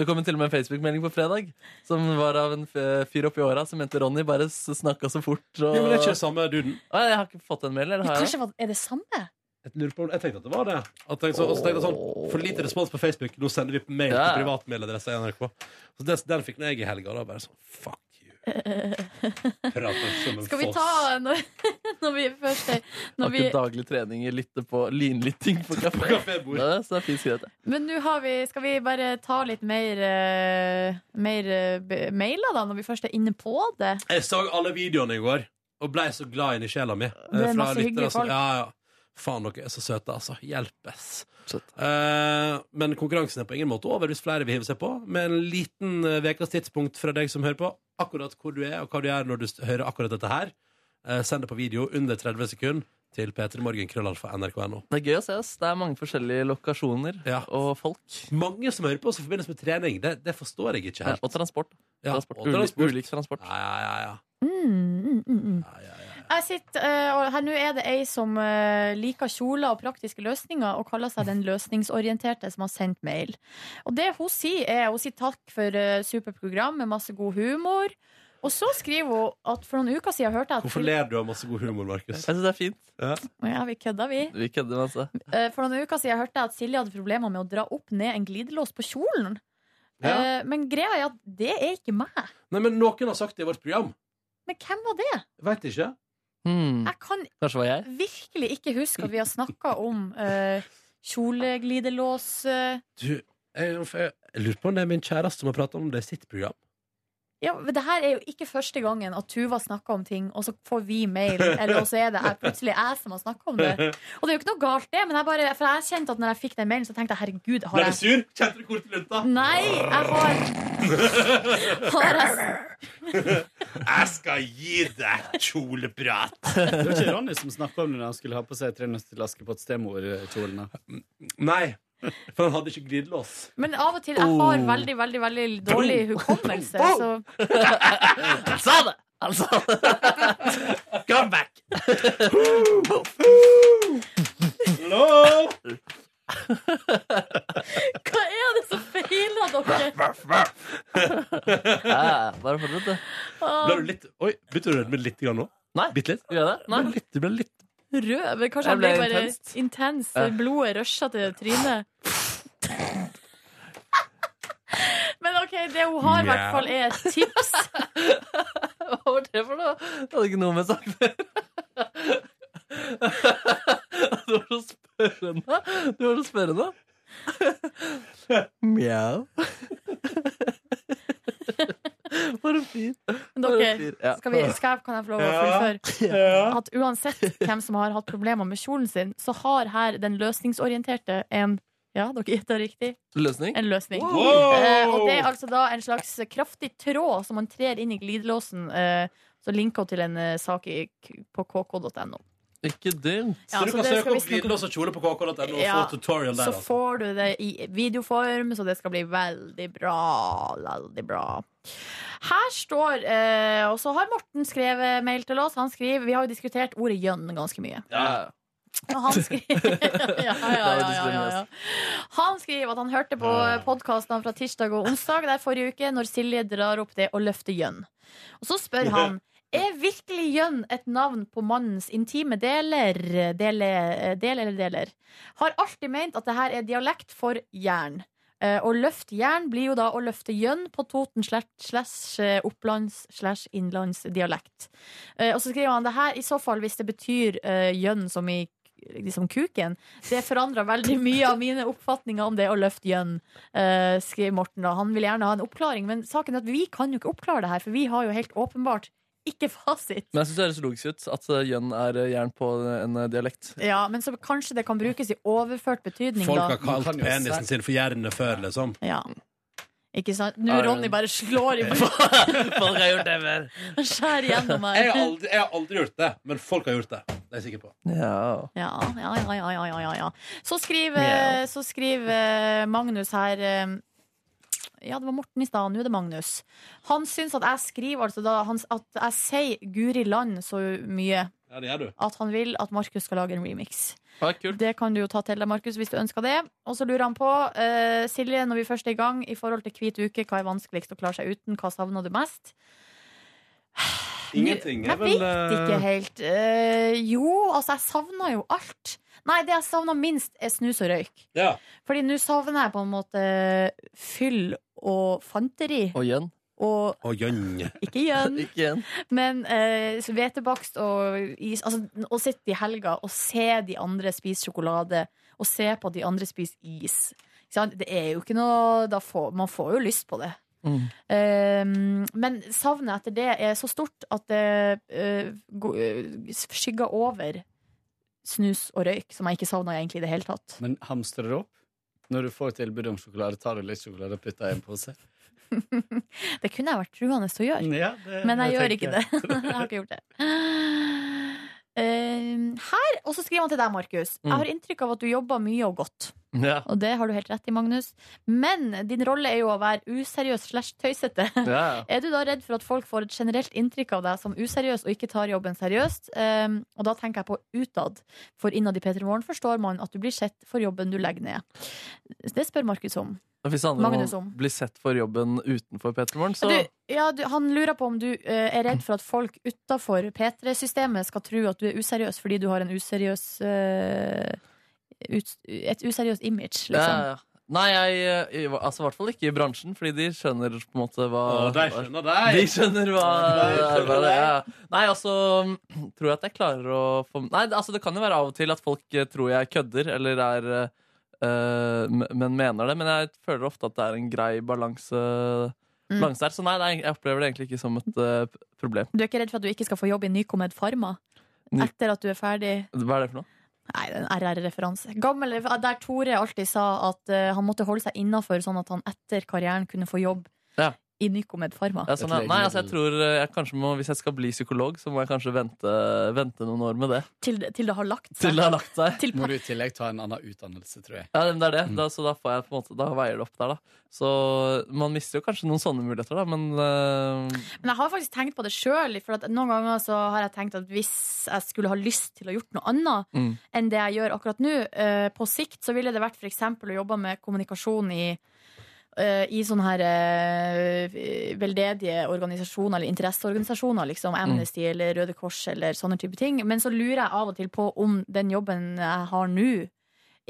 Det kom jo til og med en Facebook-melding på fredag som var av en f- fyr oppi åra som mente Ronny bare s- snakka så fort. Og... Jo, men det er ikke samme duden. Å, jeg har ikke fått den mailen. Eller har jeg? Kanskje var- er det samme? Jeg, lurer på, om- jeg tenkte at det var det. At jeg, så, og så tenkte jeg sånn, For lite respons på Facebook. Nå sender vi mail Ja. til privatmailadressa i NRK. Så den, den fikk nå jeg i helga. Da bare sånn fuck you. Prater som en Skal vi foss. ta når, når vi først er Har når vi, ikke daglig trening i lytte på lynlytting på kafé. Nei, så det er fint skrevet. det. Men nå har vi Skal vi bare ta litt mer, eh, mer eh, b- mailer, da, når vi først er inne på det? Jeg så alle videoene i går og blei så glad inni sjela mi. Eh, Det er Fra masse lyttere hyggelige som- folk. Ja, ja. Faen, dere er så søte, altså. Hjelpes. Eh, men konkurransen er på ingen måte over hvis flere vil hive seg på. Med en liten eh, vekas tidspunkt fra deg som hører på, akkurat hvor du er, og hva du gjør når du s- hører akkurat dette her. Eh, send det på video under 30 sekunder. til p3morgenkrøllalfa.nrk.no. Det er gøy å ses. Det er mange forskjellige lokasjoner og folk. Mange som hører på oss i forbindelse med trening. Det, det forstår jeg ikke helt. og transport. Ja, Transport. og Uli- transport. Ulik transport. Ja, ja, ja. Mm, mm, mm. Jeg sitter, eh, og her nå er det ei som eh, liker kjoler og praktiske løsninger, og kaller seg den løsningsorienterte som har sendt mail. Og det hun sier, er hun sier takk for eh, superprogram med masse god humor. Og så skriver hun at for noen uker siden hørte jeg at Hvorfor ler du av masse god humor, Markus? Jeg syns det er fint. Ja. Ja, vi kødda, vi. Vi kødder masse. Eh, For noen uker siden hørte jeg at Silje hadde problemer med å dra opp ned en glidelås på kjolen. Ja. Eh, Men greia er at det er ikke meg. Nei, men noen har sagt det i vårt program. Men hvem var det? Veit ikke. Jeg kan Hmm. Kanskje var jeg? virkelig ikke huske at vi har snakka om eh, kjoleglidelås eh. Du, jeg, jeg lurer på om det er min kjæreste som har prata om det i sitt program. Ja, men Det her er jo ikke første gangen at Tuva snakker om ting, og så får vi mail, eller så er det jeg, plutselig jeg som har snakka om det. Og det er jo ikke noe galt, det, men jeg bare, for jeg kjente at når jeg fikk den mailen, så tenkte jeg herregud, har jeg sur? Kjente du hvor til lunta? Nei, jeg har Har jeg Jeg skal gi deg kjoleprat! Det var ikke Ronny som snakka om det da han skulle ha på seg Tre nøtter til Askepott stemor-kjolen. Nei, for han hadde ikke glidelås. Men av og til Jeg har veldig, veldig veldig dårlig hukommelse, så Han sa det! Han sa det! Come back! hva er det som feiler dere? Ja, bare fortsett, du. Ble du litt, oi, Begynte du å rødme litt grann nå? Nei. Bitte litt? Gjør jeg det? Nei. Du ble litt, du ble litt Rød, men Jeg kanskje han ble ble bare intenst. intens. Ja. Blodet rusha til trynet. Men OK, det hun har i hvert fall, er et tips. Hva var det for noe? Jeg hadde ikke noe med saken å gjøre. Du var så spørrende. Du var så spørrende. Mjau. For en fyr. Men For en dere, fyr, ja. skal, vi, skal jeg, kan jeg få lov å fullføre? At uansett hvem som har hatt problemer med kjolen sin, så har her den løsningsorienterte en Ja, dere gjetta riktig. Løsning? En løsning. Wow! Eh, og det er altså da en slags kraftig tråd som man trer inn i glidelåsen. Eh, så linker hun til en eh, sak i, k- på kk.no. Ikke dumt. så Ja, du så kan søke det skal opp visstnok- glidelås og kjole på kk.no og få Ja, tutorial der. Så altså. får du det i videoform, så det skal bli veldig bra. Veldig bra. Her står eh, Og så har Morten skrevet mail til oss. Han skriver, Vi har jo diskutert ordet gjønn ganske mye. Ja. Og han skriver ja, ja, ja, Det ja, var ja, ja. diskriminert. Han skriver at han hørte på podkastene fra tirsdag og onsdag der forrige uke, når Silje drar opp det å løfte gjønn. Og så spør han er virkelig gjønn et navn på mannens intime deler? Dele, eh, del eller deler? Har alltid ment at det her er dialekt for jern. Eh, Å løfte jern blir jo da å løfte gjønn på Toten slash- slash eh, opplands slash innlandsdialekt. Eh, Og så skriver han det her i så fall hvis det betyr eh, gjønn som i k- liksom kuken. Det forandrer veldig mye av mine oppfatninger om det å løfte gjønn, eh, skriver Morten. da. Han vil gjerne ha en oppklaring, men saken er at vi kan jo ikke oppklare det her, for vi har jo helt åpenbart ikke fasit. Men jeg syns det høres logisk ut at eh, jønn er eh, jern på en eh, dialekt. Ja, Men så kanskje det kan brukes i overført betydning, Folk har da. kalt Man kan jo penisen se- sin for jernet før, liksom. Ja. Ikke sant? Nå Ja, ja. Ronny bare slår i Folk har gjort det mer. bordet, skjærer gjennom Jeg har, her. aldri, jeg har aldri gjort det, men folk har gjort det. Det er jeg sikker på. Ja. Ja, ja, ja, ja, ja, ja, ja. Så Ja. skriver, så skriver Magnus her eh, Ja, det var Morten i stad, nå er det Magnus. Han syns at jeg skriver altså da, han, at jeg sier Guri Land så mye Ja, det gjør du. at han vil at Markus skal lage en remix. Ja, kult. Det kan du jo ta til deg, Markus, hvis du ønsker det. Og så lurer han på, eh, Silje, når vi først er i gang, i forhold til Hvit uke, hva er vanskeligst å klare seg uten? Hva savner du mest? Ingenting Jeg er vel vet eh, ikke helt. Eh, jo, altså, jeg savner jo alt. Nei, det jeg savner minst, er snus og røyk. ja. Fordi nå savner jeg på en måte fyll og fanteri. Og jønn. Og Å, gjønn. ikke gjønn, Ikke jønn. men eh, så hvetebakst og is. Altså, å sitte i helga og se de andre spise sjokolade, og se på at de andre spiser is. Ikke sant? Det er jo ikke noe da får, Man får jo lyst på det. Mm. Um, men savnet etter det er så stort at det uh, gå- uh, skygger over snus og røyk, som jeg ikke savna egentlig i det hele tatt. Men hamstrer du opp? Når du får tilbud om sjokolade, tar du litt sjokolade og putter i en pose? Det kunne jeg vært truende til å gjøre, Ja, det- men jeg, gjør tenker ikke det. jeg har ikke gjort det. eh, her. Og så skriver han til deg, Markus. Mm. Jeg har inntrykk av at du jobber mye og godt. Ja. Og det har du helt rett i, Magnus. Men din rolle er jo å være useriøs slash tøysete. Ja. Er du da redd for at folk får et generelt inntrykk av deg som useriøs og ikke tar jobben seriøst? Um, og da tenker jeg på utad. For innad i P3 Morgen forstår man at du blir sett for jobben du legger ned. Det spør Markus om. Og Hvis det handler Magnus om om. å bli sett for jobben utenfor Peter Morgen, så Du, ja, du, han lurer på om du eh, er redd for at folk utafor P3-systemet skal tro at du er useriøs fordi du har en useriøs eh, ut, et useriøst image, liksom. Ja, ja. Nei, jeg, jeg Altså i hvert fall ikke i bransjen, fordi de skjønner på en måte hva Å, de skjønner deg. De skjønner hva De skjønner hva det er. deg. Nei, altså Tror jeg at jeg klarer å få Nei, altså det kan jo være av og til at folk eh, tror jeg kødder eller er eh, eh, m- Men mener det. Men jeg føler ofte at det er en grei balanse Mm. balanse der. Så nei, nei, jeg opplever det egentlig ikke som et eh, p- problem. Du er ikke redd for at du ikke skal få jobb i Nycomed Pharma Ny- etter at du er ferdig? Hva er det for noe? Nei, det er en RR-referanse. Gammel, Der Tore alltid sa at eh, han måtte holde seg innafor, sånn at han etter karrieren kunne få jobb Ja. i Nycomed Pharma. Ja, sånn, ja. nei, altså jeg tror eh, jeg kanskje må, Hvis jeg skal bli psykolog, så må jeg kanskje vente, vente noen år med det. Til, til det har lagt seg. Til det har lagt seg. Må du i tillegg ta en annen utdannelse, tror jeg. Ja, men det er det. Da, så da, får jeg, på en måte, da veier det opp der, da. Så man mister jo kanskje noen sånne muligheter, da, men eh, Men jeg har faktisk tenkt på det sjøl, for at noen ganger så har jeg tenkt at hvis jeg skulle ha lyst til å gjort noe annet Mm. enn det jeg gjør akkurat nå, eh, på sikt så ville det vært f.eks. å jobbe med kommunikasjon i eh, i sånne her eh, veldedige organisasjoner eller interesseorganisasjoner, liksom Amnesty eller Røde Kors eller sånne type ting. Men så lurer jeg av og til på om den jobben jeg har nå,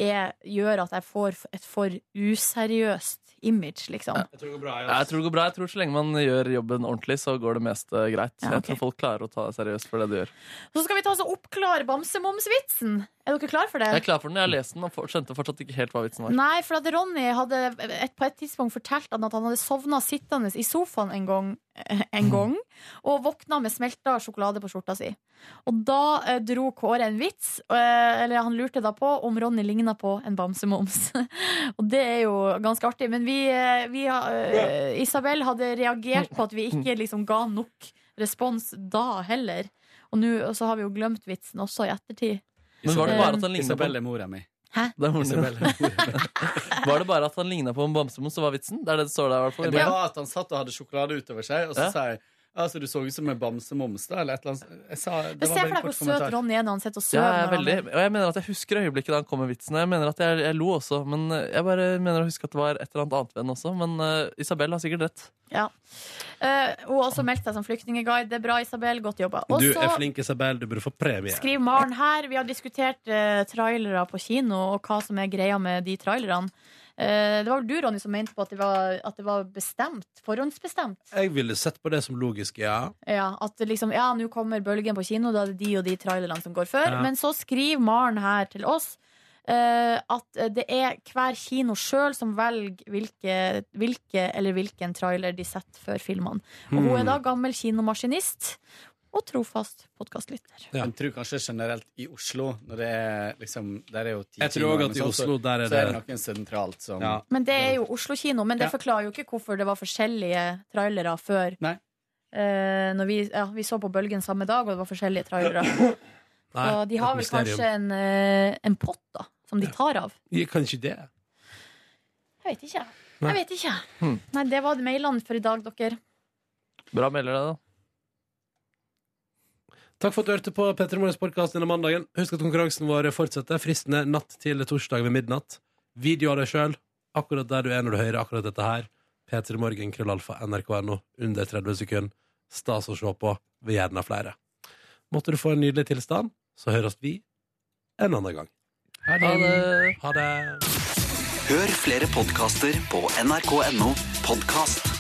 er, gjør at jeg får et for useriøst image, liksom. Jeg tror det går bra. jeg tror det går bra. Jeg tror så lenge man gjør jobben ordentlig, så går det meste greit. Ja, Jeg tror folk klarer å ta det seriøst for det de gjør. Så skal vi ta oss og oppklare bamsemomsvitsen. Er dere klar for det? Jeg er klar for den. Jeg har lest den og for- skjønte fortsatt ikke helt hva vitsen var. Nei, for at Ronny hadde et, på et tidspunkt fortalt han at han hadde sovna sittende i sofaen en gang, eh, Mm. en gang og våkna med smelta sjokolade på skjorta si. Og da eh, dro Kåre en vits, eh, eller han lurte da på om Ronny ligna på en bamsemums. og det er jo ganske artig, men vi, eh, vi har- eh, Isabel hadde reagert på at vi ikke liksom ga nok respons da heller. Og nå og så har vi jo glemt vitsen også i ettertid. Men var det bare at liksom han lignet på Isabel er mora mi. Hæ? Det er moren din. Isabel er Var det bare at han ligna på en bamsemo, så var vitsen? Det er det det står der, i hvert fall. Det var at han satt og hadde sjokolade utover seg, og så Ja. sa jeg Altså, du så ut som en bamsemums, da, eller et eller annet. Jeg sa, det Se for var bare en deg hvor kort søt kommentar. Ronny er når han sitter og Ja, sover. jeg, når er han veldig, og jeg mener at jeg husker øyeblikket da han kom med vitsen. Jeg mener at jeg, jeg lo også, men eh, jeg bare mener å huske at det var et eller annet annet venn også. Men eh, Isabel har sikkert rett. Ja. Eh, hun har også meldt seg som flyktningeguide. Det er bra, Isabel. Godt jobba. Og Du er så flink, Isabel. Du burde få premie. skriver Maren her Vi har diskutert eh, trailere på kino og hva som er greia med de trailerne. Eh, det var vel du, Ronny, som mente på at det var, at det var bestemt. Forhåndsbestemt. Jeg ville sett på det som logisk, ja. Ja, at det liksom, ja, nå kommer bølgen på kino, da er det de og de trailerne som går før. Ja. Men så skriver Maren her til oss eh, at det er hver kino sjøl som velger hvilke, hvilke eller hvilken trailer de setter før filmene. Og hun Hmm. er da gammel kinomaskinist og trofast podkastlytter. Jeg tror kanskje generelt i Oslo, når det er liksom Der er jo ti Jeg tror også timer, at i men sånn, Oslo, der er så, så er det det- noen sentralt som Ja. Men det er jo Oslo-kino, men det Ja. forklarer jo ikke hvorfor det var forskjellige trailere før. Eh, når vi, ja, vi så på Bølgen samme dag, og det var forskjellige trailere. Nei, og de et har vel mysterium. kanskje en, eh, en pott da, som de tar av. Ja, Kanskje det. Jeg vet ikke. Nei. Jeg vet ikke. Hmm. Nei, det var mailene for i dag, dere. Bra melder deg, da. Takk for at du hørte på Petter Morgens podkast denne mandagen. Husk at konkurransen vår fortsetter. Fristen er natt til torsdag ved midnatt. Video av deg sjøl, akkurat der du er når du hører akkurat dette her. P3 Morgen, krøllalfa, nrk.no, under 30 sekunder. Stas å se på. Vil gjerne ha flere. Måtte du få en nydelig tilstand, så høres vi en annen gang. Ha Ha det. Hør flere podkaster på nrk.no podkast.